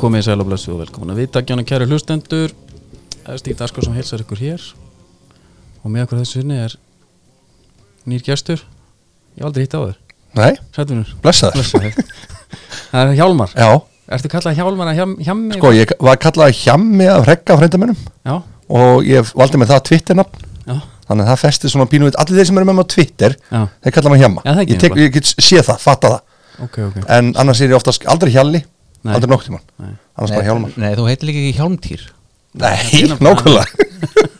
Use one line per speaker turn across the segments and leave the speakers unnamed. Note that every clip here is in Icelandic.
komið í sæl og blessu og velkomin að vita gjána kæru hlustendur Það er Stíð Daskarsson heilsar ykkur hér og með okkur þessu sinni er nýr gestur ég hef aldrei hitt á þér,
Nei,
sætunur
blessaður
Það er Hjálmar,
Já,
ertu kallað Hjálmar að hjam, hjammi?
sko ég var kallað hjammi af hrekka frænda minnum
Já,
og ég valdi mér það Twitter-nafn
já,
þannig að það festið svona pínu við allir þeir sem eru með mig á Twitter
já,
þeir kalla mig hjamma
Já, það er ekki
ég, tek,
nefnilega.
ég get séð það, fatta það
ok, ok
en annars er ég oftast aldrei hjalli
Nei.
aldrei nokk tímann,
Nei.
annars bara hjálmar
Nei, þú heitir líka ekki hjálmtýr
Nei,
Þetta er nefnilega-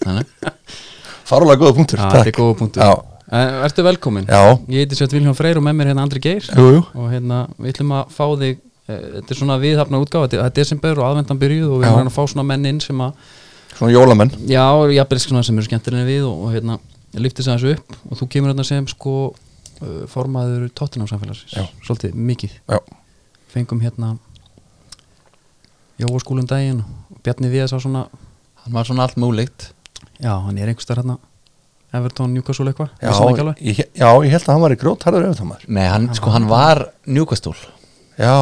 nákvæmlega farulega góða punktur,
Já,
takk
Ah, þetta er góða punktur
Já,
Eh, Ertu velkomin?
Já.
Ég heiti Sveit Vilhjón Freyr og með mér hérna Andri Geir
jú, jú,
og hérna, við ætlum að fá þig eh, þetta er svona viðhafna útgáfa, þetta er desember og aðvendan byrjuð og við
Já.
erum að fá svona menn inn sem að
svona jólamenn
Já, jafnvel svona sem eru skemmtilegni við og, og hérna, lyfti sig þessu upp og þú kemur hérna sem sko uh, formaður tóttina á
Já.
samfélagsins svolítið mikið,
Já,
fengum hérna Jóa skúlum daginn og Bjarni Viðas á svona
Hann var svona allt múlikt
já, hann er einhverstað hérna Everton, Newcastle eitthvað,
já,
vissi það ekki alveg
ég, já, ég held að hann var í grót, harður auðvitað maður
Nei, hann, sko, hann var njúkastúl
Já,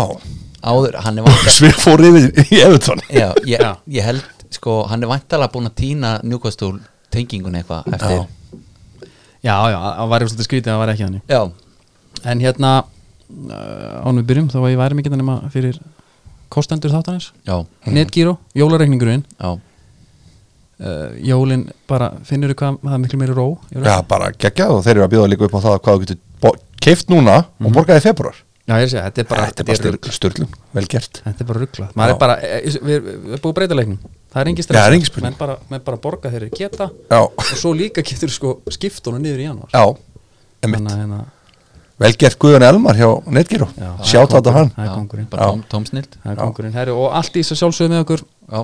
Áður, hann er vantar
svið fór yfir í Evertón
Já, ég,
Já.
ég held, sko, hann er vantarlega búin að týna njúkastúl tengingun eitthvað eftir
Já, já, það var svolítið skrítið, það var ekki þannig
Já,
En hérna, uh, ánum við byrjum þá var ég væri mikið nema fyrir kostendur þáttanins,
já,
netgíró, jólareikningurinn
já
uh, jólin bara finnur þú hvað það er miklu meiri ró í rödd?
Já, bara geggjað og þeir eru að bjóða líka upp á það hvað þú getur keift núna og borgaði í februar
já, ég sé, þetta er Mhm. bara
Þetta er bara
rugl-
styr- sturlun, vel gert
þetta er bara rugglað maður er bara, eh, við, við, við erum búið að breyta leiknum það er engin stress,
það er engin spurning.
menn bara, menn bara borga þeirri geta
Já,
og svo líka getur sko skiptunum niður í januar
já, emitt
að hérna,
Vel gert Guðan Elmar hjá Netgyro
Já.
Sjátt á þetta hann
það er kongurinn
Bara
Já.
tóm, tómsnild
það er kongurinn, herri, og allt ís að sjálfsögðu með okkur
Já,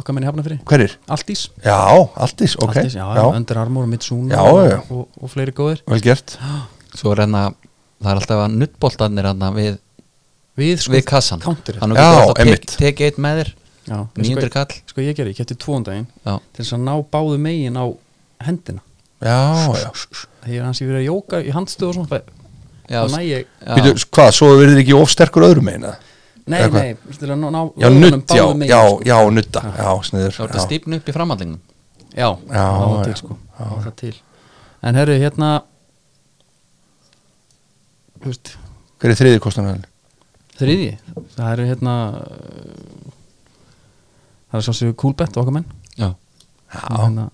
okkar menni hafna fyrir,
Hverir?
allt ís
Já, Altís, ok
Allt ís, já, já. Under Armour og Mitsuna
Já,
og,
já.
og, og fleiri góðir
Vel gert
svo er hann að Það er alltaf að nuttboltarnir hann við,
við, sko,
við kassan
counterið.
Hann
Já,
getur alltaf
einmitt.
tek eitt með þér
já, en sko,
900 kall
sko ég gerði, ég geti tvoandaginn
Já,
til þess að ná báðu megin á hendina
Já, já
þegar ég er hans ég verið að jóka í handstöð og svona bara,
já,
þá næ ég
já.
Býtu, hvað, svo verður ekki of sterkur öðrum eina?
nei,
Eða hvað?
nei, til að ná, ná
Já,
lónum
nutt, já,
báðum megin,
já,
sko.
já, nutta Já, sniður
Þá ertu stípnu upp í framallingum
já,
Já,
ná það
já,
til, sko, ná það til en herru, hérna þú veist,
Hver er þriði kostunar?
þriðji það eru hérna uh, það er svo sér kúlbett okkar menn
Já,
Og hérna,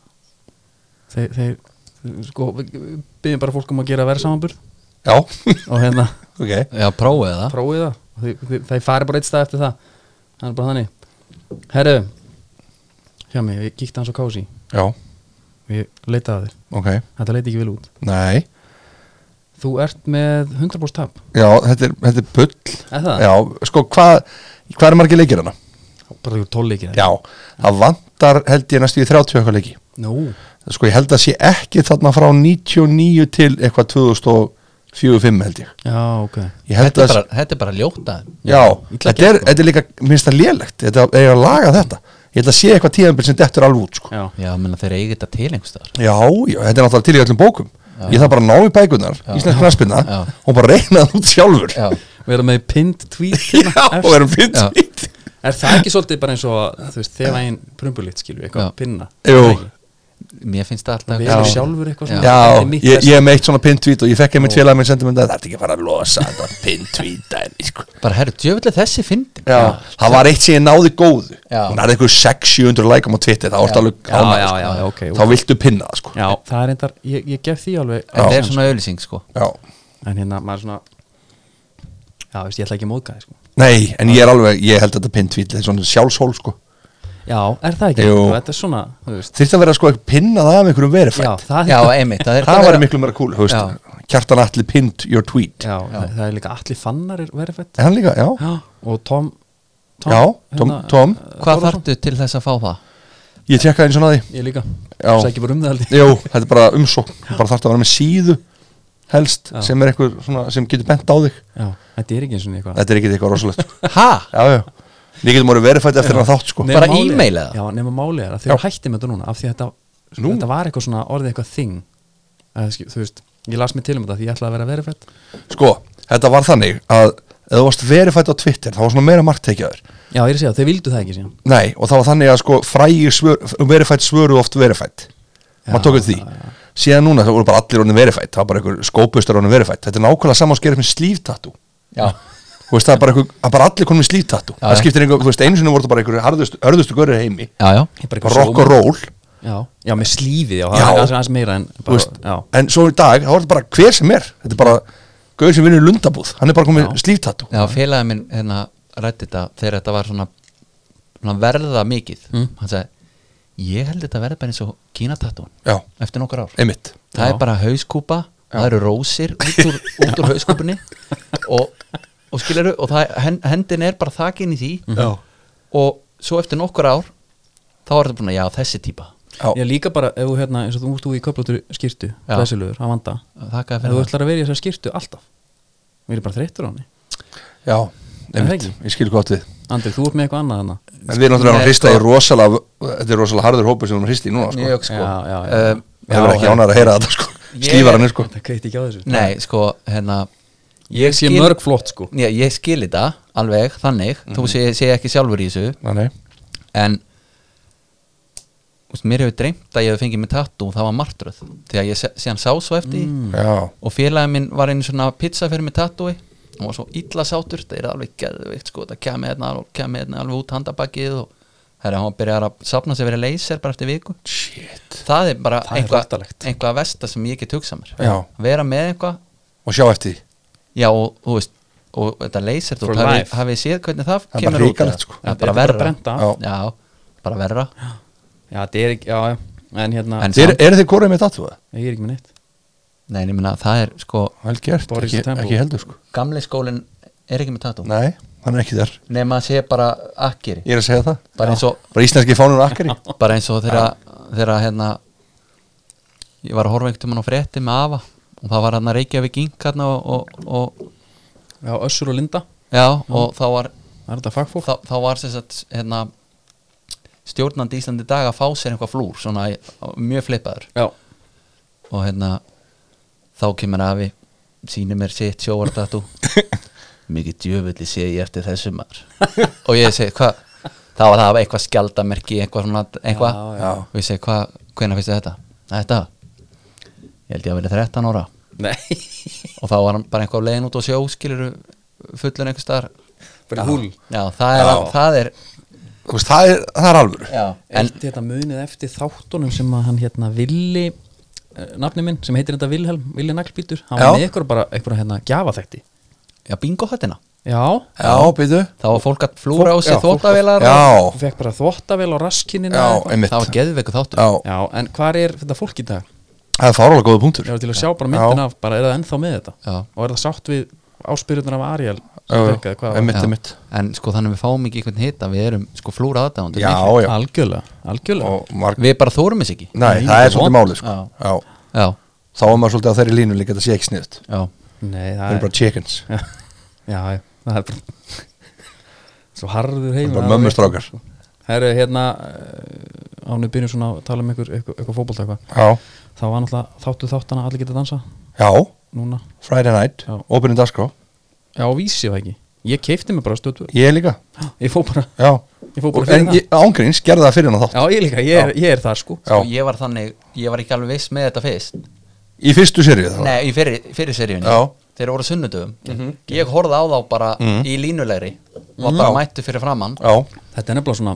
þeir, þeir sko, við við byggjum bara fólk um að gera verðsamanburð
Já,
og hérna
ok
já prófið það
prófið það og þið, þið, þið farið bara eitt stað eftir það það er bara þannig herru hjá mig, ég kíkti hans á kási
Já,
og ég leitaði að þér,
ok
þetta leiti ekki vel út
Nei
þú ert með 100% tap
Já, þetta er, þetta er pull
er það?
Já, sko, hvað hvað er margir leikir hana?
bara þú eru 12 leikir
Já, það vantar held ég næstu í 30 eitthvað leiki
Nú,
Sko, ég held að sé ekki þarna frá 99 til eitthvað 2045 held ég
já, ok
Ég held
þetta er,
að,
bara, þetta er bara ljóta
já,
illa
þetta er, þetta er líka minnst það lélegt, þetta er að laga þetta Ég held að sé eitthvað tíðanbyrn sem dettur alveg út, sko
já.
Já, menna þeir eigi þetta til einhverstaðar
Já, já, þetta er náttúrulega til í öllum bókum Ég þarf bara að ná í bækunar, íslensk knaspinna
Já.
og bara reyna það út sjálfur Já,
vera með pinned tweet hérna
og
efst.
erum fint
Já.
svít
er það ekki svolítið bara eins og að, þú veist, þegar einn prumbulit skilur eitthvað
Já.
að pinna
Jú,
Mér finnst það alltaf
við
Já.
erum sjálfur eitthvað svona
Já,
þetta er mitt
ég,
verð.
ég er með eitt svona pinntvít og ég fekk einmitt félag minn sendið mér þetta, það er ekki að fara að losa þetta pinntvíta en sko
Bara herru, djöfulega þessi fyndi
Já. Það var eitt sem ég náði góðu
Já.
Hún er eitthvað 600-700 lækum á Twitter Það vart alveg sko.
já, já, já, já, ok,
Þá viltu pinna það sko
já, það er endar, ég, ég gef því alveg
Þetta er svona auðlýsing sko
Já.
en hérna maður svona já, veist, ég ætla ekki að móðka þig sko.
Nei, en ég er alveg, ég held þetta pinntvíl Það er svona sjálfshól sko
já, er það ekki,
Jú.
Þú, þetta er svona þú veist,
Þyrfti að vera sko eitthvað pinnað af einhverjum
já,
verifætt
það,
Já,
já,
einmitt Það,
Það var miklu meira cool, þú
Já.
veist Kjartan Atli pinned your tweet
það- það er líka allir fannar er verið fett
Er hann líka, já
og Tom, Tom Hérna,
Já, Tom, Tom.
Hvað þarftu til þess að fá það?
Ég tekkaði eins og náði
ég líka,
Já.
sækir bara um það aldrei
Jú, þetta er bara umsókn Bara þarf að vera með síðu helst sem er eitthvað svona, sem getur bent á þig
já, þetta er ekki eins og eitthvað
Þetta er ekkert eitthvað rosalegt sko.
Ha?
Já, já Við getum orðið verifætt eftir hann þátt sko
Nema
bara
málið-
e-mail eða?
já, nema málið er að þau hætti með þetta núna af því að þetta, sko,
Nú?
þetta var eitthvað svona orðið eitthvað þing Eða, skil- þú veist, ég las mig til um þetta því ég ætlaði að vera verið fett
Sko, þetta var þannig að eða þú varst verifætt á Twitter þá var svona meira marktekjaður
Já, ég er að segja, þeir vildu það ekki síðan
Nei, og það var þannig að sko frægi svör, verifætt svöru oft verifætt maður tók upp því síðan núna það voru bara allir honum verifætt það var bara einhver skópustur honum verifætt þetta er nákvæmlega saman að skera með slíftatú
Já,
þú veist það er bara, einhver, að bara allir konum með slíftatú
Já,
það
já.
skiptir einhver, þú veist einu sinni voru það bara einhver hörðustu, hörðustu görri heimi
já, já
Ég er bara
bara
eitthvað
rock og
sjómaður.
roll
Já, já, með slífið, já,
Já.
það er aðeins- aðeins meira en
þú veist,
bara,
en svo í dag, þá er þetta bara hver sem er þetta er bara gauð sem vinnur í lundabúð hann er bara komið
Já.
slíftatú
Já, félagið minn hérna rætti þetta þegar þetta var svona, svona verða mikið hann sagði ég held þetta verði bara eins og kínatatúan
já,
eftir nokkur ár
einmitt
Já.
það er bara hauskúpa það eru rósir út úr, út úr hauskúpunni og, og skilur og það, hen- hendin er bara þakin í því
Já.
og svo eftir nokkur ár þá er þetta búin að já þessi típa
já,
já Ég líka bara, ef þú hérna, eins og þú ert úr í köplóttur skýrtu,
Já.
glæsilegur, að vanda
þakka
En þú
fyrir það
ætlar að vera í þessar skýrtu alltaf Mér er bara þreyttur á henni
já,
Er það
einmitt,
ekki?
ég skil gott við
Andri, þú ert með eitthvað annað hana
En við erum náttúrulega að
Nei,
hrista í
sko-
rosalega Þetta er rosalega harður hópur sem við erum að hrista í núna sko.
mjög sko
Já, já, já.
Um,
Það verður ekki
já,
ánægður að heyra þetta sko.
Ég-
Stífaranir sko
Það kveiti ekki á þessu
Nei, sko, hérna
Ég sé
skil-
mörg flott, sko. Mhm.
Já, ég skil þetta alveg, þannig Þú sé, sé ekki sjálfur í þessu
Nei, nei.
En úst, Mér hefur dreymt að ég hefur fengið mér tattu og það var martröð Þegar ég sé, sé hann sá svo eftir mm.
Já,
Og félagið minn var einu svona pizza fyrir mér tattúi Hún var svo illa sátur Það er alveg geðvikt, sko Það kemur hérna, og kemur hérna alveg út handabakið og Herra, hann byrjar að safna sér verið leyser bara eftir viku
shit
Það er bara
Það er
eitthvað
hrættalegt.
eitthva að vesta sem ég get hugsað mér
Já.
Vera með eitthvað
Og sjá eftir því
Já, og þú veist og þetta leysir þú,
For
hafið
life.
hafið séð hvernig það,
Það er
kemur
bara
út
hrikalegt, sko.
það er
Þetta
bara
er bara
verra
brennt af.
Já.
já, bara verra
Já, það er ekki, já, já En hérna,
En-
Þeir, Eru þið korið með tattu það?
ég er ekki með neitt
Nei, en ég meina, það er sko
Vel gert,
Boris
ekki,
Temple.
ekki heldur sko
gamli skólinn er ekki með tattoo
Nei, hann er ekki þar
nema að sé bara akkeri
Ég er að segja það
bara eins og,
Bara íslenski fánur og akkari
bara eins og þegar þegar hérna ég var að horfa einhvern tímann á frétti með afa og það var hérna Reykjavík Inc. hérna og, og, og,
Já, Össur og Linda,
já, og þá var
það er þetta fagfólk
þá, þá var sem sagt hérna stjórnandi Íslandi í dag að fá sér eitthvað flúr svona í- mjög flippaður
Já,
og hérna þá kemur afi sýnir mér sitt sjóvartatu mikið djöfulli sé ég eftir þessum maður og ég segi hvað þá var það eitthvað skjaldamerki eitthvað svona eitthvað
Já,
já.
og ég segi hvað hvenær finnst þér þetta þetta ég held ég að vera 13 ára
nei,
og þá var hann bara eitthvað leiðin út á sjó skilur fullun einhver staðar
bara húl
já það er,
Já.
Það er
Þú veist, það er, það er alvöru
já, en,
Eitt þetta munið eftir þáttunum sem að hann hérna Villi eh, nafni minn sem heitir þetta Vilhelm, Villi Naglbítur hann
Já.
var með ykkur bara, ykkur hérna gjafaþætti
já bingo höttina
já,
Já, býtu
þá var fólk að flúra á
Já,
sig
fólk-
þóttavelar
Já,
og fekk bara þvottavel á raskinina
já,
eða eitthvað.
einmitt
það var geðveiku þáttur
Já,
já, en hvar er þetta fólk í dag?
það er fárálega góða punktur
ég var til að sjá bara myndin
Já.
af, bara er það ennþá með þetta
Já.
og er það sátt við áspyrunar af Ariel
Já,
sem
já,
virkaði, hvað var
einmitt,
Já.
einmitt
En sko þannig að við fáum ekki einhvern hita Við erum sko flúra aðdáðandur
Já,
það?
já
algjörlega, algjörlega
Og marg
Við bara þórum þess ekki
Nei,
Nei,
það er
þetta er
svolítið
vont.
málið sko
Já.
Já
Já,
Þá er maður svolítið á þeirri línu líka þetta sé ekki sniðut
já,
nei,
Það
það
eru
er
bara chickens
já, já, já, það er bara svo harður heim
Það eru bara mömmustrákar
Herru, hérna eh, áður en við byrjum svona að tala um ykkur, ykkur, ykkur fótbolta eitthvað
Já
þá var náttúrulega þáttu þáttana allir geta dansa
Já,
núna
Friday Night,
Já.
Opening Dasko
Já, og vísi var ekki Ég keipti mig bara stötu
Ég líka,
Ég fó bara
já
Ég fór bara
Og-
fyrir
En
það.
ég- ángríns, gerði það fyrir hann þátt
Já, ég líka, ég er, ég er þar sko
Já,
sko ég var þannig Ég var ekki alveg viss með þetta fyrst
í fyrstu serið það var.
Nei, í fyrir, fyrir seríunni
Já.
Þeir voru sunnudöfum
Mhm.
Ég horfði á þá bara í línulegri Var bara
Já.
mættu fyrir framann
Já,
Þetta er nefnilega svona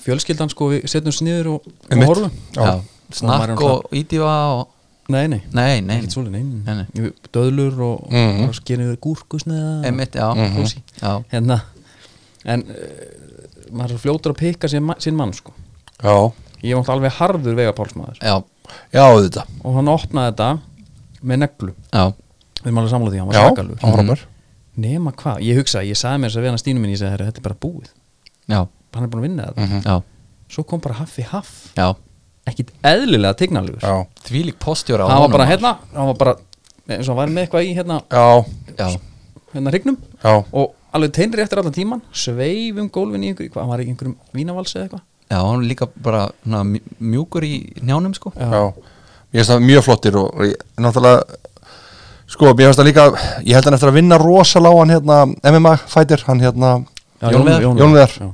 Fjölskyldan sko, við setjum oss niður og, og
Einmitt.
horfum
Já.
Já, Snakk
Og maður er
og ídýfa og
Nei, nei
Nei, nei,
Ekkert svolítið, nei,
Nei,
nei. Jú, Döðlur og, mm
Mhm.
og skerið við gúrkusneða
Einmitt, já,
Kósí.
já.
Hérna En uh, maður er fljótur að pikka sér, sinn mann sko
já,
Ég var náttúrulega alveg harður vegapálsmaður
já,
já, auðvitað
og hann opnaði þetta með neglu
já
við erum alveg samlega því, hann var
Já,
svakalur
áhramar
nema hvað, ég hugsaði, ég sagði mér þess að við hann stínu minn ég sagði, "Herra, þetta er bara búið,
Já,
hann er búin að vinna þetta
já,
svo kom bara Haffi Haff,
já
ekkit eðlilega tignalegur,
Já,
Þvílík postjóra á
hann var
honum,
bara
maður.
hérna hann var bara, eins og hann var með eitthvað í hérna,
já,
Já,
hérna hrygnum
já,
og alveg teinri eftir allan tíman sveifum gólfin í einhverjum, hvað, hann var í einhverjum vínavalsi eða eitthvað,
já, hann var líka bara na, mjúkur í njánum sko
já Ég finnst það mjög flottir og og ég- náttúrulega Sko, mér finnst það líka, ég held hann eftir að vinna rosalega hann hérna, MMA fighter, hann hérna,
Já,
Jón Viðar.
Jón Viðar.
Já.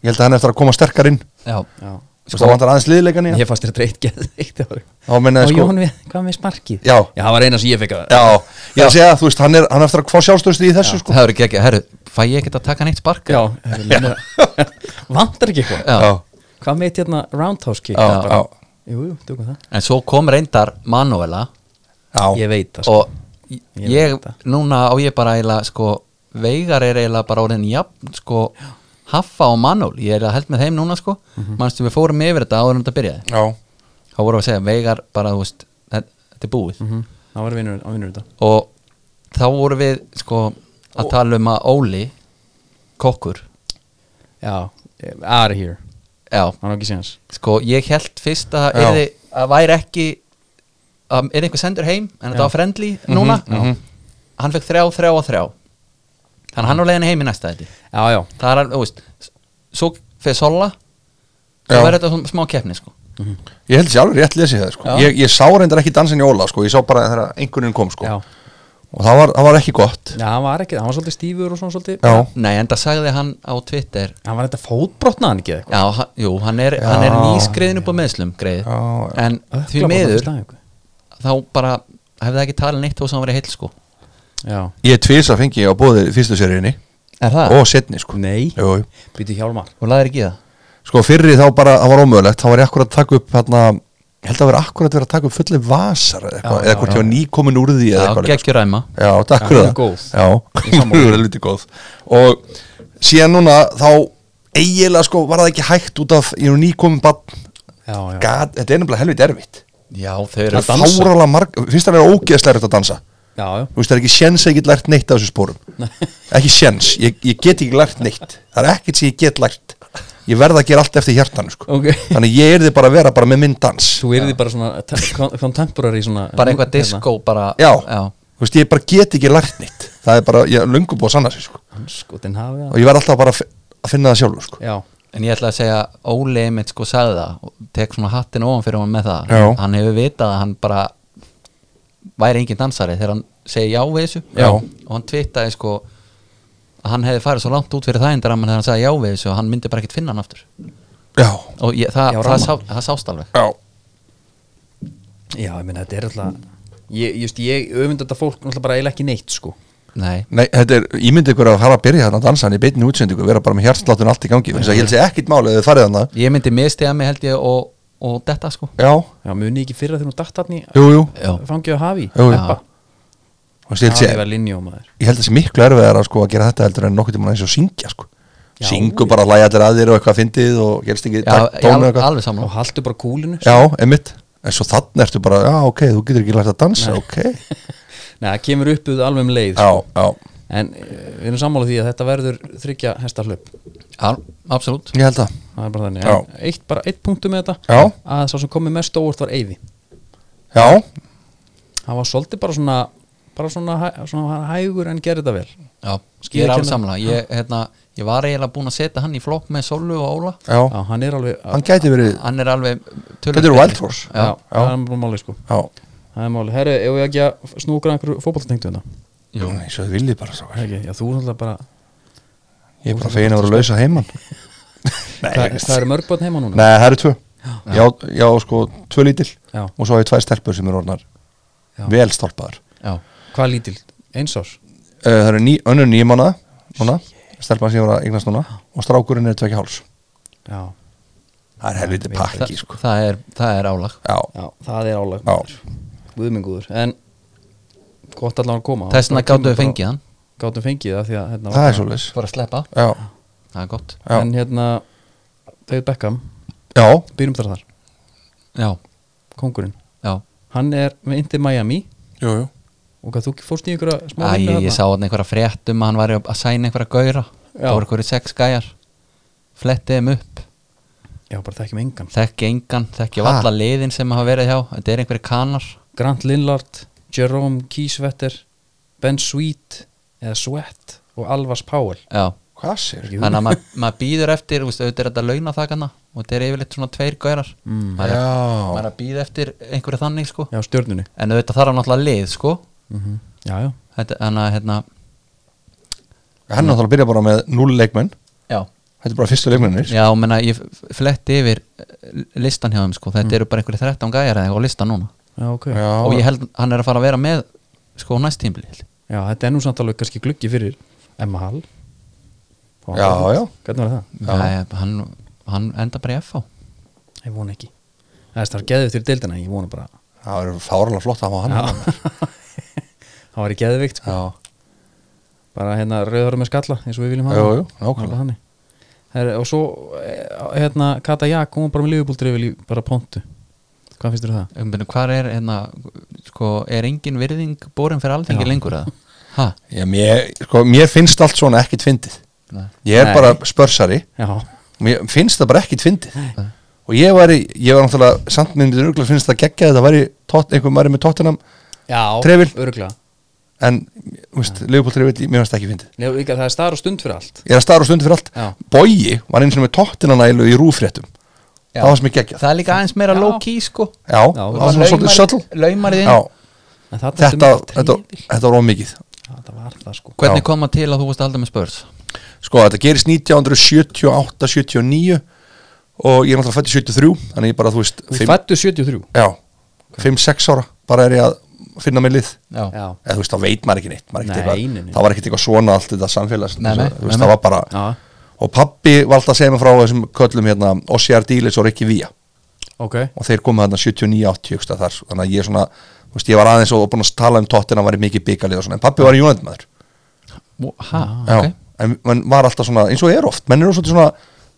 ég held að hann eftir að koma sterkar inn
já,
Já.
sko, það vantar aðeins liðleikan í hann
Ég fannst þér dreitt geð eitt ári
þá menna
Og
ég sko,
Jón við, hvað með sparkið?
Já.
Já, það var eina sem ég fekk að
já, ég er að segja, þú veist, hann er, hann er eftir að hvað sjálfstöðstu í þessu, sko
það eru ekki, herru, fæ ég ekki að taka neitt spark?
Já, herri, meina- Vantar ekki eitthvað
Já.
já,
Hvað með eitt hérna roundhouse kick?
Já,
Bara-
já.
Jú, jú, tökum það
En svo kom reyndar Manuela
já,
Ég veit það sko.
og
Ég
ég,
veit það.
núna á ég bara eiginlega, sko, Veigar er eiginlega bara orðin jafn, sko, Haffa og Manuel, ég er að held með þeim núna, sko
Mhm.
mannstu við fórum yfir þetta áður en þetta byrjaði
já,
þá vorum við að segja, Veigar bara, þú veist þetta þetta er búið
Mhm. Það var vinnur, á vinnur þetta
og þá vorum við, sko að tala um að Óli kokkur,
Já, out of Eh, here
já,
Hann á ekki séns
sko, ég held fyrst
Já.
að það yrði- að væri ekki að er einhver sendur heim, en þetta var friendly núna,
Mhm,
hann fekk þrjá, þrjá og þrjá þannig að hann var leiðin heim í næsta þetta
Já, já,
það er alveg, þú veist s- svo fyrir sola þá
Já.
verður þetta svona smá keppni, sko
ég held sér alveg rétt lesið það, sko
Já.
ég, ég sá reyndar ekki dansin í Óla, sko, ég sá bara þegar einhverjum kom, sko,
já
og það var, það var ekki gott
Já, hann var ekki, hann var svolítið stífur og svona svolítið
já,
nei, en það sagði hann á Twitter
Hann var þetta fótbrotnað hann ekki eða eitthvað
já, hann, jú, hann er, hann er nýskriðin upp á meðslum, greið
Já, já.
en því
Ökla bara
miður
fyrst dag eitthvað.
þá bara hefði það ekki talað neitt þó sem hann verið heil, sko
Já
ég tvisa fengi ég á bóði fyrstu seriðinni
er það?
og setni, sko
Nei,
jú, jú.
býtu hjálmar
og laðir ekki í það?
sko fyrri þá bara, það var ómögulegt þá var ég akkurat að taka upp hérna ég held að vera akkurat verið að taka upp fulli vasar eða eitthvað,
Já, já,
eða hvort
já.
ég var nýkomin úr því eða
já,
eitthvað líka,
geggjur æma
sko. já, takk
Já,
fyrir
hún er
það
góð. Ég
já,
sammála.
hún er lítið góð og síðan núna þá eiginlega sko var það ekki hægt út af ég er nýkomin bann
Já, já
Gat, þetta er nefnilega helviti erfitt
já, þau
Það
eru
er fáralega marg, finnst það að vera ógeðslega erfitt að dansa
Já, já
Þú veist, það er ekki séns að ég get lært neitt af þessu spórum Ekki séns, ég, ég get ekki lært neitt Það er ekkert sem ég get lært Ég verð að gera allt eftir hjartanu sko.
Ok.
Þannig ég er þið bara að vera bara með minn dans
Þú erði bara svona te- kon- contemporary svona hérna.
bara eitthvað disco bara,
Hérna. Já,
já.
Þú veist, ég bara get ekki lært neitt Það er bara, ég er löngu búið að sanna sig sko.
Hanskotin hafið
Og
það
ég verð alltaf bara að fi- að finna það sjálfur sko.
Já,
En ég ætla að segja Óli einmitt sko sagði það og tek svona hattin ofan fyrir hann með það
Já.
hann hefur vitað að hann bara væri engin dansari þegar hann segi já við þessu
Já.
og hann tvittaði sko að hann hefði farið svo langt út fyrir það endur þegar hann sagði já við þessu og hann myndi bara ekkert finna hann aftur
Já,
og ég, það,
Já,
það,
ramma.
sá, það sást alveg
já,
já, ég meina þetta er alltaf Ég, just, ég öfund þetta fólk náttúrulega bara eiginlega ekki neitt sko
Nei,
nei, þetta er Ímyndi ykkur að fara að byrja þarna að dansa hann í beinni útsendingu Vera bara með hjartslátun allt í gangi Þess að Ég held sér ekkit máli að þið farið þarna
ég myndi mistega mig held ég og, og detta sko
Já,
Já, muni ekki fyrir að þegar hún datt hann í
jú, jú
Já.
Fangið að hafi
Jú, jú.
Hafið
Þú veist, ég held sér
var linjómaður
ég held að það sé miklu erfiðar að, sko, að gera þetta heldur en nokkuð tíma eins og syngja sko.
Já,
syngu bara að læja allir að þér og eitthvað fyndið og gerst ekki
Já,
takt-
ég
tónu
alveg,
eitthvað
alveg saman
Og haltu bara kúlinu
já, emitt, en svo þannig ertu bara já, ok, þú getur ekki lært að dansa, ok
Nei, það kemur upp uð alveg um leið
já, já,
En eh, við erum sammála því að þetta verður þryggja hesta hlaup
Al, Absolutt
ég held að
Það er bara þannig
Já.
En eitt, bara eitt punktum með þetta
Já.
Að sá sem komið mest á óvart var Eyvi
já,
Hann var svolítið bara svona bara svona, hæ- svona hægur en gerði þetta vel
Já, ég
Skýra
er alveg
kenna-
samla ég, hérna, ég var eiginlega búin að setja hann í flokk með Solu og Óla
já,
Já, hann er alveg
hann gæti verið
hann er alveg töluvert
þetta eru
betri.
Wild Horse
Já,
já.
það er bara máli sko
já,
Það er máli, herru, ef ég ekki að snúgra einhverju fótballtengtu hérna
Jú.
eins og þið viljið bara svo.
Ekki, Já, þú er alltaf bara
ég er bara fegin að vera að lausa heimann nei,
Það, það eru mörg börn heima núna
nei, það eru tvö já, já, sko, tvö lítil
Já.
og svo hafið tvær stelpur sem eru orðnar
Já.
vel stálpaðar
Já.
Hvað lítil? Eins árs?
Eh, það eru ný, önnur nýjum mánuða núna, stelpan sem ég var að eignast núna og strákurinn er tvekja háls
Já.
það er helviti
Þa,
pakki sko
það, er, það er álag
já,
Já, það er álag
já,
Guðmengúður En gott allan að koma
Þess vegna gáttu við fengið hann
Gáttum fengið það því að hérna,
það er svolítið
Bara að sleppa
já,
Það er gott
já,
En hérna David Beckham
já,
Byrjum þar þar
Já,
Kongurinn
já
Hann er með Inter Miami
jú, jú
Og hvað þú ekki fórst í einhverja smá
Æ,
vinnu
ég, ég
þarna?
sá hann einhverja fréttum að hann væri að sæna einhverja gauðra
Já.
Það voru einhverju sex gæjar Flettið þeim upp
Já, bara þekkjum engan
Þekki engan, þekki
Ha?
alla liðin sem hafa verið hjá Þetta er einhverju kanar
Grant Lillard Jerome Kiesvetter Ben Sweet Eða Sweat Og Alvas Powell
Já
hvað sér?
Jú.
Þannig að maður mað býður eftir, þú veist, auðvitað er þetta launathakarna og þetta er yfirleitt svona tveir gaurar mm, maður, er-
Já.
maður er að býða eftir einhverju þannig sko
Já, stjörnunni Mhm.
en auðvitað þarf hann náttúrulega lið sko
já, já,
Þetta- Þannig að hérna,
hann náttúrulega byrja bara með 0 leikmenn
já
þetta er bara fyrstu leikmennir
Já, menna, ég fletti yfir eh, listan hjá þeim sko, þetta eru bara einhverju 13 gæjar eða eitthvað á listan núna
já, ok já.
Mm. Já.
og ég held hann er að fara að vera með sko næst tímbli
þetta er nú samt alveg kannski gluggi fyrir Emma Hall Og
Já,
Hall.
já.
Hvernig var það?
hann, hann enda bara í FH
Ég vona ekki Það er starf geðið til deildina, ég vona bara
það er fárlega flott að hafa hann hérna.
Já. Það var í geðveikt sko.
Já.
Bara hérna rauðhörum með skalla eins og við viljum hafa
Jú, jú,
Bara
nákvæmlega.
þannig. Herra, Og svo eh, hérna Kata Jak, hún var bara með liðbúldreifil í bara pontu Hvað finnst þér um það?
um, beinu, hvar er, hérna, sko, er engin virðing borin fyrir alþingi lengur eða? Ha?
Já, mér, sko, mér finnst allt svona ekkit fyndið
Nei.
ég er
Nei.
bara spörsari
Já,
mér finnst það bara ekkit fyndið og ég var, ég var náttúrulega samt myndið örgulega finnst það geggja þetta væri tótt, einhver væri með tóttinam
já
Trefil.
Öruglega
en, þú veist, Leopold Trevill mér finnst það ekki fyndið
Nei, og líka það er star og stund fyrir allt
ég er að staðra á stundu fyrir allt
Já.
Bogi var eins og með tóttinanælu í rúfréttum það var sem ég geggjað já,
það er líka aðeins meira
Já.
low key sko
það var svona svolítið söll
laumarið
já,
inn
En þarna ertu
þetta,
með
þetta,
trefil.
þetta var ómikið
Já, það var það sko
hvernig
Já.
koma til að þú varst aldrei með spörs
sko, þetta gerist 1978-79 og ég er náttúrulega fætti 73 þannig ég bara, þú veist,
Þú
fimm-
fættu 73
já, 5-6 ára bara er ég að finna mig lið
já.
Já,
eða þú veist, þá veit maður ekki neitt maður
Nei,
ekkert eitthvað,
nei, nei.
það var ekkert eitthvað svona allt þetta samfélags
Nei,
þú
nei, nei,
veist,
nei.
það var bara
Já.
og pabbi valdi að segja mig frá þessum köllum hérna, Ossiar Dílis og Rikki Vía
ok
og þeir komu þarna 79-80 hugsa, þar, þannig að ég svona, þú veist, ég var aðeins og búin að tala um tóttina að væri mikið byggalið og svona, en pappi var United maður
ha, ok
já, en mann var alltaf svona, eins og er oft menn eru svolítið svona,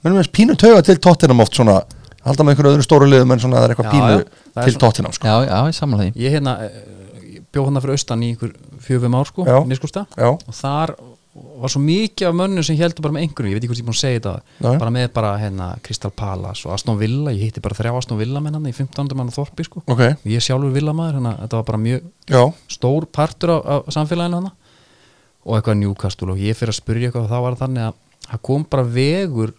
menn eru pínu tauga til tóttinam oft svona, halda með einhverju öðru stóru liðum en svona það
Já,
er eitthvað pínu
já, það er
til
svona-
tóttinam sko.
já, já, ég samla því
Ég hérna, eh, ég bjó hana fyrir austan í einhver fjöfum ár sko,
Já.
nýskusta
Já.
og þar var svo mikið af mönnum sem heldur bara með einhverjum, ég veit ekki hvort ég er búin að segja þetta
Nei.
bara með bara hérna Kristal Palas og Aston Villa, ég hitti bara þrjá Aston Villa menn hann í 15. mann á Þorpi sko
ok,
ég er sjálfur Villa maður, þannig að þetta var bara mjög
já,
stór partur af, af samfélaginu hann og eitthvað Newcastle og ég fyrir að spyrja eitthvað og þá var það þannig að það kom bara vegur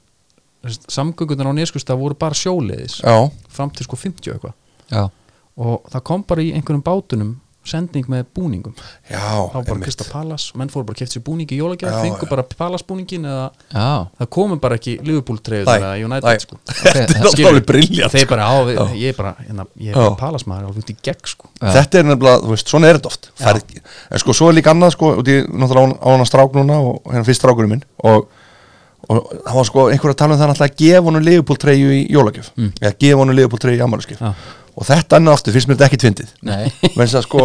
samgöngunar á nýskusta voru bara sjóleiðis
já,
fram til sko 50 og eitthvað
já,
og það kom bara í einhverjum bátunum sending með búningum þá
já
var bara
einmitt.
Krista Palas, menn fóru bara að kefta sér búningi í jólagjörð,
Já,
fengu
já.
bara Palas búningin eða
já.
það komu bara ekki Liverpool treyður
Nei,
eða
nei.
United sko
þetta er
Skilur,
alltaf alveg sko. briljant
þeir bara á við, ég er bara, hérna, ég er
Já.
bara Palas maður alveg út í gegn sko
Já.
þetta er nefnilega, þú veist, svona er þetta oft Færð, en sko, svo er líka annað, sko og ég náttúrulega á hana strák núna og hérna fyrst strákurinn minn og, og það var sko einhver að tala um það náttúrulega að gefa honum leifupóltreyju í jólagjöf eða gefa honum leifupóltreyju í ammæluskjöf
Mm. Já.
og þetta annað aftur finnst mér þetta ekkit fyndið
Nei.
menn að sko,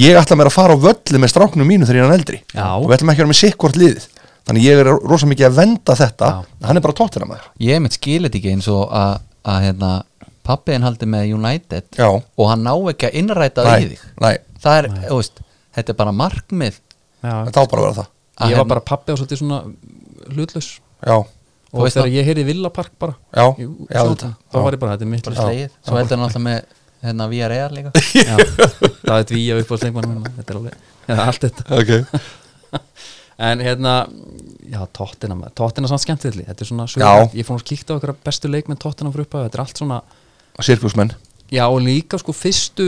ég ætla mér að fara á völlu með stráknum mínu þegar ég er hann eldri
Já.
og við ætlum ekki að vera með sikkvort liðið þannig ég er rosa mikið að venda þetta hann er bara tóttina
ég mitt skil þetta ekki eins og að, að hérna, pappiðin haldi með United
Já.
og hann ná ekki að innræta það í
nei,
þig
nei,
það er, þú veist, þetta er bara markmið
Já.
þetta á bara að vera það
ég
hérna-
var bara pappi og svolítið svona hlutlaus
já,
og
veist
þegar ég heyrði Villapark bara
Já.
í-
Já,
sjónvarpinu,
þetta.
þá
Já.
var ég bara, þetta er mitt
bara
lið.
slegið, svo heldur hann alltaf með hérna VRR líka
Já. það er því að upp á slengmann þetta er alveg, eða allt þetta
okay.
En hérna, já, tóttina maður Tóttina samt skemmtilegli, þetta er svona
Já.
sögur, Ég fór að kíkta á okkur bestu leikmenn tóttina fyrir upphæðu Þetta er allt svona,
Sirkusmenn
já og líka sko fyrstu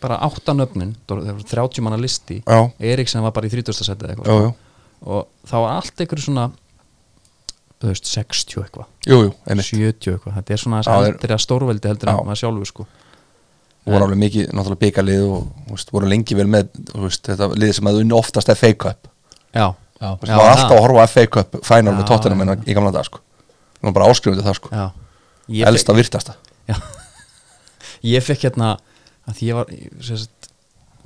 bara áttanöfnin það voru 30 manna listi
Já.
Eriksen var bara í 30. setið eitthvað sko.
Jú, jú.
og þá var allt einhverju svona þú veist, 60 eitthvað
Jú, jú, einmitt
70 eitthvað, þetta er svona
Já, þeir-
aðeins eldri að stórveldi heldur
Já.
en maður sjálfur sko
voru alveg mikið náttúrulega byggalið og þú veist, voru lengi vel með þú veist, þetta lið sem að unni oftast FA Cup
Já,
Já.
Þú veist, maður var alltaf að horfa á FA Cup final
Já,
með tóttina
já,
minna í gamla dag sko það var bara áskrifandi það sko
já Ég
elsta virtasta
Já. ég fekk hérna að því ég var ég- sem sagt,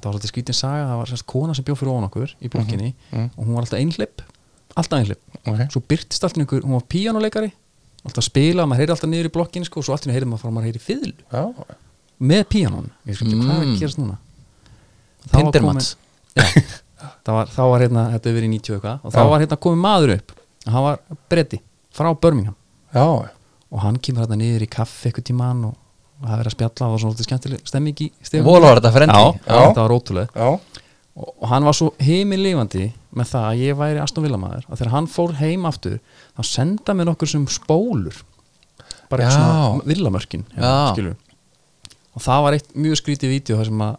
það var svolítið skrítin saga það var sérst, kona sem bjó fyrir ofan okkur í blokkinni og hún var alltaf einhlepp alltaf einhlepp,
Mhm, Ok.
svo byrtist alltaf einhver hún var píjánuleikari, alltaf að spila maður heyri alltaf niður í blokkinni sko, og svo alltaf heyrði maður frá maður heyri fiðl
já,
með píjánun, ég skil ekki hvað er
Mm.
að gerast núna Þá var
Pindermats
komin- Já. Það var, þá var hérna, þetta hefur verið í 90 og eitthvað og þá
Já.
var hérna komið maður upp hann var bretti frá Birmingham
já,
og hann kemur hérna niður í kaff eitthvað tíman og og það er verið að spjalla og það var svona svolítið skemmtileg stemming í stefum
Vola var þetta frendi.
já,
Já.
þetta var ótrúlega
já,
og, og hann var svo heimilifandi með það að ég væri Aston Villa maður að þegar hann fór heim aftur þá senda mér nokkur sem spólur bara
Já.
eitthvað svona villamörkin hérna,
Já.
skilur. og það var eitt mjög skrítið vídeo þar sem að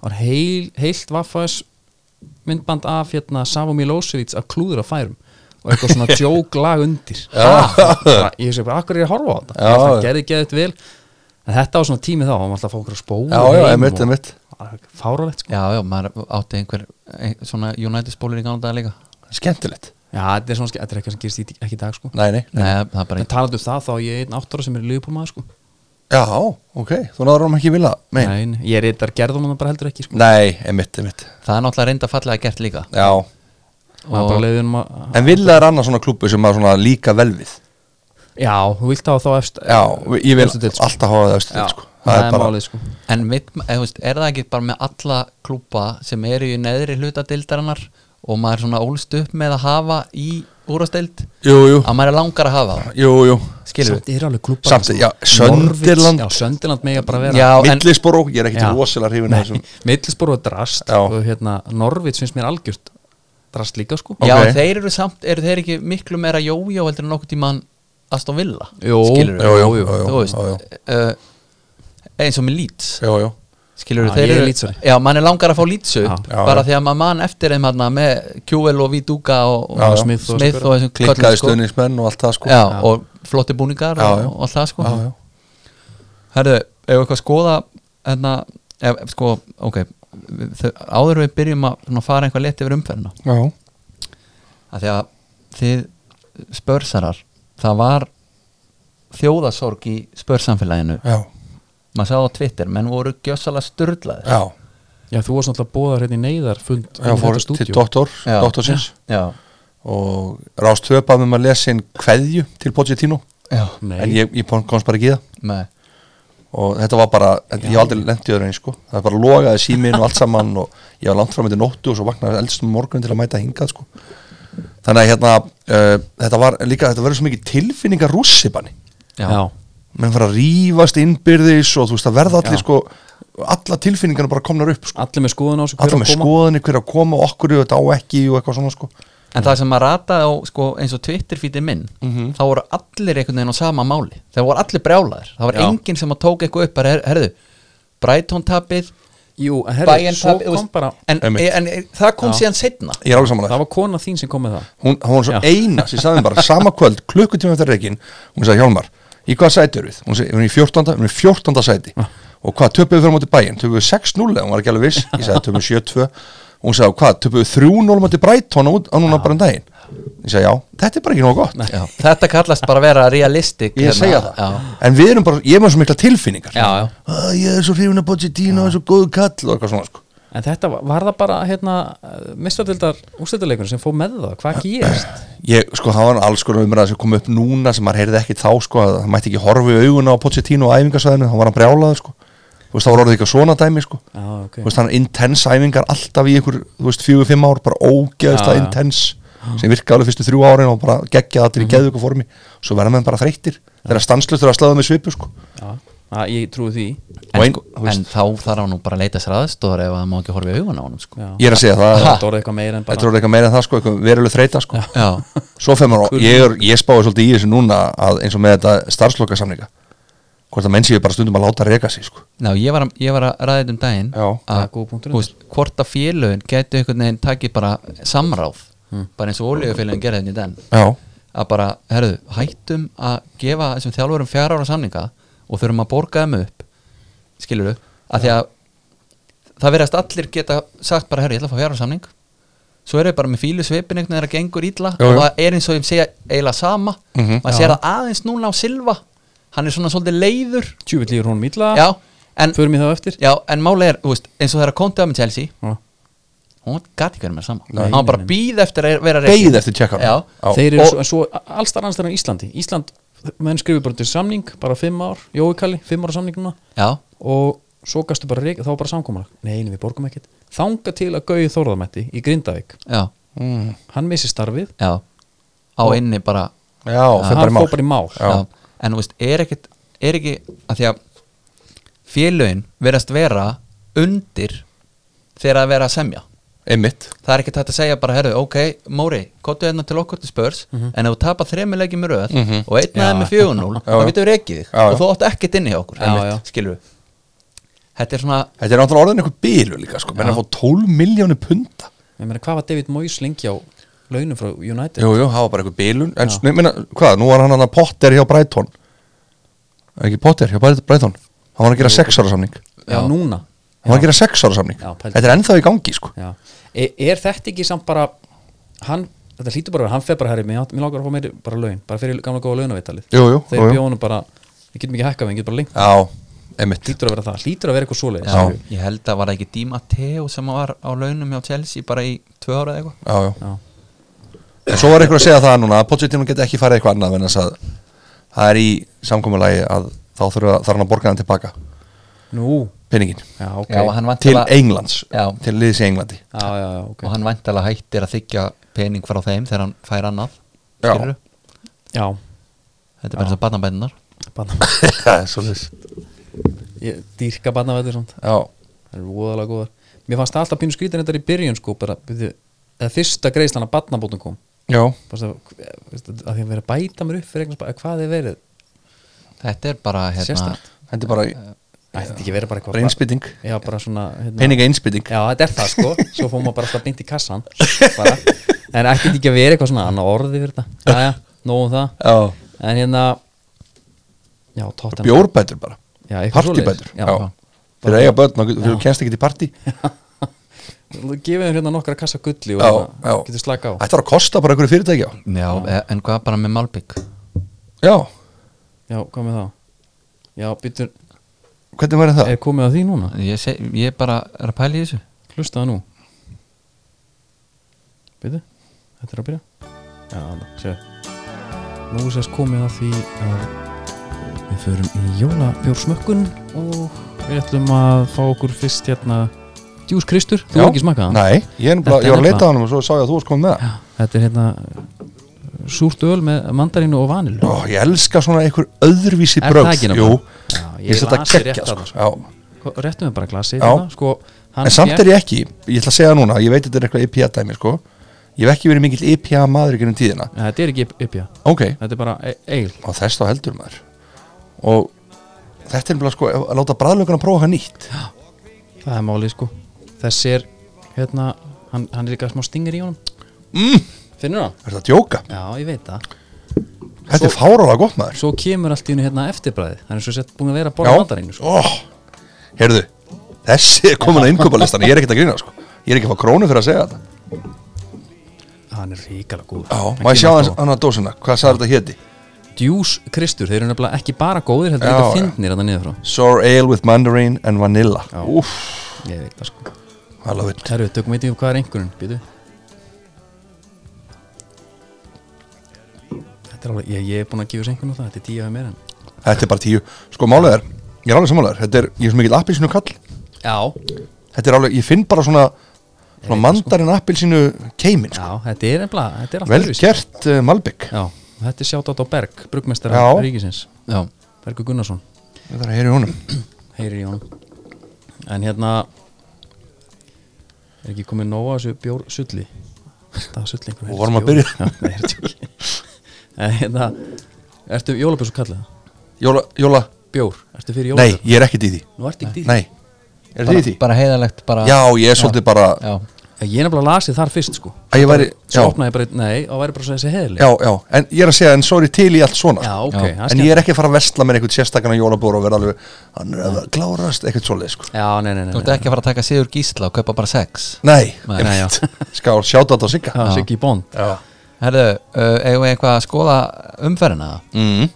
var heil, heilt Vaffas myndband af hérna Savo Milosevic að klúðra færum og eitthvað svona djókla undir Ha, ég sé bara, akkur er ég að horfa á þetta
Já.
það gerði geðið vel en þetta var svona tími þá, hann var alltaf að fá okkur að spóla
Já, já, einmitt, einmitt.
fáralegt sko.
já, já, maður átti einhver ein, svona United spólur í gánda líka
skemmtilegt
já, þetta er, svona, ske- þetta er eitthvað sem gerist í, ekki í dag sko.
nei, nei.
Nei, það er bara
en talandi um það, þá er ég einn áttara sem er liðbúl maður sko.
já, ok, þú náður hann ekki vilja nei, nei.
Nein, ég er eittar gerðum hann bara heldur ekki sko.
einmitt, einmitt
Það er náttúrulega reynda fallega gert líka
já.
Það er bara leiðin um að,
en vilja er annars svona klubbu sem maður svona líka vel við
já, þú vilt hafa þá efst
já, ég vil
efstu deild, sko.
alltaf hafa það eftir
Já,
til sko.
það er málið sko.
En mitt, eða, þú veist, er það ekki bara með alla klúpa sem eru í neðri hluta deildarinnar og maður er svona ólst upp með að hafa í úrastild
jú, jú,
að maður er langar að hafa það.
jú, jú
skilur
Samt
við
er alveg klubbar
Samt- já, Sunderland.
Já, Söndiland mega bara vera
Já, en,
Millisboró, ég er ekkit
Já.
rosalega hrifin af þessum
Midlisbor var drast
Já.
og hérna, Norvits finnst mér algjört drast líka sko
já,
ok.
þeir eru samt, eru þeir ekki miklu meira jójó heldur en nokkuð tíman Aston Villa
Jú,
skilur
Jú,
við,
jú, jú, jú,
þú veist
jú,
Uh, eins og með Leeds
jú, jú.
Já,
skilur við,
ég
þeir
er
eru
Leedsari.
já, mann er langar að fá Leeds upp
Já.
Já,
bara
já.
því að maður mann eftir þeim hana, með QL og Viduka og, og
Já, já.
Smith og-
Smith og þessum köllum,
klikkaði
sko.
stöðnismenn og allt það sko
já, og flotti búningar
Já,
og,
já.
og allt það sko
Já, já.
Herðu, ef eitthvað skoða hérna, ef, sko, ok við- þau- áður við byrjum að svona, fara eitthvað leti yfir umferðina
Já.
að því að þið spörsarar, það var þjóðasorg í spörsamfélaginu
Já.
maður sá það á Twitter, menn voru gjössalega styrlaðir
Já.
Já, þú varst náttúrulega bóðar hérna í neyðarfund
Já, fór til doktor,
Já.
doktorsins
já,
og rást höfbað um að lesa inn kveðju til Pochettino
já,
en
Nei,
ég, ég komst bara ekki í það
með
og þetta var bara, þetta, ég hef aldrei lent í öðru eins sko. það bara logaði símin og allt saman og ég var langt fram eftir nóttu og svo vaknaði eldstum morgun til að mæta hingað sko. þannig að hérna, uh, þetta var líka þetta verður svo mikið tilfinningar rússipanni
já,
já,
menn fara að rífast innbyrðis og þú veist að verða allir
Já.
sko alla tilfinningarna bara komnar upp sko.
allir með skoðun á sig hver
allir
á
með sko-
koma.
skoðinni hver að koma okkur og þetta á ekki og eitthvað svona sko
en það sem maður rataði á sko, eins og Twitter fítið minn
Mhm.
þá voru allir einhvern veginn á sama máli það voru allir brjálaðir, það var
Já.
enginn sem að tók eitthvað upp, bara her, herðu Brighton tapið,
Jú, en herri,
Bayern
svo
tapið þú
kom
veist,
bara
en, en,
Einmitt.
en það kom
Já.
síðan setna
ég er alveg samanlega
Það var kona þín sem kom með það
hún, hún var svo
Já.
eina sem sagði mér bara sama kvöld, klukkutíma eftir reikin hún sagði Hjálmar, í hvað sæti eru við? hún sagði, við erum í 14. Við erum í 14. sæti og hvað, töpuðu fyrir móti bæinn? töpuðu 6-0, ef hún var ekki alveg viss ég sagði töpuðu 7-2 og hún sagði, hvað, töpuðu 3-0 móti brætt hún á núna bara en daginn ég sagði, já, þetta er bara ekki nóg gott
Já. þetta kallast bara að vera realistik
ég segja það,
já,
en við erum bara ég er með svo mikla tilfinningar
já, já.
"Ah, ég er svo hrifun að Pochettino, er svo góðu kall og eitthvað svona, sko
En þetta var, var það bara hérna, mistadildar úrstættuleikunum sem fór með það Hvað gerist?
Ég, sko, það var alls konar umræða sem kom upp núna sem maður heyrði ekki þá, sko, að það mætti ekki horfi auguna á Pochettino á æfingasvæðinu, þá var hann brjálaður, sko þú veist, þá var orðið eitthvað svona dæmi, sko
Já, Ah, ok
þú veist, hann intense æfingar alltaf í ykkur þú veist, fjögur, fimm ár, bara
Já,
ógeðast
Ah.
að
já.
intense sem virkaði alveg fyrstu þrjú árin og bara geggjaði
Mhm.
allir í geðu ykkur formi svo verða menn bara þreyttir, þeirra stanslust þeirra slaðið með svipu, sko
Já, að, ég trúi því
Og
En,
ein-
sko,
þú veist-
en þá þarf hann nú bara að leita sér aðstóðar ef það má ekki horfa í augun á honum sko.
Já.
ég er að segja það,
Þetta orðið eitthvað meira en
þetta
bara
er eitthvað meira en það, sko, eitthvað veruleg þreyta, sko
Já.
svo fer maður, á- ég, er- ég spáði svolítið í þessu núna að eins og með þetta starfsloka samninga hvort að menn séu bara stundum að láta reka sig sko.
Ná, ég, var, að- ég var að ræða þetta um daginn
Já.
Það er
að
góð punktur
þú veist, hvort að félögin getur einhvern veginn takið bara samráð bara eins og olíufélögin gerði þetta í den
já,
að bara, herðu, hættum að gefa þessum þjálfurum fjara ára samninga og þurfum að borga þeim upp skilur du, að því að það verðast allir geta sagt bara, herru, ég ætla að fá fjara ára samning svo eru þau bara með fílu sveipin einhvern veginn að gengur illa
Jú,
og
jú.
það er eins og ég segja eiginlega sama
Mhm.
maður sér það aðeins núna á Silva hann er svona svolítið leiður
Tjúvill líður honum illa
já, en,
Förum við þá eftir
já, en máli er, þú veist, eins og það er að konta með Chelsea
Já.
hún gæti ekki verið með sama
Nei,
hann var
nei,
bara
nei.
býð eftir að vera rekinn.
beigð eftir tjekkar
Já.
Þeir eru
Og-
svo, en svo allstar annars þeirra í Íslandi Ísland, menn skrifir bara til samning bara fimm ár, Jói Kalli, fimm ára samning núna
já,
og svo gastu bara reik, þá var bara samkomulag nei, nei, við borgum ekkert þanga til að Gauði Þórðamætti í Grindavík
já
mm.
hann missi starfið,
Já, á inni bara
já, fer bara
hann
í mál
fór bara í mál
Já.
já. En þú veist, er ekki, er ekki að því að félögin verðast vera undir þegar að vera að semja
einmitt,
það er ekki tætt að segja bara, herru, ok, Móri kottu hérna til okkur til spörs en ef þú tapar þremi leikjum í röð
Mhm.
og einn
Já.
aðeim með 4-0
Já, já.
þá getum við rekið þig
Já, já.
og þú átt ekkert inni hjá okkur
Já, já.
skilur við þetta er svona
Þetta er náttúrulega orðin einhver bílu líka sko, menn er að fá 12 miljónu punta
Ég meina, hvað var David Moyes lengi á launum frá United?
Jú, jú, það var bara einhver bílun En
Já.
ja. minna, hvað, nú var hann hann að Potter hjá Brighton Er Ekki Potter hjá Bright- Brighton Hann var að gera 6 ára samning Hann
já,
Já.
núna
var að gera 6 ára samning
Já, pældu.
Þetta er ennþá í gangi sko
já. Er, er þetta ekki samt bara hann, þetta hlýtur bara að vera, hann fer bara herri, mér, mér langar að fá meiri bara laun, bara fyrir gamla góða launavittalið
Jú, jú,
þeir
jú, jú.
bjóðunum bara, við getum ekki hækkað við getum bara lengt,
Já, emitt
hlýtur að vera það hlýtur að vera eitthvað svoleiðis
Já,
skilju.
ég held að var það ekki Díma Teo sem var á launum hjá Chelsea bara í tvö ára eða eitthvað
Já, já
Já.
En svo var einhver að segja það núna að Pochettino geti ekki farið eitthvað annað en þess að það er í samkommulagi að þá þurfa, þarf hann að borga hann tilbaka
nú,
peningin
já, ok
Já, og hann
til
væntanlega-
Englands,
Já.
til liðs í Englandi
já, já, já, ok
og hann væntalega hættir að þykja pening frá þeim þegar hann fær annað
Já.
skilurðu?
já,
þetta er bara eins og barnabætunar
banna
Það er svolítið
ég dýrka barnavættir samt
Já,
það er voðalega góðar mér fannst það alltaf pínu skrítin þetta í byrjun sko bara, byrju, eða fyrsta greiðslan að barnabótum kom
já,
Fannst það- veist, að því að vera að bæta mér upp fyrir eignarspar hvað þið verið,
þetta er bara hérna,
sérstætt
þetta er bara
Ætti þetta ekki verið bara eitthvað
bara innspýting
Já, Eh, bara svona hérna,
peninga innspýting
Já, þetta er það sko Svo fórum maður bara alltaf beint í kassan bara. En ætti þetta ekki að vera eitthvað svona annað orði fyrir þetta Jæja, nóg um það
Já,
En hérna Já, tóttan
bjórbætur bara
Já, eitthvað
partybætur
svoleiðis.
Já,
Já.
Fyrir að eiga börn, maður getur- fyrir að kennst ekki til partí
Þú gefið þeim hérna nokkra kassa gulli og
Já,
hérna,
já
getur slaka á
Þetta var að kosta bara einhverju fyrirtæki á
já, e- en hvað bara með Malbygg
Já,
Já, hvað með þá? Já, býtur,
hvernig verður það?
er komið að því núna?
ég, seg, ég bara er að pæla í þessu
Hlustaðu nú Býtu, þetta er að byrja Já, þarna, séu Nú er sérst komið að því að við förum í jólabjórsmökkun og við ætlum að fá okkur fyrst hérna Djús Kristur, þú
Já.
hefur ekki smakað hann
Nei, ég, er nefnilega-
Þetta
ég var
er
að leita
nefnilega-
á hann og svo sá ég að þú varst komið með það
Já, Þetta er hérna uh, súrt öl með mandarínu og vanilu
Ó, ég elska svona einhver öðruvísi
Er
bröð
það ekki
Jú,
nefnilega? Já,
ég set að
las þér
kekja
rétt
sko.
þarna.
Já.
Sko, Réttum við bara glasið
Já.
hérna, sko,
En samt er ég ekki, ég ætla að segja núna Ég veit þetta er eitthvað IPA dæmi sko. Ég hef ekki verið mikill IPA maður í gennum tíðina
Þetta er ekki uppja,
Ok,
þetta er bara e- eil
og þess þá heldur maður Og þetta er bara sko Að láta bræðlökun að prófa hann nýtt
Það er málið sko Þessi er, hérna, hann, hann er líka smá stingir í honum
mm,
Finnur hann?
Er þetta að djóka?
Já, ég veit það
Þetta er fárálega gott maður
Svo kemur allt í hennu hérna eftirbræði Það er eins og sett búin að vera að borða mandarínu sko.
Ó, heyrðu Þessi er komin að innkaupalistan, ég er ekkert að grína sko. Ég er ekki að fá krónu fyrir að segja þetta
sko. Hann er ríkala góð
Já, má ég sjá hans annað dósina, hvað sagði þetta héti?
Djús Kristur, þeir eru nefnilega ekki bara góðir Heldur
Já,
líka
já.
fyndnir þetta niður frá
Sour ale with mandarin and vanilla Úff,
Ég veit það sko
I love it
Herru, tökum eitthvað hvað er einhverjum, býtu Þetta er alveg, ég, ég er búin að gefa þessu einhvern á það Þetta er tíu af mér en
Þetta er bara tíu Sko málið er, ég er alveg sammálaður Þetta er, ég er svo mikill appilsinu kall
Já,
Þetta er alveg, ég finn bara svona Svona mandarin appilsinu keimin sko.
já, þetta er nefnilega Þetta er allt
Vel
öðruvísi.
gert uh, Malbygg
Já, og þetta er sjátt á Berg, brugmestara
Já.
ríkisins
já,
Bergur Gunnarsson,
Þetta er að heyra í honum
heyrir í honum En hérna er ekki komið nóg að þessu bjór sulli Það var sulli einhver
Og vorum að byrja.
Já, það er tjóki En hérna, ertu jólabjór svo kallið það?
Jóla, Jóla,
Bjór, ertu fyrir
nei,
jólabjór?
ég er ekkert í því
Nú ertu ekki í því
Nei, er þið í
bara,
því?
bara heiðalegt bara,
Já, ég er svolítið bara
já.
En Ég er nefnilega lasið þar fyrst sko
Að ég væri, já,
Svo opnaði ég bara, nei, og væri bara svo þessi heðileg
já, já En ég er að segja, en sorry til í allt svona
já,
sko.
ok,
Já.
það
En ég
skemmt.
er ekki að fara að vestla með einhvern sérstakann á jólabóru og vera alveg, hann er að klárast eitthvað svoleið, sko
Já, nei, nei, nei,
þú ert
nei.
ekki að fara að taka Sigur Gísla og kaupa bara sex
Nei,
Nei,
nei
já.
Skál, sjáta þetta á Sigga
Það er ekki í bond
Já.
herðu, uh, eigum við eitthvað að skoða umferðina
Mm.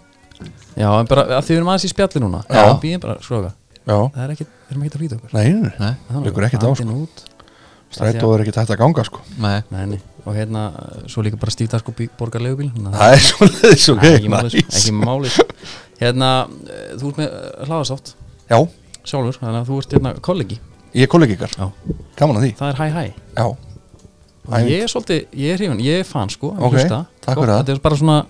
Já, en bara, að því við erum aðeins í spjalli núna
Já.
Býðum bara, skróka
Já.
Það er ekki, við erum ekki að flýta okkur
Nei, nei, nei.
nei,
Liggur ekkert á, sko.
Andinn út
Strætó er ekkert hægt að ganga sko
nei,
Nei, nei, og hérna, uh, svo líka bara stíftar sko borgar leigubíl Nei,
Það er svolítið svo
ekki málið, sko,
nice.
ekki málið Hérna, uh, þú ert með uh, hlaðasátt
Já,
sjálfur, þannig að þú ert hérna kollegi
ég er kollegi ykkar,
Já.
gaman að því
Það er hæ hæ
Já,
Og
Æ.
ég er svolítið, ég er hrifin, ég er fan sko að
Ok,
hlusta.
takk
Gott,
fyrir það.
Þetta er bara svona,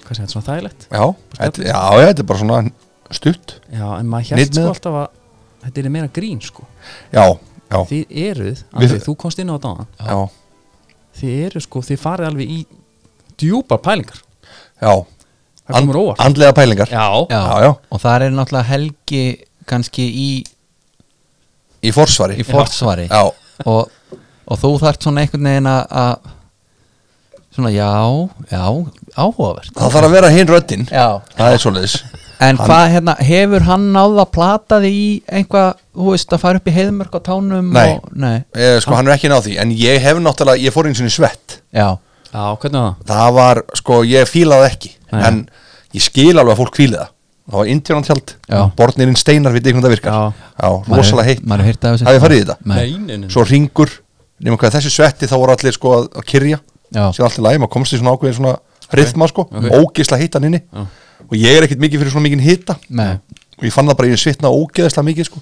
hvað sé þetta, svona þægilegt
já, þetta, já, já, þetta er bara svona stutt
Já, en maður
Nýtt
hérst sko
með.
alltaf að þetta er meira grín sko
Já, já,
Þið eruð,
Við-
Andri, þú komst inn á þetta áðan.
já,
Þið eruð sko, þið farið alveg í djúpar pælingar
já
Það komur óvart
Andlega pælingar
Já,
já.
Já, já.
og það er náttúrulega Helgi kannski í,
í forsvari
í forsvari
Já,
og, og þú þart svona einhvern veginn að- að svona já, já, áhugavert
það þarf að vera hinn röddinn
já.
Það er svoleiðis
en hvað hérna, hefur hann náða að plata þig í einhvað, þú veist, að fara upp í heiðmörk á tánum
Nei.
og, nei,
Eh, Sko hann er ekki náð því En ég hef náttúrulega, ég fór eins og svett
já
Já, hvernig var það?
Það var, sko, ég fílaði ekki
Nei.
En ég skil alveg að fólk fíli það Það var indjónantjald
Já.
Bornirinn steinar, við hvernig það virkar
Já.
Já rosalega heitt
maður hefur heyrt af þessu
Hafið farið í þetta?
nei,
nei, nei.
Svo ringur, nema hvað þessi svetti Þá voru allir sko að, að kyrja
Já.
Sér allt í lagi, maður komst í svona ákveðin svona Rithma sko, ógeðslega hittan inni
Já.
Og ég er ekkert mikið fyrir svona mikið hitta
nei,
og ég fann það bara í svitna ógeðislega mikið sko.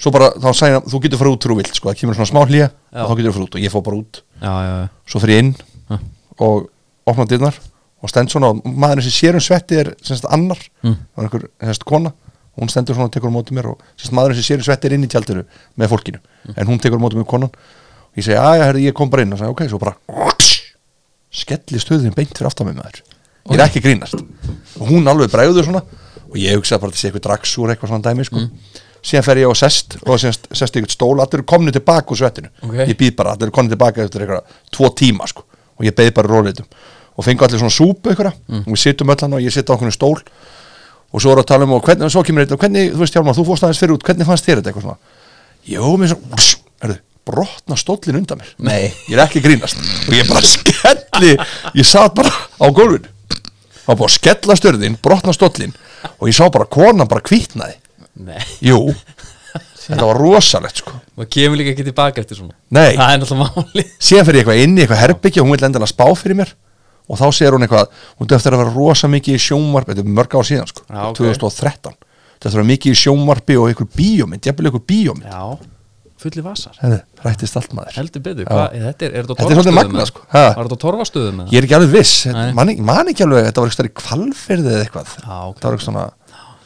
svo bara þá sagði hann þú getur fara út þegar þú vilt sko. það kemur svona smá hlýja og þá getur þú fara út og ég fór bara út
Já, já, já
svo fyrir ég inn og opna dyrnar og stend svona og maðurinn sem sér um svetti er semst annar mm. var einhver semst kona hún stendur svona og tekur á móti mér og semst maðurinn sem sér um svetti er inn í tjaldinu með fólkinu en hún tekur á móti mér konan og ég segi aðja herri ég kom bara inn og sagði ok svo bara skelli stöðin beint fyrir aftan mig maður ég er ekki að grínast og hún alveg bregður svona og ég hugsaði bara að það sé eitthvað dragsúr eitthvað svona dæmi sko síðan fer ég á sest og sest, sest í eitthvað stól allir eru komni tilbaka úr svettinu
Ok.
ég býð bara, allir eru komni tilbaka eftir eitthvað tvo tíma sko, og ég beði bara róleitum og fengi allir svona súpu ykkur og við sittum öllan og ég sitt á okkur stól og svo voru að tala um og hvernig, svo kemur eitthvað, hvernig, þú veist Hjálmar, þú fórst aðeins fyrir út, hvernig fannst þér þetta eitthvað svona Jó, mér svo, herðu, brotna stóllin undan mér
Nei.
Ég er ekki að grínast og ég bara skelli, ég satt bara á gólfinu Það var búið að skella störðin, brotna stóllin og ég sá bara konan bara kvítnaði
Nei,
Jú, þetta var rosalegt sko
maður kemur líka ekki tilbaka eftir svona
Nei.
Það er náttúrulega máli
síðan fyrir ég eitthvað inn í eitthvað herbyggja og hún vil endilega spá fyrir mér og þá segir hún eitthvað hún dæfti að vera rosa mikið í sjónvarpi þetta er mörg ár síðan sko,
Já, ok.
2013 þetta er að vera mikið í sjónvarpi og einhver bíómynd jafnvel einhver bíómynd
Já, fulli vasar
Hefðu, rættist allt maður
Heldur betur,
Já.
hvað, er þetta er, er þetta á
Þetta er svolítið
torfastöðum?
magnað, sko. Ha?
Er þetta á torfastöðum?
ég er ekki alveg viss,
Nei.
man, man ekki alveg þetta var eitthvað í kvalfyrði eða eitthvað
Já, ok.
það var eitthvað svona,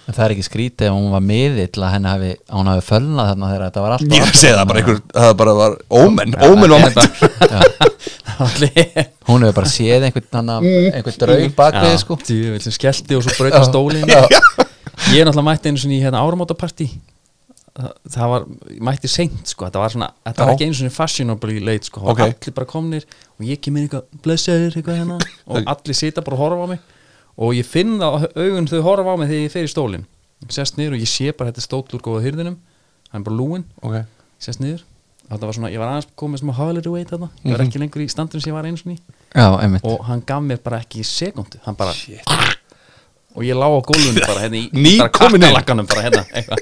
En það er ekki skrítið ef hún var miðill að henni hafi, að hún hafi fölnað þarna þegar þetta var allt
ég er að segja það bara einhver, það bara var ómenn, ómenn var mætt
Allir
hún hefur bara séð einhvern, hana, einhvern draug bak við sko
Djúvill sem skellti og svo brauta
Já.
stólin
Já.
Ég er náttúrulega mætti einu svona í hérna áramótapartí Þa- Það var, ég mætti seint sko Þetta var svona, þetta var
Já.
ekki einu svona fashionably late sko Það var
Ok.
Allir bara komnir og ég kemur eitthvað blessaður eitthvað hérna Og allir sita bara og horfa á mig Og ég finn það á augun þau horfa á mig þegar ég fer í stólin Sest niður og ég sé bara þetta er stóll úr góða hyrðinum Hann er bara lúin
okay.
Sest niður Þetta var svona, ég var aðeins komið smá holiday weight þarna Ég
Mhm.
var ekki lengur í standum sem ég var einu svona í
já, einmitt
og hann gaf mér bara ekki sekundu hann bara og ég lá á gólfinu bara hérna í
Ný
bara
komin inn. Uh.
kakkalakkanum bara hérna eitthvað.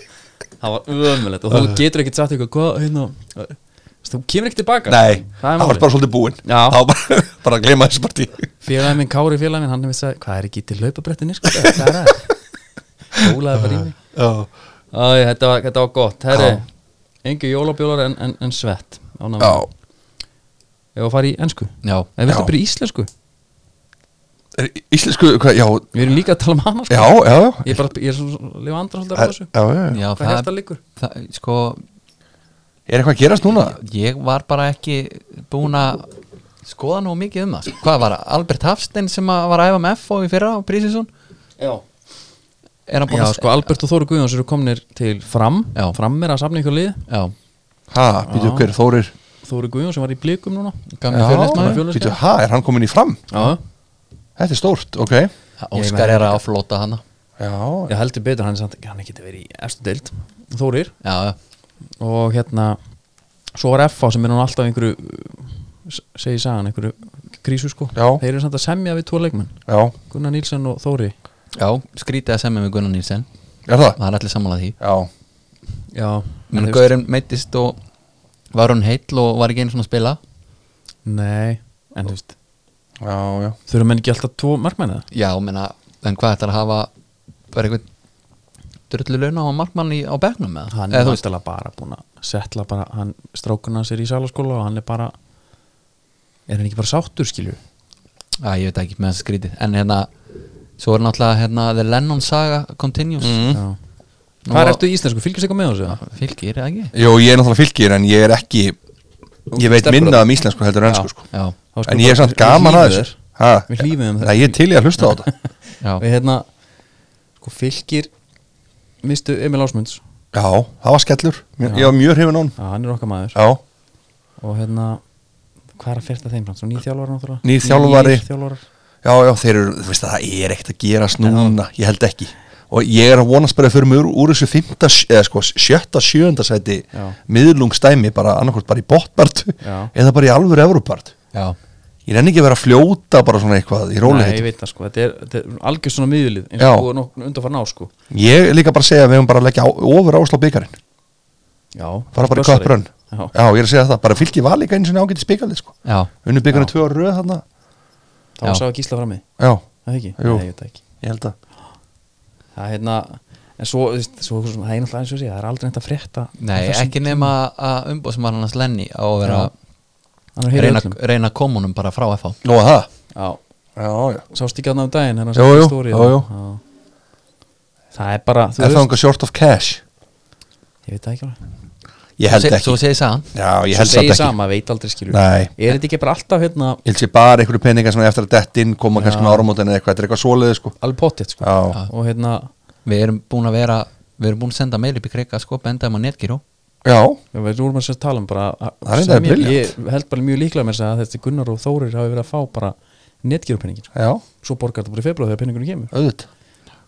það var ömulegt og þú getur ekkert sagt eitthvað hvað hérna uh, þú kemur ekki tilbaka það
nei,
er
það var
máli
bara svolítið búinn
Já.
það var bara, bara að gleyma þessu partí
félagin minn Kári félagin minn hann hefði sagði hvað er ekki til hlaupabrettinni sko hvað er það hólaði bara í mig
Já.
Æ, þetta, var, þetta var gott herri
Já.
engi jólabjólar en, en, en svett ánægður.
Já.
ef að fara í ennsku
já,
ef
Já.
þetta byrja í íslensku
Er íslensku, hvað, já,
við erum líka að tala um hana sko
já, já, já.
ég er bara ég er svona lifa andra svolítið af þessu
já, já, já.
já
hvað hérsta
það,
liggur
það, sko
Er eitthvað að gerast núna?
ég var bara ekki búin að skoða nú mikið um það sko. hvað var það? Albert Hafstein sem að var að æfa með FO í fyrra á Prísinsson
Já,
er hann búin að
sko, Albert og Þóri Guðjóns eru komnir til fram
Já.
Fram er að safna ykkur lið
já,
Ha, býtu hver, Þórir
Þóri Guðjóns sem var í blikum núna
gamli
Hann er
fjölnismæður
fjölnismaður.
býtu, ha, er hann komin í fram?
Já,
Þetta er stórt, ok
Óskar er að flóta hana
Já,
ég heldur betur hann, er samt- hann geti verið í efstu deild Þórir
já, já,
og hérna Svo var FA sem er núna alltaf einhverju s- segi sagan, einhverju krísu sko
Já.
Þeir eru samt að semja við tvo leikmenn
já,
Gunnar Nílsson og Þóri
já skrítið að semja með Gunnar Nilsen
er það?
það er allir sammála því
Já,
Já,
menn
en þú veist-
gaurinn meittist og var hún heill og var ekki einu svona að spila
Nei, en þú veist
já, já
Þurfum menn ekki alltaf tvo markmenn eða?
já, menna, en hvað ætlar að hafa bara eitthvað drullu launa á markmann í, á begnum með
Hann er náttúrulega bara búin að setla bara, hann strákuna sér í salaskóla og hann er bara er hann ekki bara sáttur skilju?
að ég veit ekki með þess skrítið en hérna, svo er náttúrulega hérna, The Lennon Saga Continues
Mm. Mhm.
Já. Hvað er eftir í íslensku? Fylgjast eitthvað með þessu? eða?
fylgir, eða ekki?
Jú, ég er náttúrulega fylgir en ég er ekki Ég veit
Stelpur
minna um íslensku heldur en
Já.
ennsku sko
já,
Þá skulum
En ég er
bara-
samt
við-
gaman
við
að
hlífum þér.
þessu Ha?
Við hlífum þeir.
Nei, ég er til í að hlusta á þetta
já,
Við hérna, sko fylgir mistu Emil Ásmunds
Já, það var skellur Mér, Ég var mjög hrifin á hann
Já, hann er okkar maður
Já,
Og hérna, hvað er að fyrta þeim fram? Svo nýr þjálfari náttúrulega
Nýr þjálfari.
Nýr þjálfari
já, já, þeir eru, þú veist að það er ekkert að gerast núna Ég held ekki Og ég er að vonast bara að fyrir mig úr, úr þessu fymta, eða sko, sjötta, sjönda sæti
Já.
miðlungstæmi, bara annarkvort bara í botbart
Já.
eða bara í alvöru Evropart
Já,
Ég nenni ekki að vera að fljóta bara svona eitthvað í róli
Nei, ég veit það sko, þetta er, þetta er algjör svona miðlið eins
Já.
og búið nokkuð undanfarn á sko
Ég er líka bara að segja að við höfum bara að leggja á- ofur ásla byggarinn
Já,
fara bara í
Bursari.
kapprönn
Já,
já. ég er að segja það, bara fylgji val líka einu sinni ágæti spikalið sko.
já,
unnu byggarinn
Já.
tvö ára röð þarna
þá
Já.
sá ekki Ísla frammi
já,
Það ekki?
Jú.
Nei, ég veit það ekki
ég held að
Það er hérna, en svo, þú veist, svo svona, það er náttúrulega eins og sé, það er aldrei neitt að frétta
nei, ekki nema að umbóðsmann hans Lenny á að vera
Já. Hann er
að
hér
reyna,
öllum
reyna að koma honum bara frá FH
Nú að það
Já,
já, já.
sást ekki aðna um daginn hérna,
Jú,
sem
jú,
story,
jú,
það-
jú.
já. Það er bara, þú
er það
veist,
einhver short of cash
ég veit það ekki alveg
ég held ekki
Svo segir sagan
já, ég
Svo
held samt
segir
ekki
sama, veit aldrei skilur
Nei.
Er þetta ekki bara alltaf hérna,
ég held sér bara einhverju peningar sem er eftir að dett inn koma kannski með áramótin eða eitthvað, þetta er eitthvað svoleiði sko.
alveg pottitt sko
já,
Já.
Og hérna,
Við erum búin að vera Við erum búin að senda mail upp í kreika sko Bendaðum á netgíró
já,
Já, við erum að sér að tala um bara að-
Það er
sem
reyndar
ég,
brilliant.
ég held bara mjög líklega með þess að þessi Gunnar og Þórir hafi verið að fá bara netgjörupenningin
já,
svo borgar þetta bara í februar þegar penningunum kemur
auðvitað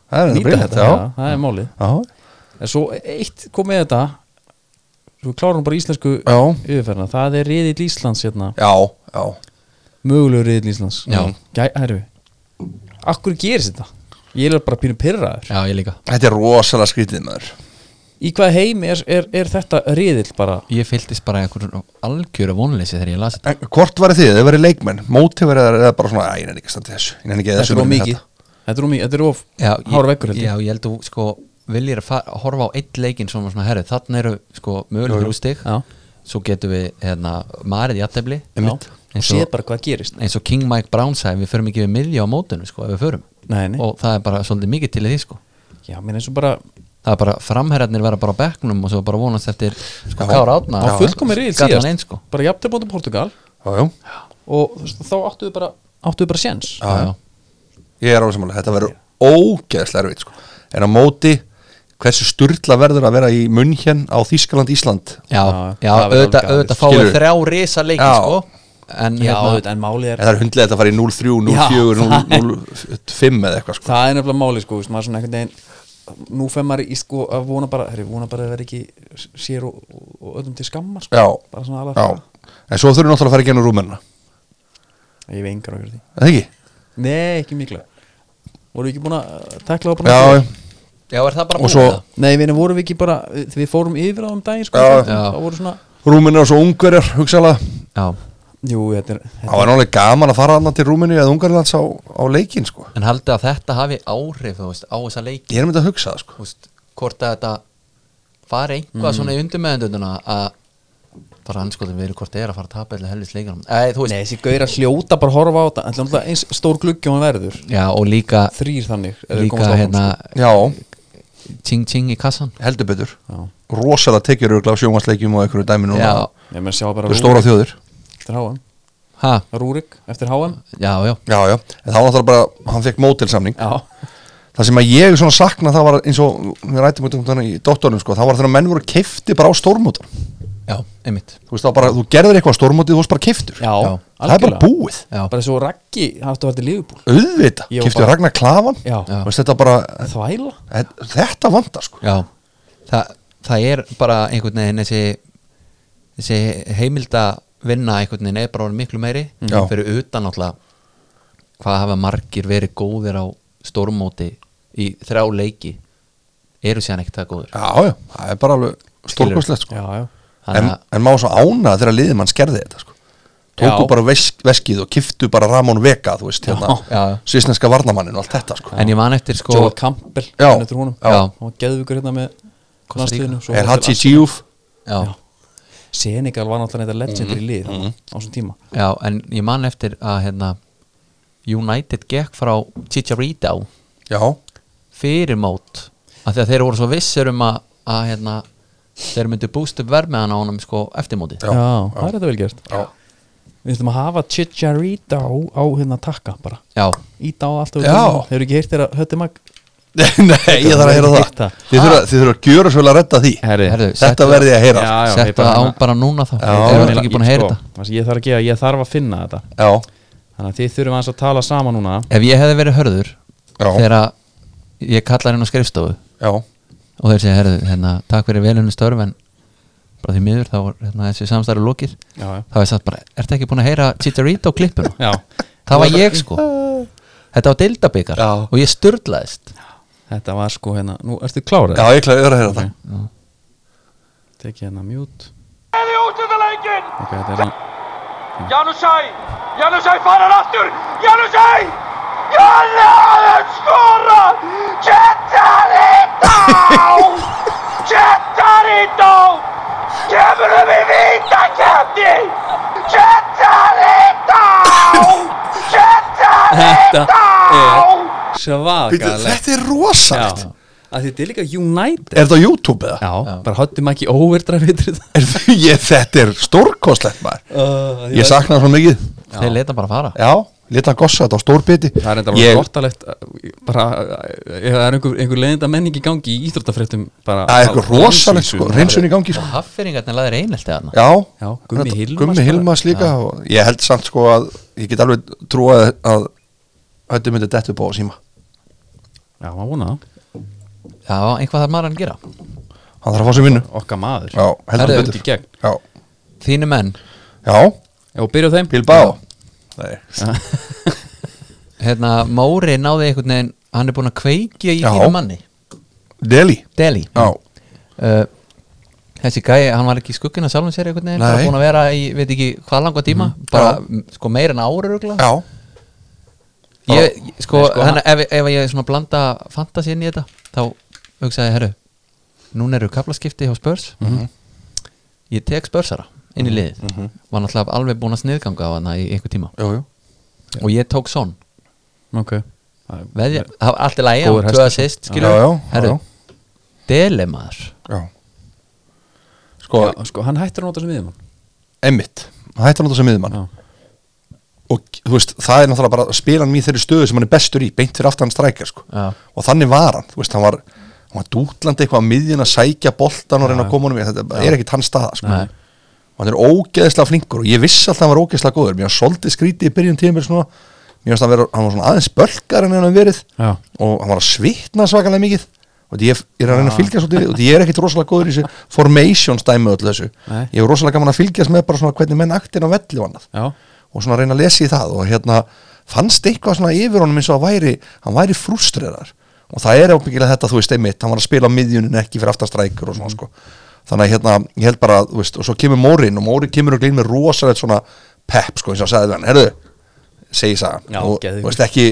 það er þetta briljant, já.
já, það er málið
já
en svo eitt kom með þetta svo klárum bara íslensku
já,
yfirferðina það er riðill Íslands hérna
já, já
mögulegu riðill Íslands
Já.
Gæ, herru, akkur gerist þetta? Ég er bara pínu pyrraður
Já, ég líka
þetta er rosalega skrítið maður
Í hvað heimi er, er, er þetta riðill bara?
Ég fylgdist bara einhverjum algjöru vonleysi þegar ég las þetta
En hvort var þið, þið verið leikmenn mótið verið eða bara svona, að ég nefnir ekki að standa í þessu ég nefnir ekki að
Þetta er
þessu hérna."
of
vinna
mikið Þetta er of mikið, þetta er of
Já,
hár veggur held
Já,
ég
ég held þú sko Viljir að fara, horfa á eitt leikinn svona svona herri Þannig eru sko mögulegur ústig
Já.
Svo getum við hérna Marið jættefli
Já. og
Eins
séð
og,
bara hvað gerist
eins og King Mike Brown sagði Við förum ekki við miðja á mótunum sko Ef við förum
Nei, nei.
Og það er bara svolítið mikið til í því sko
Já, mér eins og bara
Það er bara framherjarnir vera bara á bekknum og svo bara vonast eftir sko
Já.
Kára Átna
á fullkomi riðil síðast
einn, sko.
bara jafnir bóndi Portugal
Já, já.
og þú veist, þá áttu við bara áttu við bara séns
Já,
já.
Ég er ásamála, þetta verður ógeðslega erfitt sko. En á móti, hversu sturla verður að vera í munn á Þýskaland, Ísland
Já,
Já,
já
það verður
auðvitað
alveg
auðvitað
galið.
fáum við
Skilurðu?
þrjá risa leiki
Já.
sko En
já,
hérna,
en málið
En
er
það er hundlega þetta að fara í 0-3, 0-4, 0-5 eða eitthvað sko.
það er nefnilega málið sko, veist, maður svona einhvern veginn nú fer maður í sko að vona bara herri, vona bara að vera ekki sér og, og öllum til skammar sko
Já,
bara svona alveg
já En svo þurfum við náttúrulega að fara í genið rúmenna
ég hef engar okkur því
Það ekki?
nei, ekki mikla voru við ekki búin að uh, tekla það bara
Já,
já, er það bara
Og
búið
svo-
það?
nei, við vorum við ekki bara við við fórum yfir á um daginn sko
Já.
Já.
það voru svona
rúmenna og svo ungverjar, hugsaðlega
Já,
jú, þetta er þetta-
Það var náttúrulega gaman að fara annað til rúmenni eða ungarlands á, á leikin sko.
en haldið að þetta hafi áhrif þú veist, á þessa leiki
Ég er myndið að hugsa það sko.
þú veist, Hvort að þetta fari einhvað
Mm.
svona í undirmeðendununa að bara anskotum við erum hvort er að fara að tapa eða helvist leikunum Nei, þú veist,
Nei, þessi gauðir að hljóta bara horfa á þetta Þetta er náttúrulega eins stór gluggi og hann verður
já, og líka
Þrýr þannig ef þeir
líka
komast sko. áfram,
hérna
Já,
ting ting í kassan
heldur betur
sko.
Rosalega tekjur eru gláð sjómasleikjum og einhverju dæmi núna
Já,
Já, ég menn sjá
Þau
bara
eru stóra þjóðir
eftir HM
ha,
Rúrik eftir HM
já, já
Já, já, en það var náttúrulega bara, hann fekk mótilsamning
Já,
Það sem að ég svona sakna það var eins og við rættum út um þannig í dóttornum sko, það var þegar menn voru keifti bara á stórmótor Þú
Já, einmitt
veist það var bara, þú gerðir eitthvað á stórmóti þú varst bara keiftur
já,
Já.
Það er bara búið,
Já,
Bara svo Raggi hafði að vera til liðbúl
auðvita,
Ég var
keiftur
bara-
Ragnar Klavan
Já,
Já.
Þú veist þetta bara, eh,
þvæla
þetta vantar sko
Já, Þa, það er bara einhvern veginn þessi, þessi heimilda vinna einhvern veginn er bara orðin miklu meiri
Mhm. Já.
fyrir utan alltaf hvað hafa margir verið góðir á stórmóti í þrjá leiki eru síðan ekkert það góður
Já, já, það er bara alveg stórkostlegt sko
Já, já
en,
Þannig að-
en má svo ána þegar liðið mann skerði þetta sko Tóku
Já.
bara vesk, veskið og kiftu bara Ramón Vega, þú veist,
Já,
hérna
já.
Svísneska varnamannin og allt þetta sko
en ég man eftir sko
Joel Campbell
Já.
hann eftir honum.
Já.
Og geðvíkur hérna með
Costa Rica.
landsliðinu, svo
Er
var til
Hachi Diouf
já, já.
alls- Senegal var náttúrulega þetta legendary lið
Mhm.
þarna á þessum tíma
en ég man eftir að hérna, United gekk frá Chicharito
Já,
fyrir mót af því að þeir voru svo vissir um að, að hérna, þeir myndu búst upp verðmeðan á honum sko eftir mótið
Já.
það er þetta vel gert
Já.
Við þurfum að hafa Chicharito á hérna takka bara
Já,
Íta á allt og
Já.
Þeir eru ekki heyrt þeirra hötti mag
Nei, ég þarf að heyra
Heyrt það.
það Þið þurfa, þið þurfa að gjöra svolítið að redda því
Herri,
Herðu,
Þetta
settu-
verði ég að heyra
Já, já, ég
Settu
bara- hérna-
það á bara núna þá
Já.
Þeir eru ekki búin að heyra
sko,
þetta
það sem Ég þarf að gera, ég þarf að finna þetta
Já,
Þannig að þið þurfum aðeins að tala saman núna
Ef ég hefði verið hörður
Já.
Þegar að ég kallar inn á skrifstofu
já,
Og þeir segja, herðu, hérna, takk fyrir velunni störf En bara því miður, þá var hérna, þessi samstæri lokið
Já, já.
Þá er satt bara, ertu ekki búin að heyra Chicharito klippuna?
Já.
Það var ég sko Þetta var deildabikar
Já.
Og ég sturlaðist
Þetta var sko hérna, nú ertu klárið
já, ég klæði að vera að heyra það
Tekið hérna mjút
Það er út um það leikinn!
Ok, þetta er hérna
Janusæ! Janusæ farar aftur! Janusæ! Janusæ skora! Chicharito! Chicharito! Kemur um í vítakefni! Chicharito! Chicharito!
Þetta er
Bíddu,
svakalegt
Þetta er rosalt
Já, að þetta er líka United
Er þetta á YouTube eða?
Já, bara höttum ekki overdrive ytrið
Er, þ- ég, þetta er stórkostlegt maður
uh,
Ég sakna það svo mikið
Þeir leta bara fara
Já, leta að gossa þetta á stórbiti
Það er enda bara
ég,
gottalegt uh, bara, uh, ef það er einhver, einhver leiðinda menning í gangi í íþróttafréttum bara
Það er eitthvað rosalegt sko, reynsun í gangi sko.
Hafferingarnir laðir einelti þarna
Já,
Já, Gummi
þetta-
Hilmars
Gummi
bara.
Hilmas líka og Ég held samt sko að Ég get alveg trúað að Höttu myndi dettu upp á síma
Já, maður vona það
Já, eitthvað þarf maður að gera
Hann þarf að fá sér vinnu
Okkar maður
Já, heldur
Herðu,
út í gegn.
betur Já,
Þínu menn,
já,
Já, og byrjuð þeim
Bilbao Nei,
hérna, Móri náði einhvern veginn Hann er búin að kveikja í
Já.
þínu manni
Delhi
Deli
Já,
uh, Þessi gæi, hann var ekki í skugginn af sjálfum sér einhvern veginn Bara
Nei. Mhm.
búin að vera í, veit ekki hvað langa tíma Bara,
Já.
m, sko, meira en ári rugla
já,
Ég, sko,
Nei, sko,
þannig að ef, ef ég svona blanda fantasi inn í þetta þá hugsaði, herru núna eru kaplaskipti hjá Spurs
Mhm.
ég tek Spursara inn í liðið var náttúrulega alveg búin að sniðganga á hana í einhver tíma
jú, jú
og ég tók son
Ok Það er-
Veðja, það var allt í lagi,
Góður
hann tvö
hestur.
assist
Já,
skilur,
já, já,
herru,
já,
dele maður
já. Sko,
Já, sko, hann hættir að nota sem viðum
Emmitt Það hætti hann út sem miðjumann
Já,
og þú veist, það er náttúrulega bara spilan mín þeirri stöðu sem hann er bestur í, beint fyrir aftan strækja sko.
Já.
og þannig var hann, þú veist, hann var hann var dútlandi eitthvað á miðjun að sækja boltan og reyna að koma honum í, þetta er ekki hans staða sko.
Nei.
og hann er ógeðslega flinkur og ég vissi alltaf hann var ógeðslega góður, mér var svolítið skrítið í byrjun tíma svona, mér varst að vera, hann var svona aðeins bölkar en hann hefur verið
Já.
og hann var að svitna svakalega mikið og því ég ég er að reyna að fylgjast út í því og því ég er ekkit rosalega góður í þessu formations dæmi og öllu þessu
Nei.
ég er rosalega gaman að fylgjast með bara svona hvernig menn aktin á velli og annað
já,
og svona reyna að lesa í það og hérna fannst eitthvað svona yfir honum eins og að væri hann væri frústrerar og það er ábyggilega þetta þú veist einmitt, hann var að spila á miðjunin ekki fyrir aftastrækur og svona
Mm.
sko þannig að hérna, ég held bara, að, þú veist, og svo kemur Mórin og Mórin kemur og glýn með rosalegt svona pep, sko, eins og að sagði við hann, herðu segi sagan,
Já,
nú,
geðveikur.
þú veist ekki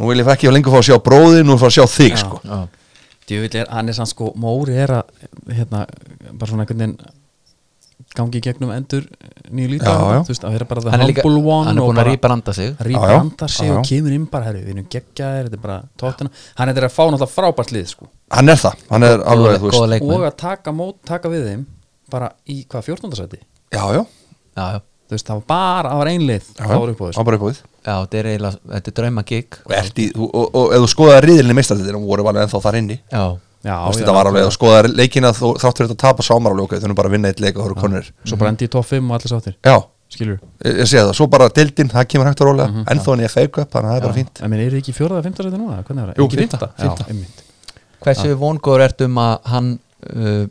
nú vil ég ekki lengur fá að sjá bróði nú vil ég fá að sjá þig,
Já.
sko
Já.
djöfull er, hann er sann sko Móri er að, hérna, bara svona einhvern veginn gangi í gegnum endur nýju lítur
Já, já.
þú veist, að vera bara
hann
það
er líka,
humble one
hann er
og
búin að
bara-
rýpa randa sig
Já, já.
rýbranda sig
Já, já.
og kemur inn bara herru, við erum geggjaðir, þetta er bara tóttina hann er að fá náttúrulega frábært lið sko.
hann er það, hann er alveg, þú
góða
veist
og
leikmenn
að taka, mót, taka við þeim bara í hvað 14. seti
já, já,
já, já,
þú veist, það var bara, það var einlið
já,
það var sko. upp á
hann
þessu
bara upp á því
já, þetta er eiginlega þetta er drauma gig
og, ert í- og, og, og ef þú skoðaði riðilinni meistartitir og voru alveg ennþá þar inni
já,
já,
Þú veist,
já,
þetta var alveg að skoða leikina þó, þáttur þetta að tapa sámar alveg ok, þau erum bara að vinna eitt leik og þú eru konur Mhm.
svo bara endi í top 5 og allir sáttir
já,
skilur,
ég, ég segja það, svo bara deildin, það kemur hægt að rólega
Mhm,
mm -hmm, ennþá hann ég fake up, þannig að það er bara fínt
en minn eru þið ekki í fjórða eða 15. seti núna, hvernig er það?
Jú,
Ekki í
fimmta,
fimmta?
fimmta.
já, einmitt
hversu vongóður ert um að hann uh,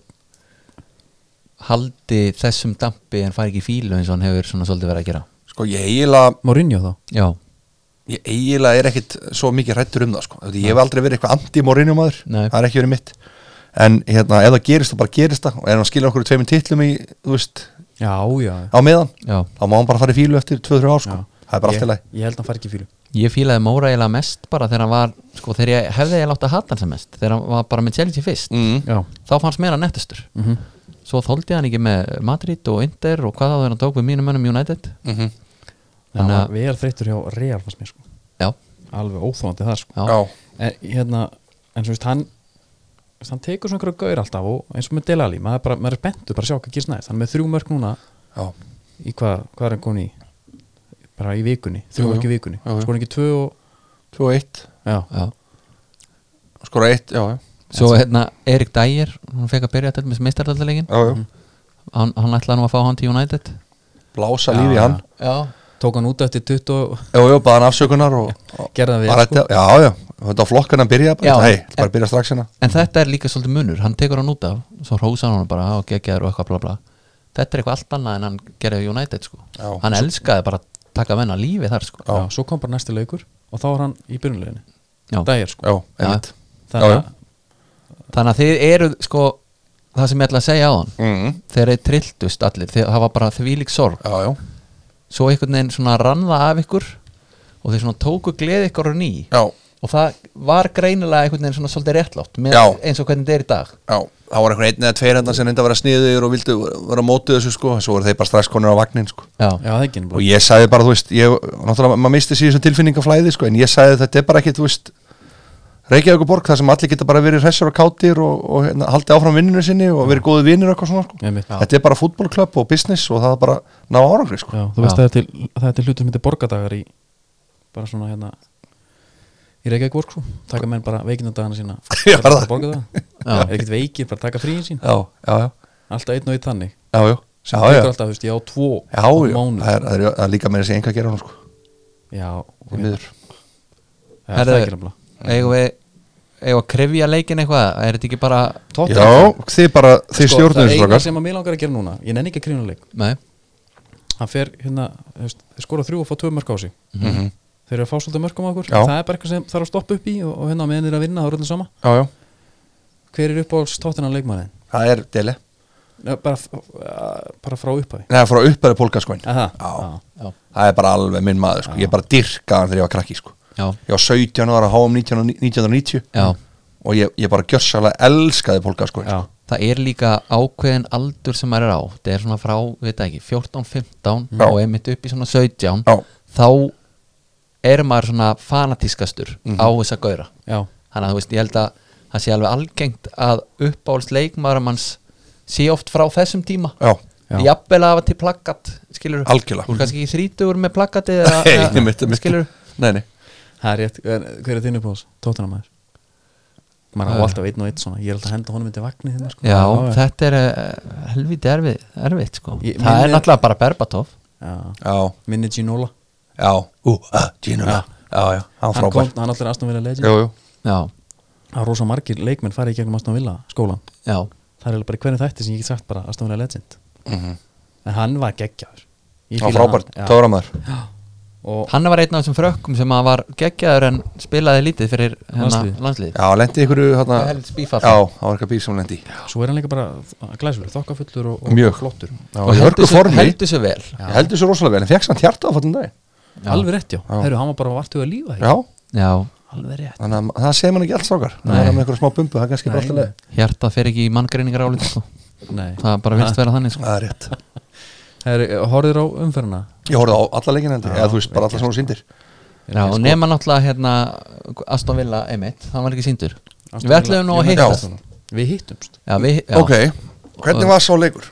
haldi þessum dampi en fari ekki í fílu eins og hann hefur svona svolítið verið að gera
sko ég eiginlega,
Mourinho þá,
já,
ég eiginlega er ekkit svo mikið rættur um það sko, Þú veist, ég hef aldrei verið eitthvað anti-Mourinho maður,
Nei.
það er ekki verið mitt en hérna, ef það gerist þá bara gerist það og ef hann skilur okkur í tveimur titlum í, þú veist,
já, já,
á meðan
já
þá má hann bara fara í fílu eftir 2-3 ár sko.
Já.
það er bara allt í
ég,
lagi
ég held að hann fari ekki í fílu
ég fílaði Móra eiginlega mest bara þegar hann var sko þegar ég hefði ég látt að hata hann sem mest þegar hann var bara með Chelsea fyrst
mm.
já,
þá fannst mér hann nettustur svo þóldi hann ekki með Madrid og Inter og hvað þá þegar hann tók við mínum mönnum United
Mm -hmm.
það
Þannig að-
var vel þreyttur hjá Real fannst mér sko,
já,
alveg óþóðandi það sko
já,
já,
en hérna, en svo veist hann veist, hann tekur svona einhverju gaur alltaf og eins og með Delali, maður er bara, maður er spenntur bara að sjá hvað gerst næst, hann er með þrjú mörg núna
já,
í hvað, hvað er hann komin í bara í vikunni, þrjú
Jú, jú.
mörg í vikunni
Jú, jú.
sko hann ekki tvö og,
2-1
já,
já.
skora eitt, já, já,
Svo hérna Erik Dyer, hann fekk að byrja til með meistaraldalegin
já,
Mhm.
já.
hann, hann ætlaði nú að fá hann til United
blása
Já,
lífi í hann
Já,
Tók hann út eftir 20 og
já, já, baða hann afsökunar og, og
Gerði hann vel, sko.
var þetta, já, já, þetta á flokkan að byrja bara,
Já.
hei, bara byrja strax hérna
En þetta er líka svolítið munur, hann tekur hann út af svo hrósa hann honum bara og geggjaður og eitthvað bla bla Þetta er eitthvað allt annað en hann gerði á United sko
Já.
Hann elskaði bara að taka menna lífi þar sko
já, svo kom bara næsti leikur og þá var hann í byrjunleginni
Já.
Dægir sko
já, einmitt
Þannig
já.
að
Þannig að þið eru sko það sem ég ætla að segja á hann
mm,
þeir eru trilltust allir, þeir, það var bara þvílík sorg
já, já,
svo einhvern veginn svona rann það af ykkur og þeir svona tóku gleði ykkur á ný
já,
og það var greinilega einhvern veginn svona svolítið réttlátt með,
Já.
eins og hvernig þetta er í dag
já það var einhver einn eða tveir hérna sem reynda að vera sniður og vildu vera mótið þessu sko, svo voru þeir bara strax konur á vagnin sko
Já, það er ekki
og ég sagði bara, þú veist, ég, náttúrulega maður misti sér þessum tilfinningaflæði, sko, en ég sagði þetta er bara ekki, þú veist Reykjavík borg, þar sem allir geta bara verið hressar og kátir og, og hérna, haldið áfram vinninu sinni og verið góði vinnir og eitthvað svona, sko.
Einmitt. Já.
þetta er bara fútbolklöpp og business og það er bara ná árangri, sko.
Já, þú veist það er til, það er til hlutum myndi borgadagar í bara svona hérna í Reykjavík vorku, taka menn bara veikindadagana sína
Já,
Bara
það.
borgadaga.
Já.
er ekkert veikir, bara taka fríin sín
Já, já, já,
alltaf einn og einn þannig
já, já,
sem
já, já,
tekur
já,
alltaf, þú veist, ég á tvo
já,
á
já.
mánuð.
Það, er, það, er, það er líka meira sér einhver að gera hann, sko,
já, og
í
hérna,
miður.
það er það
Herðu,
ekki nefnilega
eigum við eigum við að krefja leikin eitthvað er þetta ekki bara
Já, þið bara, þið
Sko,
stjórnum
það
þessu,
eina
strákar.
sem að mér langar að gera núna, ég nenni ekki að krínuleik
nei,
hann fer hérna, þú veist, skora þrjú og fá tvö mörg á sig
Mhm.
þeir eru að fá svolítið mörgum á okkur
Já.
það er bara eitthvað sem þarf að stoppa upp í og, og hérna á meðan þeir eru að vinna, það er öllum sama
Já, já,
hver er upp á stóttinan leikmannin?
það er deli.
Nei, bara, f- uh, bara frá upphæði
Nei, frá uppæðu pólkaskoin.
Aha,
Já.
já,
Það er bara alveg minn maður, sko. Ég bara dyrkaði hann þegar ég var krakki, sko.
já,
ég var 17 ára á HM 19 1990
já
og ég, ég bara gjörsalega elskaði pólka sko
já,
það er líka ákveðin aldur sem maður er á það er svona frá, við þetta ekki, 14, 15
Já.
og einmitt upp í svona 17
Já.
þá er maður svona fanatískastur
Mhm.
á þessa gauðra
já,
þannig að þú veist, ég held að það sé alveg algengt að uppáhalds leikmaðuramanns sé oft frá þessum tíma
já,
Já.
jafnvel að hafa til plakkat skilur,
Algjörlega.
þú er kannski ekki þrítugur með plakkati eða,
Nei, einmitt, einmitt.
skilur,
nei, nei.
það er rétt En hver er þinn uppáðs? Tóttina maður
Uh.
maður á alltaf einn og einn svona ég er alltaf að henda honum undir vagnið hérna, sko.
já, þetta er uh, helviti erfið, erfitt sko
Ég-
það
minn
er
er-
náttúrulega bara Berbatov
já.
já,
minni Ginola
já, ú, uh, Gino já, já, já, hann
hann,
frábær
kom, hann allir Aston Villa legend
jú, jú.
já,
það er rosa margir leikmenn farið í gegnum Aston Villa skólan
já,
það er eiginlega bara í hvernig þætti sem ég get sagt bara Aston Villa legend en hann var geggjaður Ég
hann
fíla
frábær,
hann, já.
tóra maður
og
hann var einn af þessum frökkum sem að var geggjaður en spilaði lítið fyrir hérna hennar
Landsliðið.
landslið
já, lendi ykkur hana,
Það er
já,
helvits bífall.
það var eitthvað bíf sem hann lendi í.
svo er hann líka bara glæsfulur þokkafullur og, og
Mjög.
flottur
já, og í hörku
svo,
formi,
heldur svo vel
ég heldur svo rosalega vel en fekk hann hjarta á fattum dag
alveg rétt já,
Já.
Heru, hann var bara vartuð að lífa því
já,
já,
alveg rétt
þannig að það segir mann ekki alls okkar það er hann með eitthvað smá bumbu, það er kannski bara
Nei,
alltaf leið
hjartað fer ekki í manngreiningar álið sko.
Nei.
það bara vilst vera þannig sko.
það er rétt,
Herri, horfðir á umferðina
ég horfði á alla leikin endi eða þú veist, bara alla sem hún sýndir
Já,
sko-
og nema náttúrulega hérna Aston Villa M1, hann var ekki síndur
Aston
Við ætlum nú
Villa-
að
Ég
hittast
mætti Aston. Við hittumst,
já, við, já,
ok, hvernig var svo leikur?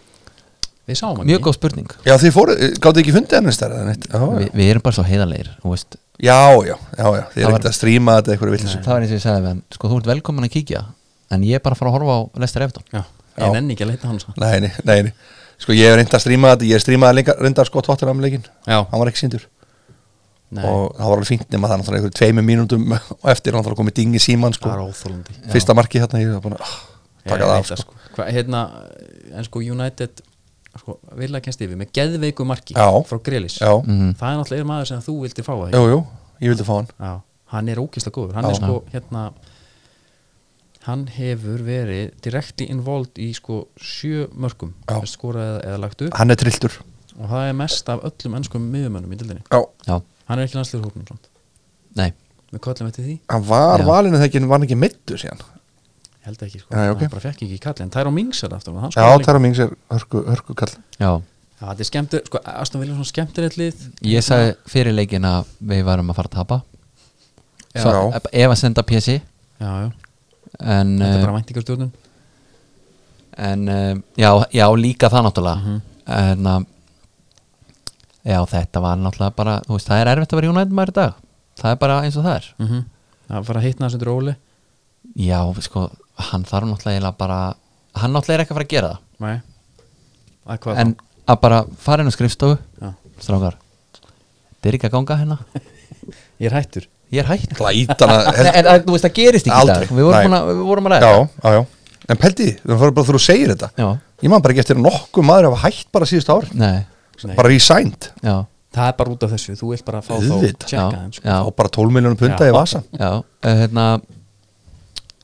við sáum
Mjög góð spurning
Já, þið fóruð, gáttu ekki fundið hann stærra en eitt Já,
Vi, Við erum bara svo heiðarleir þú veist.
já, já, já, já. þið er
Það var-
ekkert að stríma þetta eitthvað villis
Mm.
Það var eins og ég sagði við hann Sko, þú ert velkomin að kíkja En ég er bara að fara að horfa á Lester Efton
Já.
Já.
Ég nenni ekki að leita hans
Nei, nei, nei, nei Sko, ég er reynd að stríma þetta, ég strímaði líka reyndar sko tóttir af leikinn
Já.
Hann var ekki síndur
Nei,
Og það var alveg fínt nema það er náttúrulega einhverjum tveimur mínúndum og eftir er náttúrulega komið dingi síman sko
það er óþólandi
Fyrsta marki hérna, ég var bara ah, Taka það af sko
Hva, hérna, En sko United sko, vilja kennst yfir með geðveiku marki
Já.
frá Grelis
Já,
Það er náttúrulega maður sem þú vildi fá að
jú, jú, ég vildi fá hann
Já, hann er ókislega góður hann
Já.
er sko hérna hann hefur verið direkti involved í sko sjö mörgum
Já.
skoraði eða, eða lagt upp
Hann er trilltur
og það er mest af öllum ennskum miðumönnum í dildinni
Já,
Já,
hann er ekki landslýður hópnum samt
nei
við kallum eftir því,
hann var
Já.
valinu þegar ekki, var hann ekki meittur síðan
Ég held ekki sko.
Já, já, ok.
hann bara fekk ekki í kallin, það er á mings er aftur hann
Já,
skoraði líka.
Tara Mings er hörku, hörku kall
Já,
Já, þetta er skemmtir, sko, Aston Villa er svona skemmtir lið
ég sagði fyrir leikin að við varum að fara að tapa
Já.
Svo, Ef að senda PSI
já, já,
En,
þetta er
eh,
bara væntingarstjórnum
en eh, já, já, líka það náttúrulega
Mhm.
En að Já, þetta var náttúrulega bara Þú
Mhm.
veist, það er erfitt að vera United maður í dag Það er bara eins og það er
mm -hmm. það var að hitna þessu dróli
já, sko, hann þarf náttúrulega eiginlega bara, hann náttúrulega er ekki að fara að gera það
Nei Að hvað
en að bara fara inn á skrifstofu
Já.
strákar, þetta er ekki að ganga hérna
þá? Ég er hættur
ég er hægt
Glætan að
Nei, en að, þú veist, það gerist ekki
Aldrei.
í dag við vorum,
Nei.
búin að, við vorum að
Já,
ræða
já, já En pældi, því, það var bara þú segir þetta
Já.
Ég maður bara ekki eftir að nokkuð maður hafa hætt bara síðust ári
Nei,
Nei.
Bara resigned
já,
Það er bara út af þessu, þú vilt bara fá þá
Auðvitað.
Tjekka
Já.
þeim sko.
Já.
Á bara 12 miljónum punda
Já.
í vasa
já eh, hérna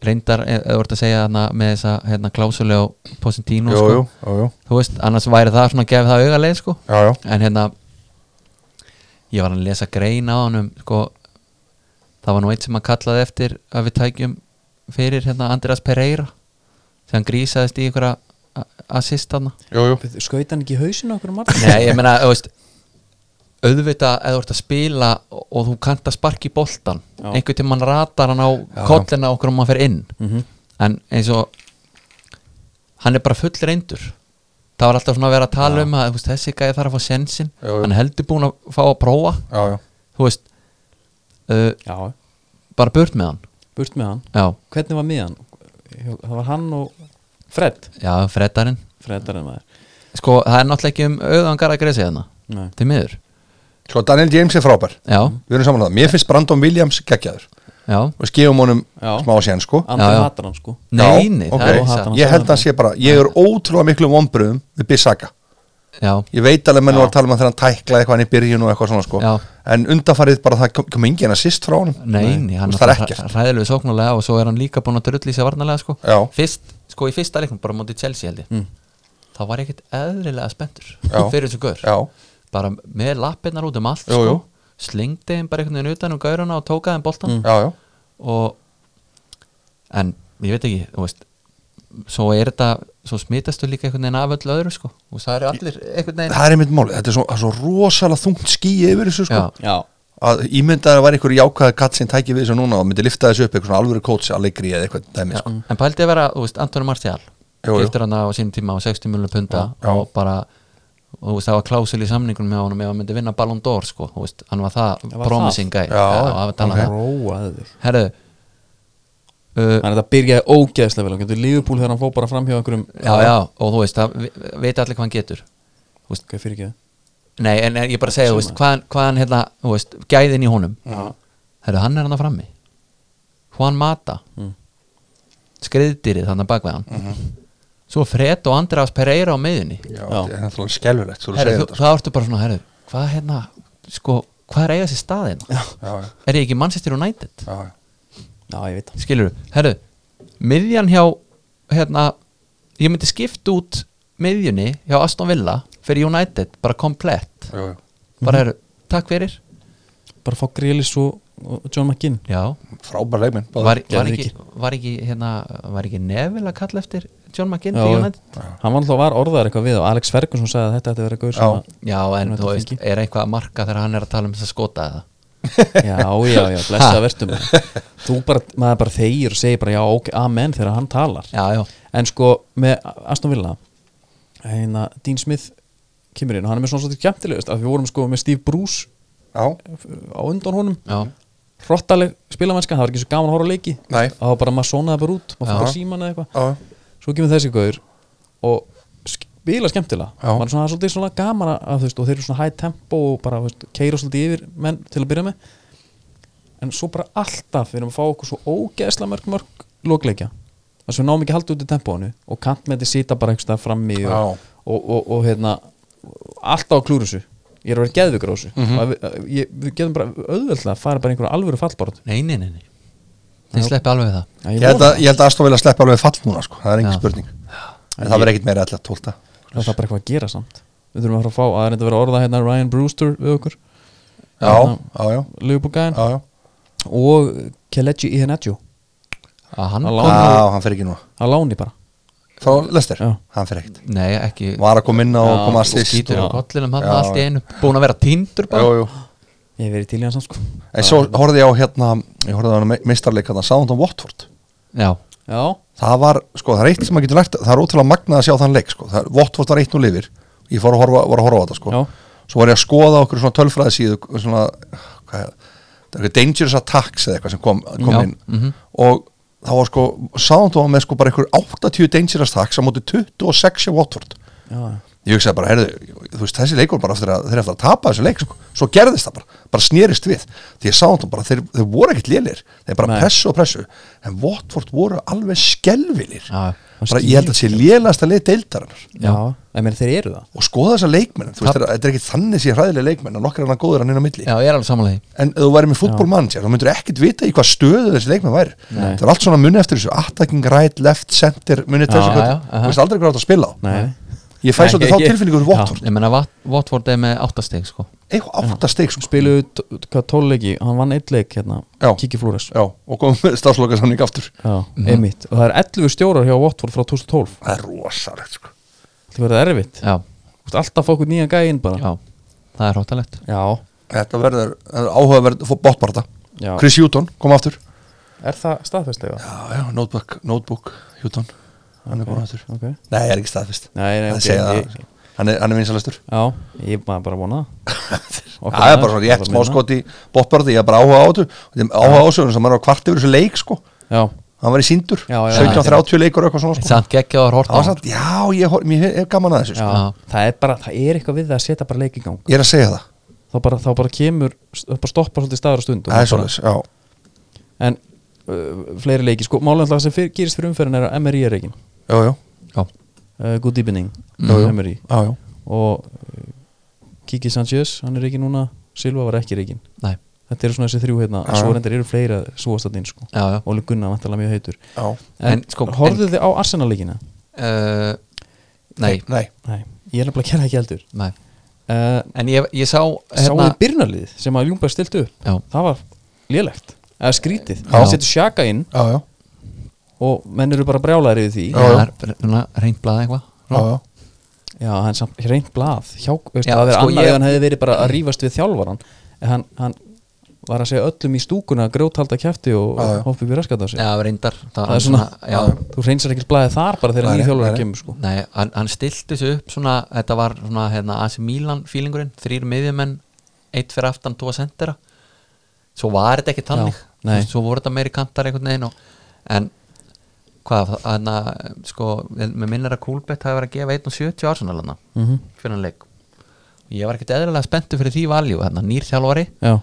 reyndar, eh, ef þú ert að segja hérna, með þessa hérna, klásuleg á Posentino
Jú,
sko.
jú, jú, jú,
þú veist, annars væri það svona að gefa það augaleið sko.
já, já
en hérna ég var að lesa grein á honum sko, það var nú eitt sem að kallaði eftir að við tækjum fyrir hérna Andrés Pereira sem grísaðist í einhverja assistana
Jú, jú,
Bíddu, Skaut hann ekki í hausinu okkur um marg?
Nei, ég meina, þú veist auðvitað eða þú ert að spila og, og þú kannt að sparki boltan
Já.
einhvern tímann ratar hann á kollina okkur um að fer inn
Mhm.
en eins og hann er bara full reyndur það var alltaf svona að vera að tala um að þú veist, þessi gæði þarf að fá sensin
Jú, jú.
hann er heldur búin að fá að prófa
já, já
þú veist uh,
Já,
bara burt með hann
burt með hann
já,
Hvernig var miðan? Það var hann og Fred
já freddarinn
Fred er en maður
sko, það er náttúrulega ekki um auðvangar að greið hérna
Nei. Mhm.
til miður,
Sko, Daniel James er frábær
já,
Við erum saman að það Mér finnst Brandon Williams geggjaður
já
Og skifum honum
Já.
smá sér, sko
Andri
Já, já.
hatar hann sko
nei, nei,
ok.
það er ekki satt
Ég held að hann sé bara Ég er ótrúlega miklu vombriðum Við Bissaka
já,
Ég veit alveg menn var að tala um að þegar hann tæklaði eitthvað hann í byrjun og eitthvað svona sko
Já.
En undanfarið bara það kom, kom engin assist frá honum
Nei, nei, hann
Þú veist, það er
náttúrulega
ekkert.
hræðilegu sóknulega og svo er hann líka búinn að drulli sér varnalega sko.
Já. Mm.
Fyrst, sko í fyrsta leiknum, bara mótið Chelsea held ég þá var ég ekkert eðrilega spenntur
Já.
fyrir þessu gaur
Já.
bara með lappirnar út um allt
Jú,
sko.
jú.
slengdi þeim bara einhvern veginn utan um gaurana og tókaði þeim boltan
Já, já,
og en ég veit ekki, þú veist svo er þetta, svo smitastu líka einhvern veginn af öllu öðru sko og það eru allir einhvern veginn
það er einmitt málið Þetta er svo, það er svo rosalega þungt skýi yfir þessu sko
Já.
Já,
Að ímyndaði að var einhver jákvæða katt sem tæki við þessu núna og myndi lifta þessu upp eitthvað svona alvöru kóts allegri eða eitthvað dæmi
Já,
sko
en pældi að vera, þú veist, Antoni Martial
Jú, jú.
giftur hann á sínum tíma á 60 miljonum punda
Já, já.
og bara og þú veist, það var klásul í samningunum með honum ef hann myndi vinna Ballon d'Or sko, þú veist, hann var það
Það var
promising guy,
Já,
það var að
ok.
tala um það uh,
róaði þig
herru uh,
Þannig að það byrjaði ógeðslega vel Hann getur Liverpool þegar hann fór bara fram hjá einhverjum
já, já, og þú veist, það vi- veit allir hvað hann getur
Hvað fyrir ekki það?
nei, en en ég bara segja, þú veist, hvað, hann- hvað hann hérna, þú veist, gæðin í honum
Já.
herru, hann er hann að frammi Juan Mata
Hmm.
mm. skriðdýrið þannig bakveð hann
Mhm.
svo Fred og András Pereira á miðunni
Já,
Já.
það er náttúrulega skelfulegt þú
Herru,
segir
þú,
þetta sko.
það ertu bara svona, herru, hvað hérna sko, hvað er eiga sér staðin
Já, já,
er ég ekki Manchester United
já, já.
Já, ég veit það
skilur þú, herru, miðjan hjá hérna, ég myndi skipta út miðjunni hjá Aston Villa fyrir United, bara komplett
Jú, jú.
bara herru, takk fyrir
Bara fá Grealis og, og John McGinn
já,
Frábær leikminn bara.
var, var,
gerðu
ekki, var ekki hérna, var ekki Neville að kalla eftir John McGinn
Já,
fyrir
já.
United
Hann var alltaf var orðaðar eitthvað við og Alex Ferguson sagði að þetta ætti að vera gaur sem
já, en
United
þú veist,
fengi.
er eitthvað að marka þegar hann er að tala um þess að skota eða
að Já, já, já, blessa verðum Þú bara, maður bara þegir og segir bara já, ok, amen þegar hann talar
já, já,
En sko, með Aston Villa hérna, Dean Smith kemur inn og hann er með svona svolítið kjæmtilegust að við vorum sko með Steve Bruce
Já,
á undan honum
já,
hrottaleg spilamennska, það var ekki svo gaman að horfa á leiki
Nei.
það var bara maður sonaði bara út maður
Já.
fór bara síman eða eitthvað
já,
svo kemur þessi gaur og spila skemmtilega
Já.
maður er svona, það er svolítið svona gaman að þú veist og þeir eru svona high tempo og bara þú veist, keira svolítið yfir menn til að byrja með en svo bara alltaf við erum að fá okkur svo ógeðslega mörg mörg lokleikja þess að við náum ekki að halda út í tempóinu og kantmeti sita bara einhverstað frammi og, og,
Já.
og, og, hérna alltaf á klúrusu ég er að vera geðvikur á þessu mm
Mhm.
við, ég, við getum bara auðveldlega að fara bara í einhverja alvöru fallbort
nei, nei, nei, nei. þið sleppi alveg við það
Ég held að, ég held að Aston vilja sleppa alveg fall núna sko. það er engin
Já.
spurning en það verður ekkit meira alltaf tólta
það er bara eitthvað að gera samt við þurfum að fara að fá að það er eitthvað að vera orða hérna Ryan Brewster við okkur
Já, já, já,
Liverpool-gæðin
já, já.
og Kelechi Iheanacho
að hann
að
Já,
láni,
hann fer ekki núna
að láni bara
Frá Lester,
Já.
hann fer ekkit
Nei, ekki
Var að koma inn á og koma að
Þú
sýst
skýtur á kollinum hann
Já,
allt í einu Búin að vera tindur bara
Jú, jú
ég hef verið til í hans samt sko
En svo horfði ég á hérna, ég horfði á hérna meistarleik hérna, Southampton Watford
Já,
já,
Það var, sko, það er eitt sem maður getur lært það er ótrúlega magnað að sjá þann leik, sko það er, Watford var eitt nú lifir, ég fór að horfa, var að horfa á þetta, sko
Já.
Svo var ég að skoða okkur svona tölfræði síðu svona, hvað er það er eitthvað dangerous attacks eða eitthvað sem kom, kom
Já,
inn og þá var sko, sáðan þú var með sko bara einhver 80 dangerous tax á móti 26 í Watford
já,
ég hugsaði bara, heyrðu, þú veist, þessi leikur bara eftir að þeir eftir að tapa þessu leik, sko. svo gerðist það bara, bara snerist við, því ég sá þetta bara þeir, þeir voru ekkert lélir, þeir bara
Nei.
pressu og pressu, en Watford voru alveg skelvilir,
Já.
bara ég held að sé lélast að leið deildarinnar
já. En mér þeir eru það
og skoða þessa leikmenn, þú veist, þeir- þetta er ekki þannig sé hræðilega leikmenn, að nokkar er hann góður hann inn á milli
Já, ég er alveg samanlega
en ef þú væri með fútbólmann sér, þá myndur ekkert vita í hvað stöðu þessi leikmenn væri
Nei.
það er allt svona muni eftir þessu attacking right, left, center, muni
Já,
þessu
já,
hvað-
aha.
þú veist aldrei hvað átt að spila á
Nei,
ég fæ
Nei,
svolítið
ég-
þá
ég-
tilfinningur
Já.
Watford,
Ég menna Watford er með áttasteg sko
eitthvað áttasteg
spiluðu t- hvað tólleiki, hann vann eitt leik hérna,
Já.
Kiki Flores
já, og komum með stafsloka samning aftur
Já, einmitt, og það er 11 stjórar hjá Watford frá 2012,
það er rosalegt sko.
það verður erfitt
Já,
Þú veist, alltaf fókuð nýja gæinn bara
já, það er hróttalegt
Já.
þetta verður þetta er áhugaverð bóttbarta,
Já.
Chris Hjúton kom aftur
er það staðfestlega?
já, já, notebook, notebook Hjúton hann er búin aftur,
Okay.
nei, ég er ekki staðfist
Nei, nei,
Það
ok,
segja það.
ég-
hann er, hann er vinsalastur
Já, ég maður bara vona það
það er bara svona rétt smá skot í bóttbarði ég er bara áhuga á þetta Þetta er áhuga ásöðun sem hann var kvart yfir þessu leik sko
Já,
hann var í sindur,
Já, já,
17-30 leikur eitthvað svona sko
Samt geggja og
það var
hórta
satt, já, ég, hor- mér er gaman að þessu
já.
sko.
Já.
Það, er bara, það er eitthvað við það að setja bara leik í gang
ég er að segja það,
þá bara, þá bara kemur, þá bara stoppar svolítið staður og stund og
það er
bara-
svolítið já,
En uh, fleiri leiki, sko, málega sem fyr, gerist fyrir umferðin er að MRI er reikin
já, já,
Já,
uh, Good Evening,
Jú, jú.
MRI
já, já.
og uh, Kiki Sanchez, hann er reikin núna Silva var ekki reikin
nei,
Þetta eru svona þessi þrjú hérna,
Já.
svo reyndar eru fleira svoastatinn, sko
já, já
Óli Gunnar, vantarlega mjög heitur
já.
En,
En, sko, en-
horfðu þið á Arsenal-leikina?
uh, Nei,
nei,
Nei, ég er nefnilega að gera ekki heldur
nei
uh,
En ég, ég sá hérna-
Sáðu þið byrnarlið sem að Ljungberg stilti upp
Já.
Það var lélegt, eða skrítið
Já.
Það setur sjaka inn
já, já,
og menn eru bara brjálæri við því
Já.
Það er svona reynd blaða eitthvað
já, já.
Já, hann er samt reynd blað Hjá, veist,
Já,
Það er
sko,
annað
ég-
ef hann hefði verið bara að rífast við þjálfaran En hann, hann var að segja öllum í stúkuna grjóthalda kæfti og
Já, já.
hoppa upp í raskat á sig
Já, reyndar Það,
Það er svona,
já,
þú reynsar ekkert blaðið þar bara þegar
Nei,
nýjum
nei,
þjálfari
nei.
kemur sko.
Nei, hann, hann stilti þessu upp svona, þetta var svona hérna AC Milan fílingurinn, þrýr miðjumenn eitt fyrir aftan, tvo sendera svo var þetta ekki tannig
Já, nei.
svo voru þetta meiri kantar einhvern veginn og, en hvað, hann að sko, með minnir að Kúlbett hafi verið að gefa 1.70 ársunar hann
Mhm.
fyrir hann leik ég var ekkert eðlilega spenntu fyrir því valjú hérna, nýr þjálfari
Já,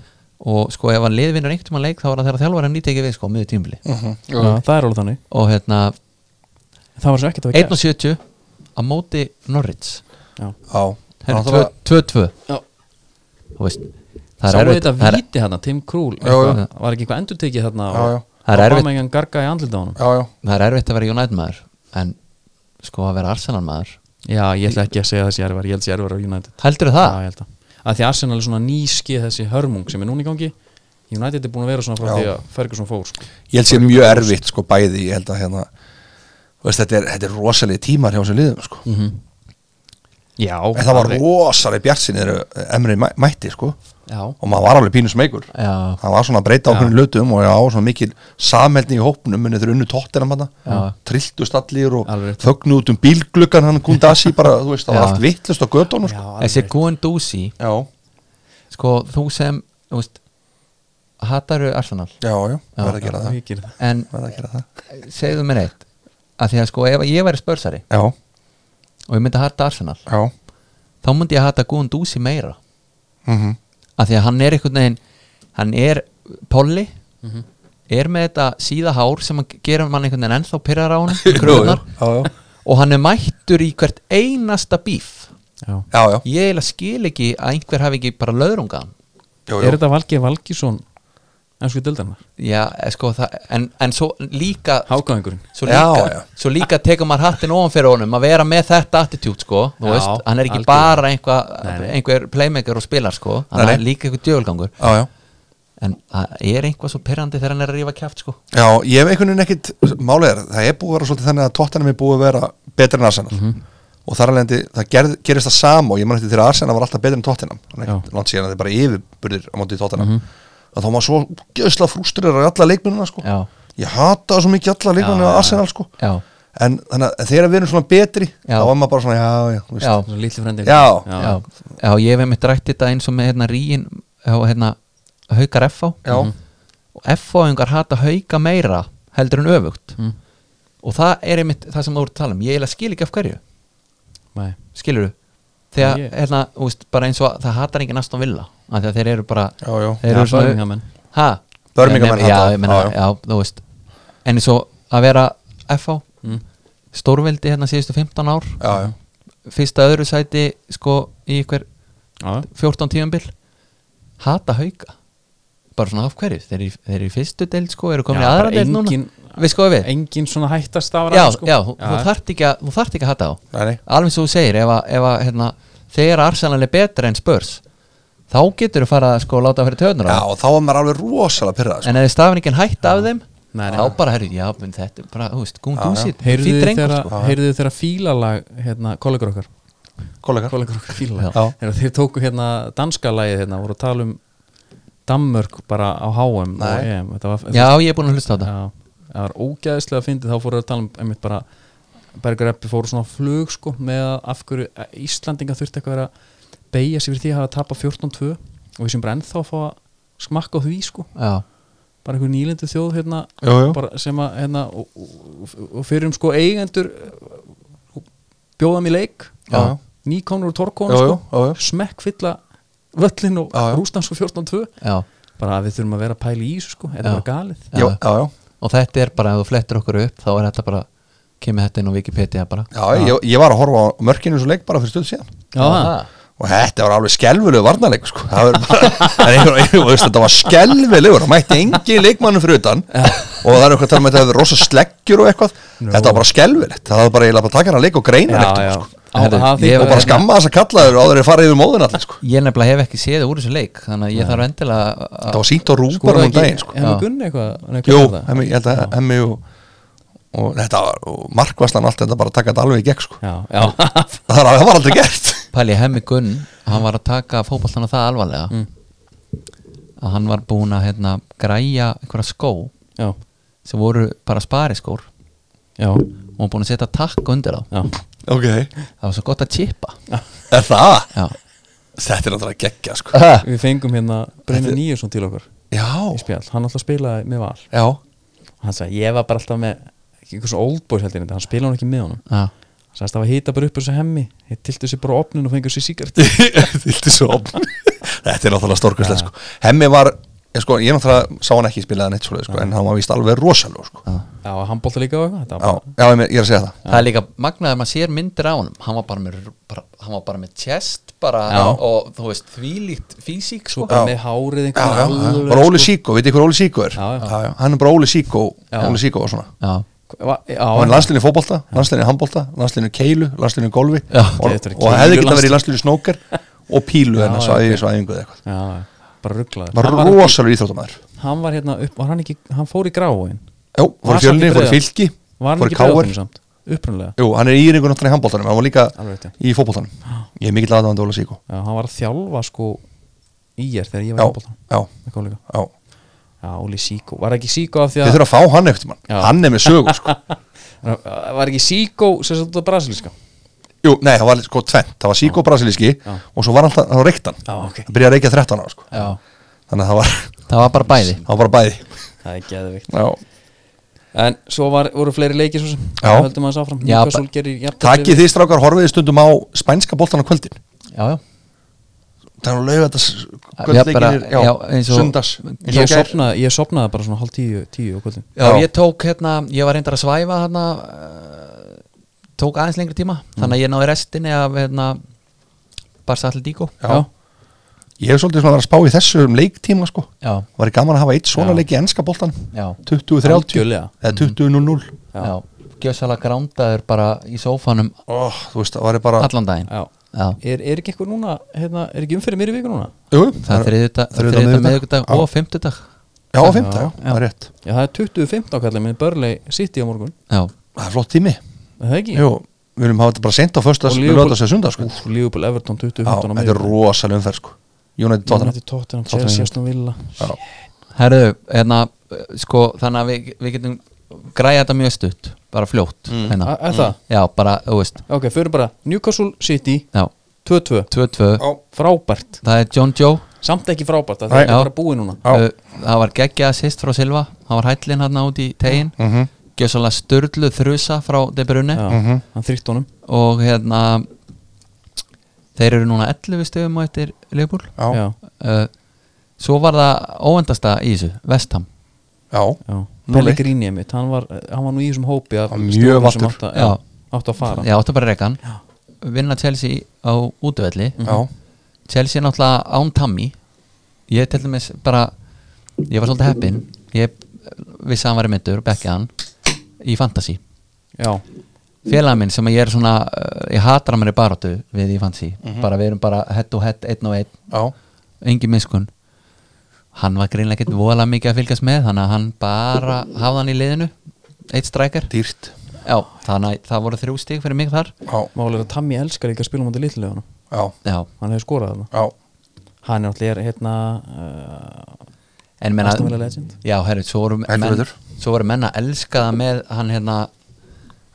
og sko ef hann liðvinnur einhvern tímann leik þá var það þegar þjálfari hann nýtt ekki við sko, miður tímbli
já, það er alveg þannig
og hérna,
Það var svo ekkert að við
1.70 á móti Norrits
Já.
já.
Herru,
Náttúrulega-
2-2 Þú veist Það er
Sáðu
erfitt
þetta
það er-
víti hérna, Tim Krul
Já, já.
Var ekki eitthvað endurtekið þarna
Já, já.
Það er erfitt.
Bámengan garga í andlita á honum
já, já,
það er erfitt að vera United maður En sko að vera Arsenal maður
Já, ég ætla ekki að segja þessi erfar, ég held þessi erfar á United
Heldur
Já,
það?
ég held það Að því Arsenal er svona nýskið þessi hörmung sem er núna í gangi United er búin að vera svona frá
Já.
því að Ferguson fór sko.
ég held sé mjög erfitt sko bæði, ég held að hérna þú veist, þetta er, þetta er rosalega tímar hjá þessum liðum sko.
Já,
en það var rosalega bjartsin þegar Emri mæ- mætti sko
Já,
og maður var alveg pínus meikur
Já,
það var svona að breyta ákveðin lötum og já, svona mikil samheldni í hópnum munið þeir unnu tóttina manna, trilltust allir og
Alveg rétt.
þögnu út um bílgluggan hann Gundasi bara, þú veist, það var
Já.
allt vittlust á göttunum
já
sko.
alveg
þessi
rétt.
Guendouzi
já,
Sko þú sem þú veist, Hattaru Arsenal
já, já, já verða að gera það
Ég geri það.
En
verða að gera það,
segðu mér eitt að Því að sko ef ég væri spörsari
já,
Og ég myndi hata Arsenal
já
Þá myndi ég hata Guendouzi meira
mm
að því að hann er einhvern veginn hann er polli
Mhm.
er með þetta síða hár sem hann gerir mann einhvern veginn ennþá pyrrar á hann kröfunar,
já, já,
og hann er mættur í hvert einasta bíf
Já.
já, já,
ég eiginlega skil ekki að einhver hafi ekki bara löðrunga hann
já, já.
Er þetta Valgeir Valgísson Ensku dildarnar,
já, eh, sko, það, en, en svo líka
hákaðingurinn
svo líka,
Já, já.
Svo líka tekur maður hattin ofan fyrir honum að vera með þetta attitút sko, þú
Já,
veist, hann er ekki
algjörlega.
bara einhva,
Nei, nei.
einhver playmaker og spilar sko, hann
Nei,
er
nei.
líka einhver djöfulgangur
já, já.
en það er einhvað svo pyrrandi þegar hann er að rífa kjæft sko
Já, ég hef einhvern veginn ekkit málið er, það er búið að vera svolítið þannig að tóttanum er búið að vera betra en Arsenal
Mhm.
og þar alveg það gerð, gerist það sam og ég man eftir þegar Arsenal var alltaf betra en tóttanum langt síðan að þeir bara yfirburðir á móti tóttanum mm
Mhm.
-hmm. þá maður svo gjöðsla frústurir á alla leikmennina sko
Já.
ég hata svo mikið alla leikmennina á Arsenal sko
já,
en þannig að þegar við erum svona betri
Já.
þá var maður bara svona já, já, þú veist.
já,
Svo litli frendi
Já.
já, já, ég hef einmitt rætt þetta eins og með hérna ríin á hérna haukar FH
Já.
og FH einhver hata hauka meira heldur en öfugt
Mm.
og það er einmitt það sem þú voru að tala um ég eiginlega skil ekki af hverju,
Nei,
skilur þú þegar,
Ég-
hérna, þú veist, bara eins og að- það hatar enginn Aston Villa, af því að þeir eru bara
já, já,
þeir eru
Já, Birmingham-menn.
ha?
Birmingham-menn
já,
hata það,
ég meina,
já, já.
já, þú veist en eins og að vera FH
Mm.
stórveldi hérna síðustu 15 ár
já, já.
fyrsta öðru sæti sko í ykkur
já,
14 tíumbil hata hauka bara svona af hverju, þeir eru í- þeir eru í fyrstu deild sko, eru komin
Já,
í aðra
bara
deild núna
engin-
við sko við,
engin svona hættast af
já,
ræðum, sko.
já, þú- þú þarft ekki að þú þarft ekki að hata á,
Nei, nei.
alveg svo þú segir ef að, ef að hérna, þegar Arsenal er betra en Spurs þá getur þú fara sko að láta að fyrir töðnur
já, og þá var maður alveg rosalega sko. pyrrað
en ef þið stafin ekki hætt af þeim
sko. Nei, nei.
þá bara herrið, já, menn þetta er bara, þú veist, góðum þú sitt
Heyrðu þið þeirra,
sko.
heyrðu þeirra fílalag hérna, kollegur okkar
kollegar
kollegur okkar
Já.
fílalag þeirra, þeir tóku hérna danska lagið hérna, voru að tala um Danmörk bara á HM og
Nei.
EM þetta var,
já, ég er búin að hlusta á þetta
Já, það var ógæðislega fyndið þá fóru að tala um einmitt bara Berger Eppi fóru svona á flug sko með að af hverju að Íslandinga þurfti eitthvað að vera að beigja sér fyrir því að hafa tapað 14-2 og við sem bara ennþá að fá að smakka á því sko
já,
bara einhver nýlendu þjóð hérna
Jú, jú.
bara sem að hérna og, og, og fyrir um sko eigendur uh, bjóða mér leik
Já.
nýkonur og torkónu
Jú,
sko
jú, jú, jú.
smekk fylla völlin og
Já, já.
rústans og 14-2
já
bara að við þurfum að vera að pæla í þessu sko er það
Já.
bara galið
já, já, já,
og þetta er bara, ef þú flettir okkur upp þá er þetta bara, kemur þetta inn á Wikipedia bara
já, Ég, ég var að horfa á mörkinu svo leik bara fyrir stöðu síðan
Já, það.
og þetta var alveg skelvilegu varnarleik sko. það var bara, það er einhver, einhver, veist, þetta var skelvilegur, það mætti engin leikmannu fyrir utan og það er eitthvað að tala um að þetta hefur rosa sleggjur og eitthvað þetta var bara skelvilegt, það var bara, eiginlega bara að taka hann að leik og greina
já,
neitt
já.
sko.
Á,
Herðu,
það
ég
þýddi
var
og bara
að-
skamma þess að kalla þér áður en farið yfir móðin allir sko.
ég nefnilega hef ekki séð úr þessu leik þannig að ég þarf endilega að-
það var sínt og rúpar
Skoraði
bara um
ekki-
daginn sko.
Hemmi
Já.
Gunn eitthvað nei, hvað
Jú,
var það?
hemmi, ég held að hemmi og, og þetta var og markvastan allt þetta bara að taka þetta alveg í gegn sko.
Já, já
það er- það var aldrei gert
pæli hemmi Gunn hann var að taka fótballtana það alvarlega að hann var búin að hérna, græja einhverja skó
Já,
sem voru bara spariskór
já,
og hann búin að setja takk undir þá
já
ok,
það var svo gott að chippa
er það?
já,
þetta er náttúrulega geggja sko.
já,
Við fengum hérna Brynjar Níusson til okkar í
já,
spjall, hann alltaf spilaði með val
já,
Hann sagði, ég var bara alltaf með ekki einhvers old boys heldur, en hann spilaði hann ekki með honum
já,
Hann sagðist, það var að hýta bara upp úr þessu hemmi Þeir tiltu sér bara á opnin og fengur sér síkart
Þildi svo opn Þetta er náttúrulega stórkvæslega sko. Hemmi var, ég, sko, ég náttúrulega sá hann ekki spilaði neitt svoleið, sko, en hann var víst alveg rosalú sko. já.
Já, og hann bólta líka á eitthvað þetta var
Já,
bara-
ég meina, ég er að segja það
það er líka magnaðið að maður sér myndir á honum hann var bara með, bara, hann var bara með chest bara,
Já.
og þú veist, þvílíkt físík sko.
Svo bara með hárið
Já, já,
einhvern
já. Bara Óli Síko, veitir hver Óli Síko er?
sko. Já, já.
Hann er bara Óli Síko, Óli Síko og svona
já,
Hann er
sko. Já,
landslinu fótbolta, landslinu handbolta, landslinu keilu, landslinu golfi
Já.
og,
Þetta er
og hefði
keilu
getað verið í landslinu snóker og pílu hérna, hennar
já,
svæði svæðingu eða eitthvað
já, já, bara rugglaður
Bara
hann, var-
rosalur íþróttamæður
hann var hérna upp, var hann ekki, hann fór í gráin
Jú, fór
Var
í fjölni,
samt í
fór í
Breiðablik.
fylki,
Var hann
fór í
ekki
káver
bregðarfinu samt? Upprunlega
Jú, hann er í yringu náttúrulega í handbóltanum, hann var líka
Alveg rétt, já.
í fótbóltanum Ég er mikill aðdáðandi Óla Síko
Já, hann var að þjálfa sko í er þegar ég var í
Já,
handbóltan
já,
Með kollega
já
Já, Óli Síkó Var ekki Síkó af því
Þið
að
þurfa að fá hann eftir mann,
Já.
hann er með sögu sko.
Var ekki Síkó sem sagt út á brasilíska
Jú, nei, það var sko tvennt, það var Síko brasilíski og svo var alltaf, það var reyktan
Já, ok.
Það byrjaði að reykja 13 ára sko.
já,
Þannig að það var,
það var bara bæði
það var bara bæði
Það er geðvikt
Já.
En svo var, voru fleiri leikir svo sem
Já.
Höldum að þess áfram
Já,
Newcastle
bara-
gerir jafntefli
Takið þið strákar horfiði stundum á spænska bóltan á kvöldin
já, já
Það er að lauga þetta
bara-
kvöldleikinir, já,
já, eins og-
sundas
við. Ég sopnaði, ég sopnaði bara svona hálf tíu, tíu og kvöldin
Já,
Já.
ég tók hérna, ég var reyndar að svæfa hérna, uh, tók aðeins lengri tíma þannig að ég náði restinni af hérna, Barca Atletico
Já. Ég hef svolítið svona að vera að spá í þessu um leiktíma sko.
Já.
Var gaman að hafa eitt svona
Já.
leik í enska bóltan
Já.
20-30
Algjörlega.
eða 20-0-0
já, já. gjössalega grándaður bara í sófanum
oh, Þú veist, það var bara
allan daginn
Já.
Já.
Er, er ekki eitthvað núna, hérna, er ekki umferðið mér í viku núna?
Jú,
það er þriðjudag, þriðjudag miðvikudag og fymtudag
Já, á fimmta, já, það er rétt
Já, það er 20.15 kallið minn Börlei City á morgun
Já,
Það er flott tími
Er Það ekki?
Jú, við viljum hafa þetta bara sent á fösta
Og
við
Liverpool-
lögum þess að sunda sko.
Úf, Liverpool Everton 20.15
Já,
á
þetta er
miðvikudag.
rosalega umferð sko. United Tottenham
United Tottenham,
Tottenham.
Chelsea, Aston Villa
Já.
herðu, hérna uh, sko, þannig að við, við getum græja þetta mjög stutt, bara fljótt hérna.
A- er
Mm.
það?
Já, bara, þú veist
Ok, fyrir bara Newcastle City
Já,
2-2
2-2,
Já.
Frábært
það er John Joe
samt ekki frábært að
Nei.
það er bara búið núna
Já.
Uh, það var geggja assist frá Silva það var hællin hann út í tegin mm -hmm. gjössalega störlu þrusa frá De Bruyne
Já,
mhm.
hann þrýtt honum
og hérna þeir eru núna 11 stöðum á eftir Leopold
já, já,
já,
uh, svo var það óendasta í þessu Vestham
já.
Núll
Pelle
eitt.
Gríni mitt, hann var, hann var nú í þessum hópi af
Hann var
stjórum
mjög
sem
valtur.
átt að- já, átt að fara
já, þetta er bara rekan vinna Chelsea á útvelli
já,
Chelsea er náttúrulega án Tammy ég til dæmis bara ég var svolítið heppinn ég vissi að hann var myndur og bekkið hann í Fantasy
já,
félag minn sem ég er svona uh, ég hatar að mér í baróttu við í Fantasy
Mhm.
bara við erum bara head to head, einn og einn
já,
engin miskun hann var greinlega ekkert voðalega mikið að fylgjast með þannig að hann bara hafði hann í liðinu eitt strækir
dýrt
já, þannig að það voru þrjú stig fyrir mig þar
já,
málega að Tammy elskar ekki að spila mútið litlulegunum
já,
já,
hann hefur skorað þarna
já,
hann er alltaf hérna uh,
en menna
Aston Villa legend.
já, herru, svo voru
Heldur
menn,
betur.
svo voru menn að elska það með hann hérna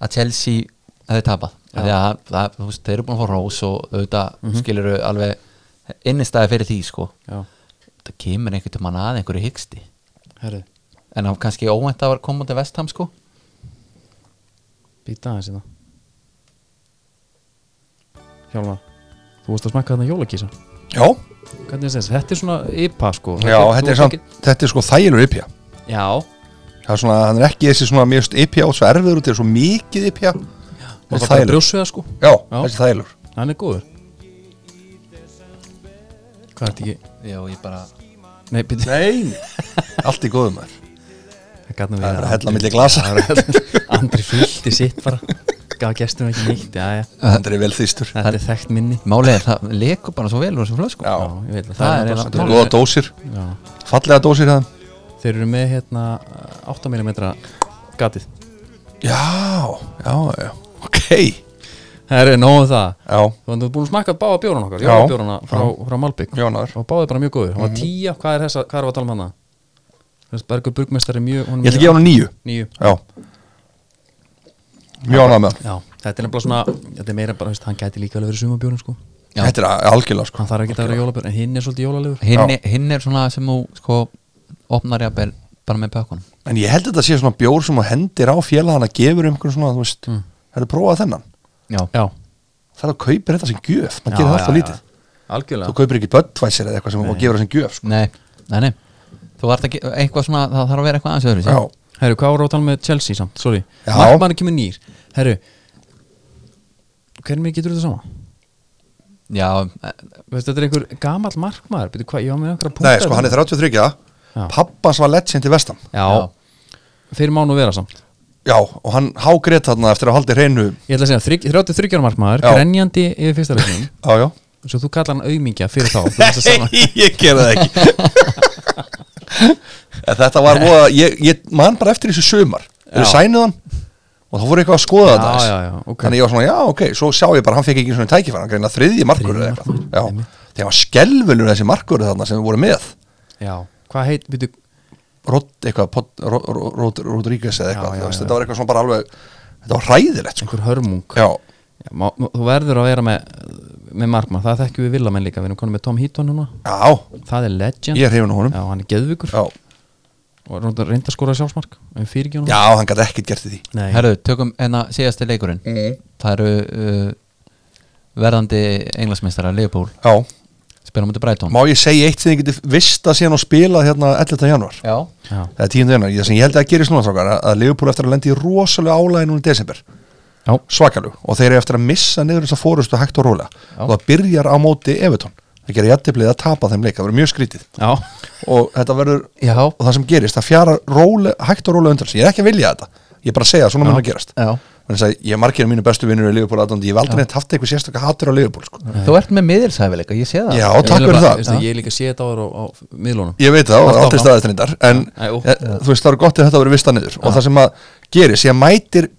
að Chelsea hefði tapað Af því að það, þú veist, þeir eru búin að fá rós og auðvitað mm
Mhm.
skilur alveg innistæði fyrir því sko
já,
það kemur einhvern tímann að einhverju hyggsti
herrið,
en það var kannski óvænt að vera koma út af vestam sko
býta aðeins hérna Hjálmar þú varst að smakka þarna jólakísa
já,
hvernig er þetta, þetta er svona IPA sko
já þetta,
þú
er
ert
samt, þetta er sko þægilur ypja
ekki- já,
það er svona, hann er ekki þessi svona mjög ypja og svo erfiður út, það er svo mikið E ypja og
þetta er bara
þægilur,
brjósuða sko
já,
Já.
þessi þægilur
hann er góður hvað er þetta ekki
já, ég bara
nei, býta
Nein, allt í góðum þær Það er að hella
Andri,
milli glasa
Andri fylgdi sitt bara gaf gestum ekki nýtt já, já.
Andri er vel þýstur
þetta er þekkt minni
málið er það leku bara svo vel úr þessum flöskum
Já,
já, ég veit að það,
Það er
er
eiginlega-
náttúrulega-
þetta eru góða dósir
Já.
Fallega dósir það
Þeir eru með hérna 8mm gatið
Já, já, já Ok,
Það eru nógu um það
já,
Þú erum búin að smakka báða bjórun okkar
Já. Mhm.
Jólabjóruna frá, frá Malbygg
Jónar
Og báðið bara mjög góður Hann var tíja, hvað er þessa, hvað er að tala um hana? Þessi Bergur Burgmestari mjög
Ég ætla að gefa hann nýju
Nýju
Já Mjög ánægð með hann
Já, þetta er nefnilega svona Þetta er meira bara, veist, hann gæti líka alveg verið sumabjórun sko
Já.
Þetta er a- algjörlega sko
Hann þarf ekki að vera jólabjórun En hinn er svolítið jólalegur
hinn, hinn er svona sem þú sko opnar jafnvel bara með pökkun
En ég held að þetta sé svona bjór sem að hendir á félagana gefur einhvern svona, þú veist mm. Það er prófað þennan
já,
Já,
Það er að kaupir þetta sem gjöf,
Já,
maður gerir það
já,
alltaf
já.
lítið Þú
Algjörlega
kaupir ekki Budweiser eða eitthvað sem þú gefur það sem gjöf sko.
nei, nei, nei þú vart ekki, eitthvað svona, það þarf að vera eitthvað aðeins öðru
Já,
Herru, hvað voru að tala með Chelsea samt? Sorry
Já.
Markmann kemur nýr Herru Hvernig getur þetta sama?
já,
Veist, þetta er einhver gamall markmaður Býtu, hvað, ég var með einhverja punktar
Nei, sko, hann er 33
Já.
Pappans var legend í vestam
Já, þeir má nú vera samt
Já, og hann hágrét þarna eftir að haldi hreinu
Ég ætla að segja, þrygg- 33 ára markmaður
Já.
Grenjandi yfir fyrsta leiknum
Já, já
Svo þú kallar hann aumingja fyrir þá fyrir þessa sama-
ég gera það ekki En Þetta var voða, ég, ég man bara eftir þessu sumar Þeir
Já.
sænuð hann og þá voru eitthvað að skoða
Já,
þetta aðeins.
já, já, ok.
Þannig ég var svona, já, ok, svo sjá ég bara hann fekk ekki svona tækifæra, hann greina þriðji markur
Þriðji
eða eitthvað.
markmaður,
Já, þegar var skelvelur þessi markur þarna sem voru með
Já, hvað heit, býtu
Rod, eitthvað, Pod, Rod, Rod, Rod, Rodríguez eða eitthvað,
Já, já,
þú veist,
já.
þetta var eitthvað svona bara alveg þetta var hræðilegt, sko
einhver hörmung
Já,
Já, má, má- Þú verður að vera með, með markmaður Það þekkjum við villamenn líka, við erum konum með Tom Heaton núna
já,
Það er legend
ég er hefinn á honum
Já, hann er geðvikur
Já,
Og reynda að skora sjálfsmark En fyrir ekki
já hann gæti ekkert gert í því
Nei,
herru, tökum enna síðasti leikurinn
Mhm.
það eru uh, verðandi englansmeistara Leopold,
Já,
spyrir mútið Brighton
má ég segja eitt sem þið getið vista síðan og spilað hérna 11. januar
já,
já,
eða 10. januar, það sem ég held að gerist núna strákar að- að Liverpool eftir að lendi í rosalega álæði núna í desember
Já.
svakalug og þeir eru eftir að missa niður þess að fórustu hægt og rólega og það byrjar á móti Evertón það gerir jættiblið að tapa þeim leik, það verður mjög skrítið
já,
og þetta verður,
já,
og það sem gerist það fjara róle, hægt og rólega undan sig, ég er ekki að vilja þetta ég er bara að segja að svona mun að gerast
já.
þannig að ég er margir af mínu bestu vinnur í Liverpool aðdóndi, ég hef aldrei neitt haft eitthvað sérstaka hattur á Liverpool sko.
þú ert með miðilsæfileika, ég sé það
já,
Ég vil
takk fyrir
bara-
það
veistu, Ég líka sé þetta á þér á, á miðlunum
Ég veit það og
Haltu
aldrei
áfram.
staðist reyndar En
Nei, ó.
eh, þú veist það eru gott að þetta verið vista niður Og það sem að gerist, ég mætir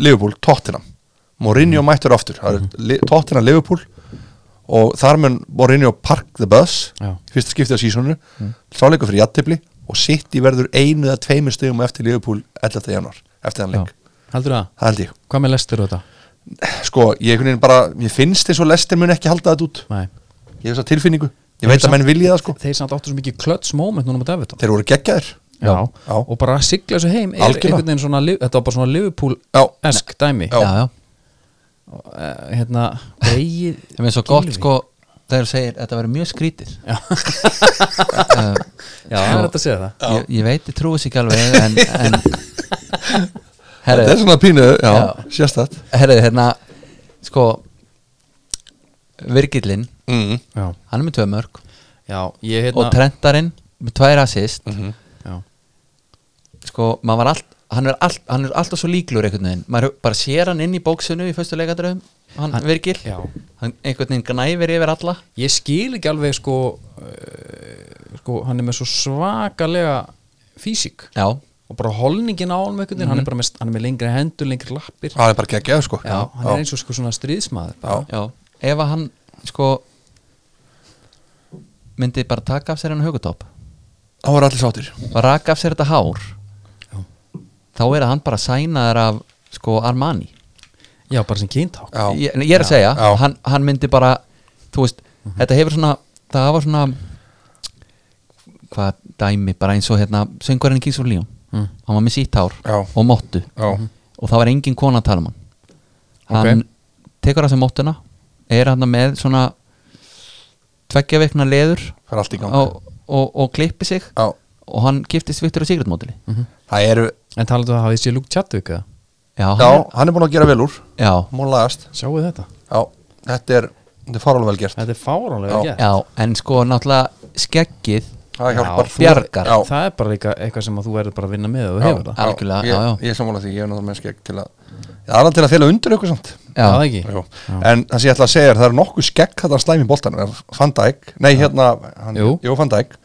Liverpool, Tottenham
Mm.
Mourinho mættur aftur Það
Mm-hmm.
eru Li- Tottenham, Liverpool Og þar mun Mourinho park the bus
Já. Mm.
í Fyrsta skiptið á sísonu Sáleikur fyrir jættibli Og City verður einu eða tveimur stegum eftir Liverpool 11. januar Eftir þann leik
Heldur það?
Það held ég
Hvað með lestir þetta?
Sko, ég, einhvern veginn bara, ég finnst eins og lestir mun ekki halda þetta út
Nei,
Ég hef þess að tilfinningu Ég veit að menn vilja það sko
þeir samt áttu svo mikið klöts moment núna mot Everton
Þeir voru geggjaðir
já.
Já.
og bara að sigla þessu heim er
Algjörlega.
einhvern veginn svona, Liv- þetta var bara svona
Já.
Liverpool-esk dæmi
Já.
já, já.
Eh, hérna, Bregi
Ég finnst svo gott sko þegar þú segir þetta verður mjög skrítið
Já.
uh,
já, það er þetta að segja það
ég, ég veit, ég trúi sér ekki alveg en, en herri,
Þetta er svona pínu, já,
Já.
sérstætt
herri, hérna sko Virgillin,
mm.
já,
hann er með tvö mörg
já ég hérna
og Trentarinn með tvær assist
já,
sko, maður var allt hann er, all, hann er alltaf svo líklur einhvern veginn maður bara sér hann inn í bóksinu í fyrstu leikadröfum hann,
Hann-
Virgill
já.
hann einhvern veginn gnæfir yfir alla
ég skil ekki alveg sko uh, sko, hann er með svo svakalega físík
já,
og bara holningin á hann með einhvern veginn, hann er bara með, hann er með lengri hendur, lengri lappir
Það er bara geggjaður sko
já, hann er eins og sko svona stríðsmaður bara.
já, ef að hann sko myndi bara taka af sér hann hugutopp
Það voru allir sáttir
og raka af sér þetta hár þá er að hann bara sænaður af sko Armani
já, bara sem kynntá
Já.
ég, nei, ég er að segja,
Já. Mhm.
hann, hann myndi bara þú veist, þetta hefur svona það hafa svona hvað dæmi, bara eins og hérna söngurinn í Kings of Leon, hann var með sítt hár
Mm. Já.
og móttu
Já.
Mhm.
og það var engin kona að tala um hann hann tekur að sem móttuna er hann með svona tveggja veikna leður
Það er allt í gang
og, og, og klippi sig
Já. Mhm.
og hann giftist Viktor og Sigrid mótili
Það eru,
en talaðu um að hafa þessi lúk tjattvika
já,
já,
hann-
hann er búin að gera vel úr
já,
Món lagast
sjáu þetta,
Já, þetta er, þetta er farálega vel gert
þetta er fáránlega
Já.
gert
já, en sko náttúrulega skeggið
Það hjálpar
Já,
Þú-
bjargar
Já.
það er bara líka eitthvað sem að þú verður bara að vinna með og þú hefur það,
Já. Algjörlega,
ég,
já, já.
Ég er sammála því, ég er náttúrulega skegg til að Það er alveg til að fela undir ykkur samt
Já, það ekki
Jú. En það sem ég ætla að segja er, það eru nokkuð skegg þetta slæmi í boltanum, fann dæk Nei, hérna, hann,
Jú.
jú, fann dæk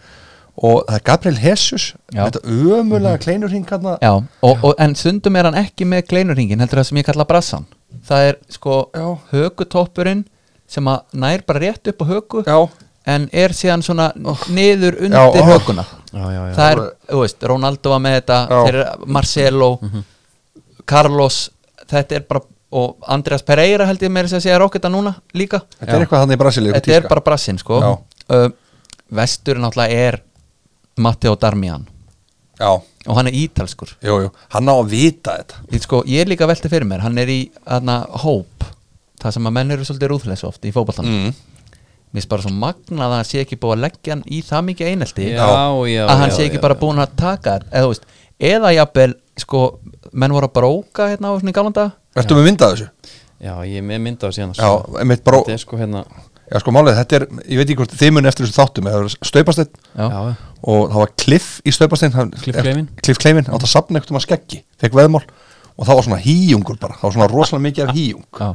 Og það er Gabriel Jesus
Já.
Þetta ömulega kleinurhing hérna
Já, og, og, en stundum er hann ekki með gleinurringin heldur það sem ég kalla brassan það er sko
Já.
hökutoppurinn sem að nær bara rétt upp á höku
Já.
en er síðan svona niður undir
Oh. Já, oh.
hökuna
Já, já, já.
það er, þú veist, Ronaldo var með þetta
Já. Mhm.
þeir eru Marcelo Carlos, þetta er bara og Andreas Pereira held ég meira sem að segja rocketa núna líka
Þetta er eitthvað hann í Brasilíu
þetta er bara brassinn sko
Já.
uh, vestur náttúrulega er Matteo Darmian
Já,
og hann er ítalskur
jú, jú, hann á að vita þetta
Ég, sko, ég er líka velti fyrir mér, hann er í hana, hóp, það sem að menn eru svolítið rúðleis oft í fótballtann mm. Mér finnst bara svo magnað að hann sé ekki búið að leggja hann í það mikið einelti
Já, já,
að hann
já,
sé ekki
já,
bara
já.
búin að taka þær eða, þú veist, eða jafnvel, sko, menn voru að bróka hérna á svona í galanda
Ertu með myndað þessu?
já, ég er með myndað síðan
Já, einmitt bara-
þetta er sko hérna
Já, sko málið, þetta er, ég veit ekki hvort þið muni eftir þessu þáttum, eða það var staupasteinn
Já.
já,
og það var Cliff í staupasteinn hann-
Cliff Clavin.
Cliff Clavin, átt að safna eitthvað um að skeggi, fekk veðmál og það var svona híjungur bara, það var svona rosalega mikið af híjung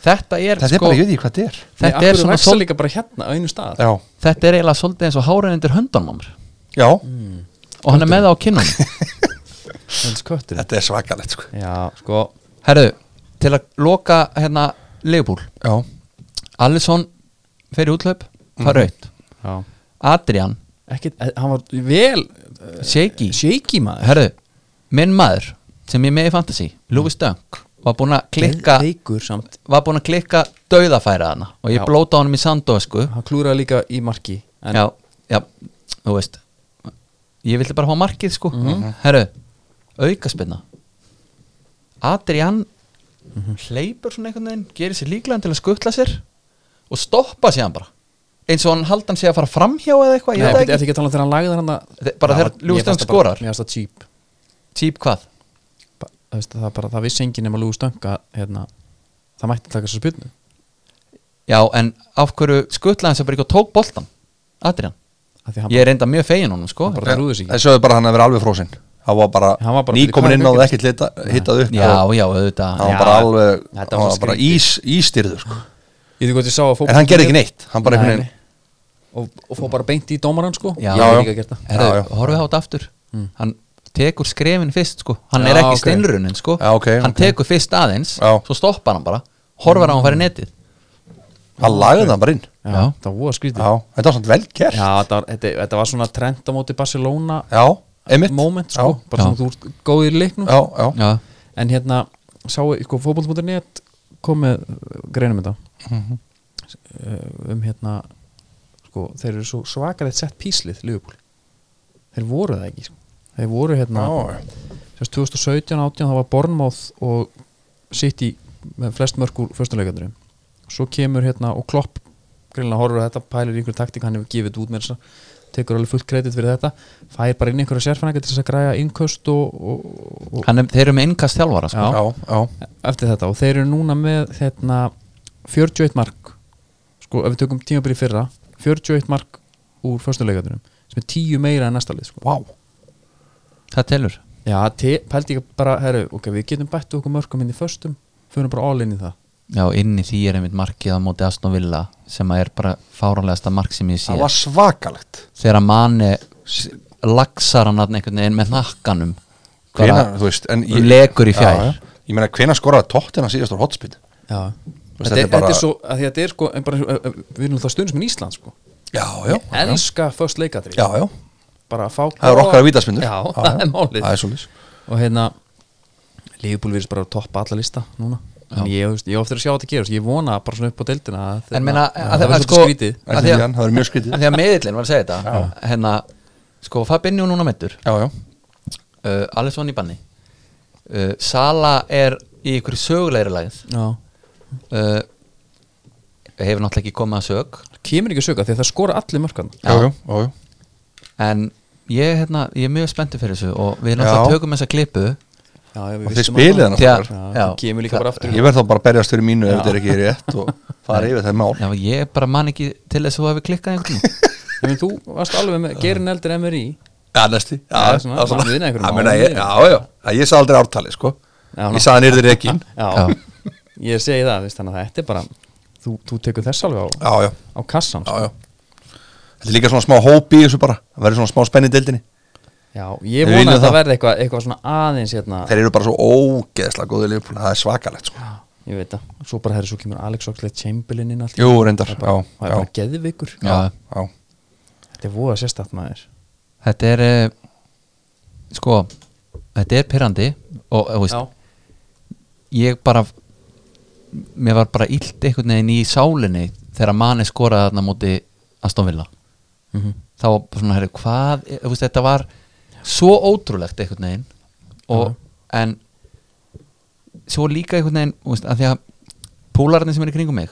Þetta er,
Þetta er
sko,
bara, ég veit ekki hvað þetta er
þetta er svona
svo
sol,
líka bara hérna á einu stað
Já,
þetta er eiginlega svolítið eins og hárið undir höndanum á mér
já,
og hann er með það á kinnunum
Hells kötturinn.
þetta er svakalegt sko
já, sko
Herðu, til að loka hérna leifbúl
Já,
Alisson fer í útlöp það er raut
já.
Adrian,
Ekki, eh, hann var vel uh,
Shaky
shaky maður
Herðu, minn maður sem ég er með í fantasy, Lewis Dunk var búinn að klikka
leikur samt
var búinn að klikka dauðafæra hana og ég
Já.
blóta honum í sandósku
hann klúraði líka í marki en
já, já, þú veist ég vildi bara fá markið sko
Mhm.
Herðu, aukaspinna Adrian
Mhm.
hleypur svona einhvern veginn gerir sér líklegan til að skuttla sér og stoppa sér hann bara eins og hann haldan sér að fara framhjá eða eitthvað, ég
Nei,
veit það
beti,
ekki
ekki að tala um þegar hann lagði hann að-
Þe- bara
Það
þegar
var-
Lewis
mér fannst
Dunk
það bara-
skorar?
Mér finnst það cheap
típ hvað
Ba- þú veist, það, er bara, það vissi enginn nema Lewis Dunk að hérna, það mætti taka þessu spilnu
Já, en af hverju skuttlaði hann sem bara ekki og tók boltan Adrian,
af því hann,
ég er reynda mjög fegin honum sko
bara trúði sig ekki
það sögðu bara hann að vera alveg frósin Það var
Hann var
bara
bara-
nýkomin inn á
Hvað
það
er
ekkert lita- hitað upp
Já,
og
já, auðvitað
Það var
Já.
bara alveg,
Þetta var
það var
svo
bara
skrítið.
ís, ístyrður sko
ég því hvort ég sá að fótbolti
En hann gerði ekki neitt, hann bara einhvern
Nei,
veginn
og, og fór bara beint í dómaran sko
Já,
ég
já.
hef líka gert það
Já, Mm. já.
Herðu, horfið á þetta aftur Hann tekur skrefin fyrst sko Hann
Já,
er ekki
ok.
okay. steinrunin sko
Já, ok,
Hann
ok.
tekur fyrst aðeins,
Já.
svo stoppar hann bara Horfir á hann færi netið
Hann lagði það bara inn
já,
Já.
það var voða skrítið já,
Já, þetta var svona vel gert
þetta var, þetta, þetta var svona trend á móti Barcelona
Já, einmitt
moment sko,
Já.
bara
Já.
svona þú ert góð í leiknum
Já, já, já.
Já,
en hérna, sáu, sko, fótbolti.net kom með uh, greinum þetta mm um Eh, hérna sko, þeir eru svo svakalegt sett píslið Liverpool þeir voru það ekki sko. þeir voru hérna
Já.
sérst 2017-18 það var Bournemouth og City með flest mörk úr fyrstuleikandri svo kemur hérna og Klopp greinlega horfur að þetta pælir í einhver taktik hann hefur gefið þetta út með þess að tekur alveg fullt kredit fyrir þetta fær bara inn einhverja sérfræðingar til þess að græja innköst og, og, og
Hann er, þeir eru með innkast þjálfara sko.
Já.
já, já,
eftir þetta og þeir eru núna með hérna, 41 mark sko ef við tökum tímabili fyrra 41 mark úr fyrstuleikandunum sem er 10 meira en næsta lið sko.
vá
Það telur
já, te- pældi ég bara, herru, ok, við getum bætt okkur mörkum inn í förstum, fyrir bara all in í það
Já, inn í því er einmitt markið á móti Aston Villa sem að er bara fáranlegasta mark sem ég sé
það var svakalegt
Þegar að manni laxar hann þarna einhvern veginn með nakkanum
Hvenær, þú veist, en ég-
legur í fjær
Já, já. ég meina hvena skoraði tóttina síðast úr hotspil
Já Þetta,
veist, þetta
er,
er bara-
þetta er svo, að því að þetta er sko en bara, eins og- við erum það stundum sem í Ísland sko
já, já,
elska först leikadri
já, já.
bara að fá
það er okkar að vítaspindur
Já, það er málið
það er svolítið
og hérna Liverpool virðist bara að toppa alla lista núna en ég, þú veist, ég ofta að sjá þetta gerast ég vona bara svona upp á deildina að,
En meina,
að,
að-
það
að-
verður
sko-
svolítið skrítið
Það er
Af því að-
síðan, það er mjög skrítið
Af Því að meðillin var að segja þetta hérna, sko Fabinho núna meittur
Já, já,
uh, Alisson í banni uh, Sala er í ykkur sögulegri lægð
Já.
uh, hefur náttúrulega ekki komið að sög
kemur ekki að sögja því að það skora allir mörkarna
já, já, já, já.
en ég, hérna, ég er mjög spenntur fyrir þessu og við
Já.
náttúrulega tökum þessa klipu
já, já, við
Og þið
vissum
spilið
að-
hana
Því að-
Já,
fólkar.
hérna. Já.
það kemur líka bara aftur
Ég verð þá bara að berjast fyrir mínu ef þetta er ekki rétt og fara yfir það mál
Já, ég bara man ekki til þess að þú hefur klikkað einhvern veginn.
en þú varst alveg með Gerin Eldur MRI
Já, næsti Já,
Já, svona,
það er svona-
maður vinna einhverjum
Já,
mál,
meina, ég-
vinna.
já, já, já, ég sagði aldrei ártali, sko
Já, ná.
Ég sagði hann yrði reikin
já, ég segi það veist, þannig að þetta er bara þú, þú tekur þess alveg á,
Já, já,
á sko. kassan
já, já Þetta er líka svona smá hópi í þessu bara Það verður svona smá spenni í deildinni
Já, ég
Við
vona
viljum
að það
það.
verði eitthvað, eitthvað svona aðeins hérna,
Þeir eru bara svo ógeðslega góðið liðbúin Það er svakalegt, sko
ég veit það, svo bara herri svo kemur Alex Oxlade Chamberlain inn allt í
Jú, reyndar,
það er
já,
bara, það er
já,
bara geðvikur
Já.
já
Þetta er voða sérstætt maður
Þetta er uh, sko, þetta er pyrrandi og eh, þú veist, ég bara mér var bara illt einhvern veginn í sálinni þegar manni skoraði þarna móti Aston Villa þá var bara svona, herri, hvað er- þú veist, þetta var svo ótrúlegt einhvern veginn og, en svo líka einhvern veginn þú veist, að því að púlarnir sem eru í kringum mig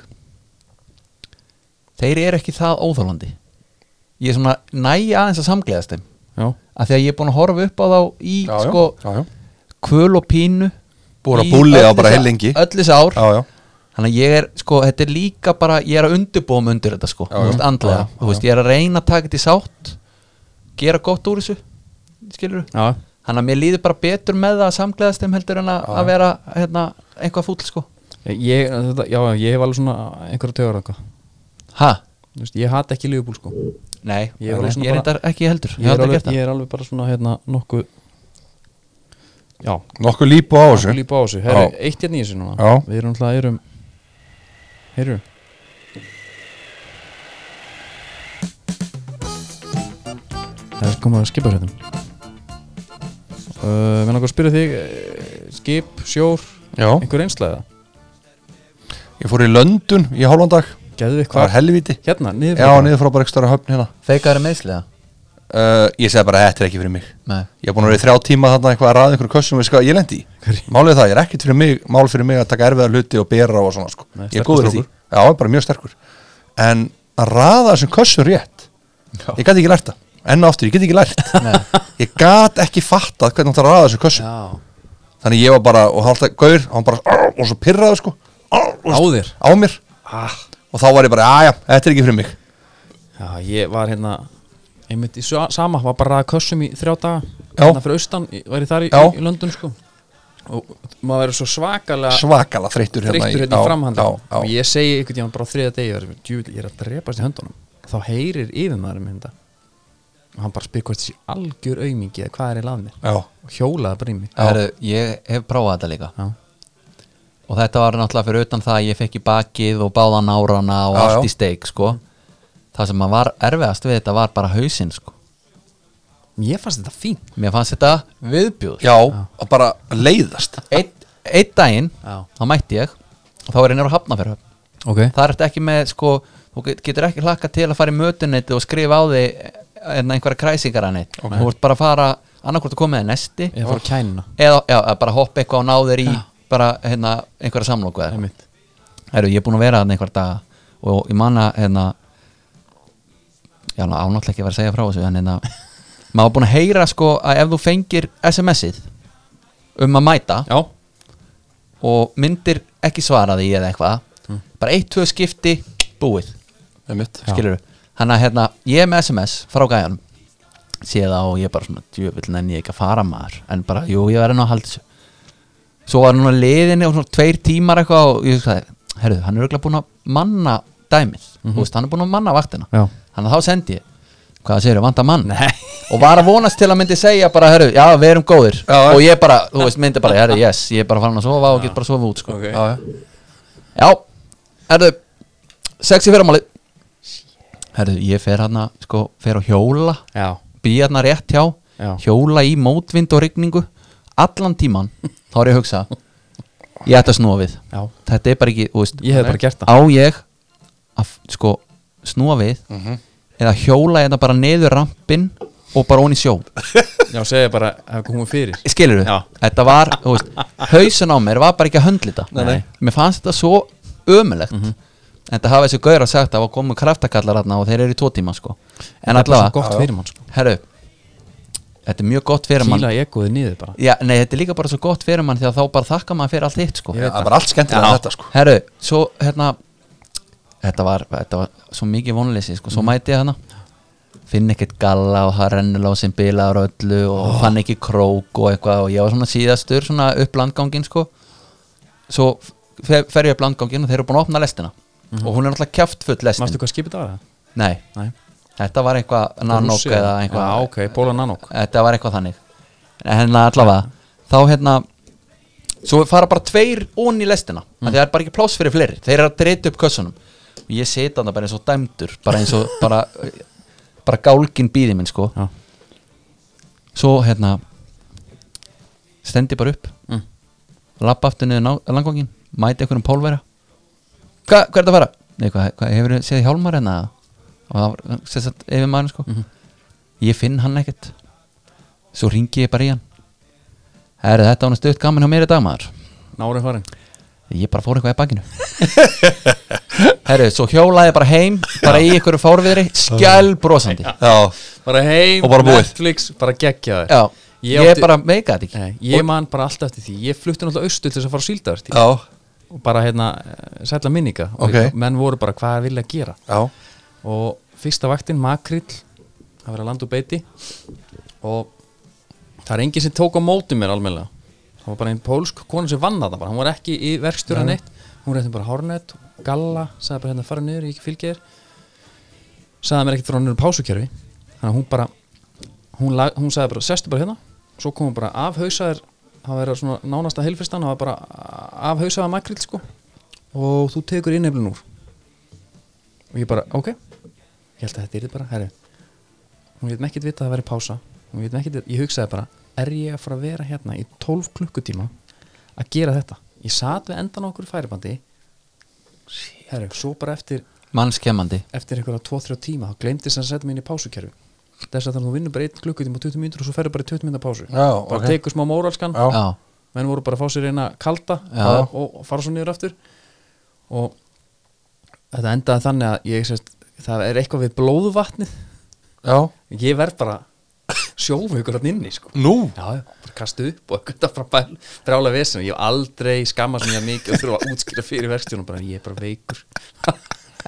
þeir eru ekki það óþálandi ég er svona næ aðeins að samgleðast þeim
Já,
að því að ég er búin að horfa upp á þá í
Já, já,
sko,
já, já.
kvöl og pínu
Búin að
í
búlli á
öll
bara
þessi-
hellingi.
öll þessi ár
Já, já.
þannig að ég er sko, þetta er líka bara ég er að undirbúa mig undir þetta sko
Já,
þú
já.
veist, andlega,
Já, já,
þú veist, ég er að reyna að taka þetta í sátt gera gott úr þessu skilur
já,
þannig að mér líður bara betur með það að samgleðast þeim heldur en að, að vera hérna, eitthvað fúll sko
ég, þetta, já, já, ég hef alveg svona einhverja tögur eitthvað
ha,
Þú veist, Ég hata ekki lífbúl sko
nei,
Ég er
ég
alveg
er,
svona
ég er
bara-
bara, ekki heldur
ég er,
aldrei
alveg,
gert það.
ég er alveg bara svona hérna nokkuð Já,
Nokkuð lípu á þessu
nokkuð lípa á þessu Herri,
Já.
eitt hérna í þessu núna
Já.
Við erum alltaf, erum Heyrðu Það er komið að skipa hérna uh, Mér langar að spyrja þig eh, Skip, sjór,
Já,
einhver einslæða
ég fór í Löndun í hálfandag
Gæðu við
Það var
hvað?
helviti
Hérna, niður
Já, niður frá bara ekki störa höfn hérna
feikar er meðslega
Uh, Ég segi bara, þetta er ekki fyrir mig
nei,
Ég er búin að vera í þrjá tíma þarna eitthvað að ræða einhverju kössum við sko, ég lendi í. Málið er það, ég er ekkert fyrir mig, mál fyrir mig að taka erfiða hluti og bera og svona sko.
Nei,
ég er
sterkur
góður í því. Já, ég er bara mjög sterkur. En að ræða þessum kössum rétt, ég gæti ekki lært það. Enn og aftur, ég get ekki lært. ég gat ekki fattað hvernig það ræða þessum kössum.
Já,
Þannig ég var bara, og hann alltaf gaur, hann bara, "Arr", og svo pirraði sko, "Arr", og
á
svo-
þér
á mér.
Ah.
Og þá var ég bara, aðja, þetta er ekki fyrir mig.
Já, ég var hérna einmitt í sa- sama, var bara að raða kössum í þrjá daga
Já.
hérna fyrir austan, ég var ég þar í,
Já.
í London sko og maður verður svo svakalega
Svakala þreyttur hérna.
Ah. þreyttur hérna
já,
í framhanda
já, já.
og ég segi einhvern tímann bara á þriða degi ég er, djúvill, ég er að drepast í höndunum þá heyrir yfirmaðurinn minn þetta og hann bara spyr hvort þessi algjör aumingi eða hvað er í lað mér
Já,
og hjólaði bara í mig
Heru, ég hef prófað þetta líka
Já.
og þetta var náttúrulega fyrir utan það að ég fekk í bakið og báða nárana og
Já,
allt
já.
í steik sko. það sem að var erfiðast við þetta var bara hausinn sko.
ég fannst þetta fínt
mér fannst þetta viðbjóður
já, og bara leiðast.
einn ein daginn,
Já.
þá mætti ég og þá er ég nefnir að hafna fyrir höfn
ok,
það er ekki með sko, þú get- getur ekki hlakka til að fara í mötunetti og skrifa á þig en einhverja kræsingar hann eitt þú vart bara að fara, annarkvort að koma með nesti
ég fór að kæna
eða já, eða bara hoppa eitthvað og ná þér í
Já.
bara hérna, einhverja samlóku eða eitthvað.
einmitt,
Heru, ég er búin að vera þarna einhver dag og ég manna hérna, já, ná, ánáttlega ekki að vera að segja frá þessu en hérna, maður var búin að heyra sko að ef þú fengir SMS-ið um að mæta
já,
og myndir ekki svara því eða eitthvað bara eitt, tvö skipti, búið
einmitt
Já.
skilur hann að hérna, ég er með SMS frá gæjanum sé það og ég bara svona djöfull en ég ekki að fara maður en bara, jú, ég verði nú að halda þessu svo var núna liðinni og svona tveir tímar eitthvað og ég sagði, herðu, hann er auðvitað búin að manna dæmið, þú veist, hann er búin að manna vaktina
Já.
þannig að þá sendi ég hvað segir, vanta mann Nei. og var að vonast til að myndi segja bara, herru, já, við erum góðir
Já,
og ég bara, þú veist, myndi bara, herru, yes ég er bara farin að sofa og get bara að sofa út sko.
ok
já, já.
Já, herðu Sex í fyrramáli Herðu, ég fer hana, sko, fer á hjóla
já,
Býð hana rétt hjá
Já.
Hjóla í mótvind og rigningu Allan tíman, þá er ég að hugsa Ég ætti að snúa við
Já.
Þetta er bara ekki, þú veist
Ég hefði bara gert það.
Á ég að, sko, snúa við
Mhm.
Eða hjóla þetta bara niður rampin Og bara ón í sjó
já, segja bara að komum fyrir
skilur
Já.
þetta var, þú veist, hausin á mér var bara ekki að höndla þetta
Nei, Mhm. nei.
mér fannst þetta svo ömulegt mm -hmm. en það hafa þessi gauðra sagt að það komið kraftakallar þarna og þeir eru í tvo tíma sko. en
það er bara svo
allavega,
gott fyrir mann sko.
herru þetta er mjög gott fyrir mann
kýla egoðið niður bara
Já, nei, þetta er líka bara svo gott fyrir mann því að þá bara þakka maður fyrir allt hitt sko.
Ég veit
það er bara allt skemmtilega þetta sko
herru, svo hérna þetta var, þetta var svo mikið vonleysi sko. svo mæti ég hana finn ekkert galla og það rennulega sem bilaður og öllu og fann ekki krók og eitthvað og ég var svona síðastur svona upp landgangin sko svo fer, fer ég upp landgangin og þeir eru búin að opna lestina og hún er náttúrulega kjaftfull lestin
Mástu hvað skipið það var?
Nei,
Nei.
þetta var eitthvað nanok
Rússi
eða eitthvað
Já, Ah, ok, Bóla Nanok
þetta var eitthvað þannig en hérna allavega þá hérna svo fara bara tveir ón í lestina mm. það er bara ekki pláss fyrir fleiri þeir eru að dreita upp kössunum og ég seta hann bara eins og dæmdur bara eins og bara, bara gálgin býði minn sko
Já.
svo hérna stendi bara upp mm. lappa aftur niður ná- langvangin mæti einhverjum pólverja Hva, hvað er þetta að fara? Nei, hvað, hvað hefur þið séð hjálmar hérna? Og það var sem sagt yfir maður sko Ég finn hann ekkert Svo ringi ég bara í hann Herðu, þetta var nú stutt gaman hjá mér í dag maður
Nárið farin
Ég bara fór eitthvað í bakinu Herðu, svo hjólaði ég bara heim Bara í einhverju fárviðri Skjæl brosandi
já,
Bara heim,
Og bara búið.
Netflix, bara geggja þér
Já,
Ég
ég,
átti-
bara meika þetta ekki
Nei, ég man bara alltaf eftir því Ég flutti náttúrulega austur til þess að fara á síldavertíð
já,
og bara hérna, eh, sælla minninga og
Ok.
menn voru bara hvað að vilja gera
já,
og fyrsta vaktin makrill það verið að landa úr beiti og það er enginn sem tók á móti mér almennilega það var bara einn pólsk konu sem vann það bara, hún var ekki í verkstjóra neitt hún reyndi bara hárnett, galla sagði bara hérna fara niður, ég ekki fylgja þér sagði mér ekkert frá niður pásukerfi þannig að hún bara hún, lag, hún sagði bara, sestu bara hérna svo kom hún bara afhausaðir það verið svona nánasta helfristan það var bara afhausaða makrill sko og þú tekur inneflun úr og ég bara, ok ég held að þetta er bara, herri hún veit mekkit vita að það væri pása hún veit mekkit, ég hugsaði bara, er ég að fara að vera hérna í 12 klukkutíma að gera þetta, ég sat við endan á okkur færibandi herri, svo bara eftir
Mannskemmandi
eftir einhverja 2-3 tíma, þá gleymdist hann að setja mig inn í pásukerfi þess að þannig að þú vinnur bara 1 klukkutíma og 20 mínútur og svo ferðu bara í 20 mínútur pásu
já,
bara okay. tekur smá móralskan
Já.
Já,
menn voru bara að fá sér eina kalda
Já.
og, og fara svo niður aftur og þetta endaði þannig að ég sérst, það er eitthvað við blóðvatnið
já,
ég verð bara sjófaukur hann inni sko.
nú
já, já, bara kastu upp og eitthvað frá bæl brála vesinu, ég hef aldrei skammast mér mikið og þurfa að útskýra fyrir verkstjónum bara ég er bara veikur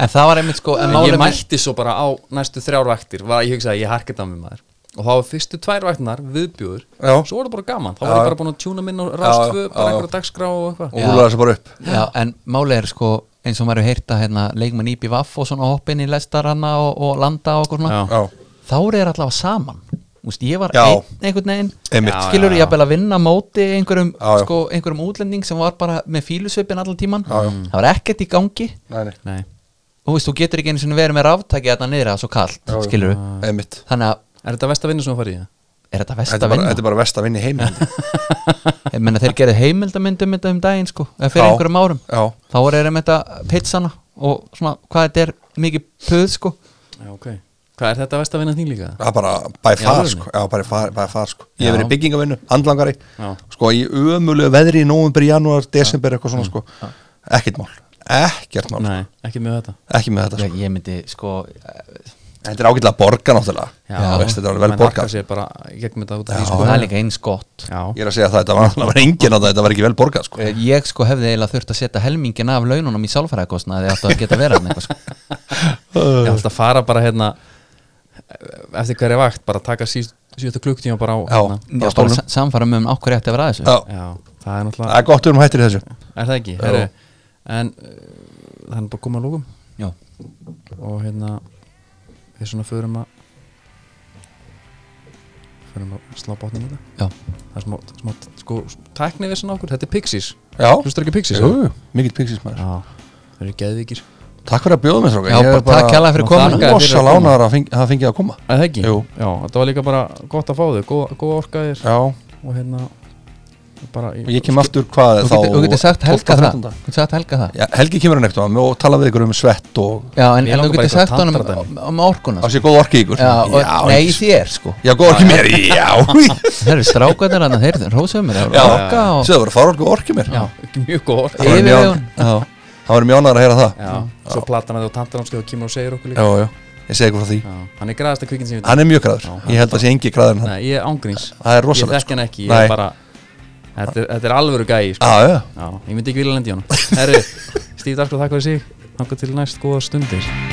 en það var einmitt sko en
En ég
málið með-
mætti svo bara á næstu þrjár vaktir var ég hugsaði að ég harkið það með maður og þá var fyrstu tvær vaktinar viðbjóður
Já.
svo var það bara gaman, þá var ég bara búin að tjúna minn og
Já, já,
rástföð, bara
já.
einhverja dagskrá og eitthvað
og húlaði þessu bara upp
Já, en málið er sko eins og maður hefur heyrt að hérna, leikmenn íbí vaff og svona hoppin í lestaranna og, og landa og okkur svona
Já.
já,
þá eru þeir allavega saman Úst, ég var
Já.
einn einhvern veginn
Einmitt. Já,
skilur ég að vinna á móti einhverjum,
Já, já.
sko, einhverjum útlending sem var bara með fílusveipin allan tíman
Mm.
það var ekkert í gangi
nei, nei,
Nei.
og veist, þú getur ekki einu sinni verið með ráftæki þarna niðra svo kalt,
já.
skilur
einmitt
þannig að
Er þetta vest að vinna sem þú farið í það?
er þetta vest
þetta
að
er bara,
vinna?
þetta er bara vest að vinna í heim já,
Ég menna þeir gerðu heimildamyndum þetta um daginn sko, eða fyrir
Já.
einhverjum árum
Já.
þá voru þeir með þetta pizzana og svona hvað þetta er mikið puð sko
Já, ok Hvað er þetta vest að vinna þín líka?
það er bara by far,
alvöru?
sko. já, bara far, by far sko.
Já.
ég hef verið í byggingavinnu, handlangari
Já.
sko, í ömulegu veðri í nóvumbri, janúar, desember, eitthvað svona sko. ekkert mál, ekkert mál
Nei, ekki með þetta
ekki með þetta,
ég, ég myndi sko eh,
sko. þetta er ágætlega borga náttúrulega
Já.
Þú veist, þetta er alveg
Menn
vel borga
hakka sér bara í gegnum þetta út af
Já.
því
og
sko
það er líka eins gott
Já,
ég er að segja það, þetta var, það var engin á það, þetta var ekki vel borga sko.
Eh, ég sko hefði eiginlega þurft að setja helmingin af laununum í sálfærakostna þegar þetta geta verið hann eitthvað sko
ég held að fara bara hérna eh, eftir hverja vakt, bara taka síst- síðustu klukktíma bara á
Já.
hérna.
Bara
Já, bara
stólnum.
sa- samfara með um okkur rétt að vera að þessu
Já.
Já, það er
það
náttúrulega
er gott við erum hættir í þessu
Er það ekki? Heru, en uh, það er bara komað lókum
Já.
og hérna við svona förum að förum að slá bátnum í þetta
Já.
það er smá, smá sko, tækni við svona okkur, þetta er Pixies
já,
hlustar ekki Pixies?
Jú, jú, sko. mikill pixis maður
Já, það eru geðvíkir
Takk fyrir að bjóða mér strákar
Já, bara takk hérlega fyrir
Má komuna. þakka þér fyrir að
Rosa
koma.
lánaðar að fengi- hafa fengið að koma
Það ekki?
Jú.
Já, þetta var líka bara gott að fá þau, góð, góð orkaðir
Já,
og hérna bara í,
og ég kem aftur hvað
Þú
þá
getur- þú getur sagt
12.
helga það
13..
Þú getur sagt helga það
Já, Helgi kemur hann ekkert á mig og tala við ykkur um svett og
Já, en,
Mig
en
langar bara
þú getur
eitthvað
sagt honum
tantradæmi.
um orkuna
á sér góð orki í ykkur
Já, og, nei,
ekki-
þér sko
já góð orki í mér, já
Það eru strákarnir hann að þeir rósaðu mér að
Já,
orka og
Svo það voru fara orku orki í mér
Já.
mjög góð orka
Það var mjög-
Yfirvegun.
Já, það var mjög ánægður að heyra það
Já, svo platan að þú tantar hans og kemur og segir okkur líka
Já, já, ég segi ykkur frá því
Já, hann er græðasta kvikin sem ég veit
Hann er mjög græður, ég held að sé engi græður en hann
Nei, ég er ángríns
Það er rosalegt,
Ég
sko.
þekk hann ekki, ég
Nei. Ah.
er bara Þetta er, þetta er alvöru gæi sko.
Já, já,
Já, ég myndi ekki vilja lendi í honum Herru, Stíf Darko, takk fyrir sig Þakka til næst góða stundir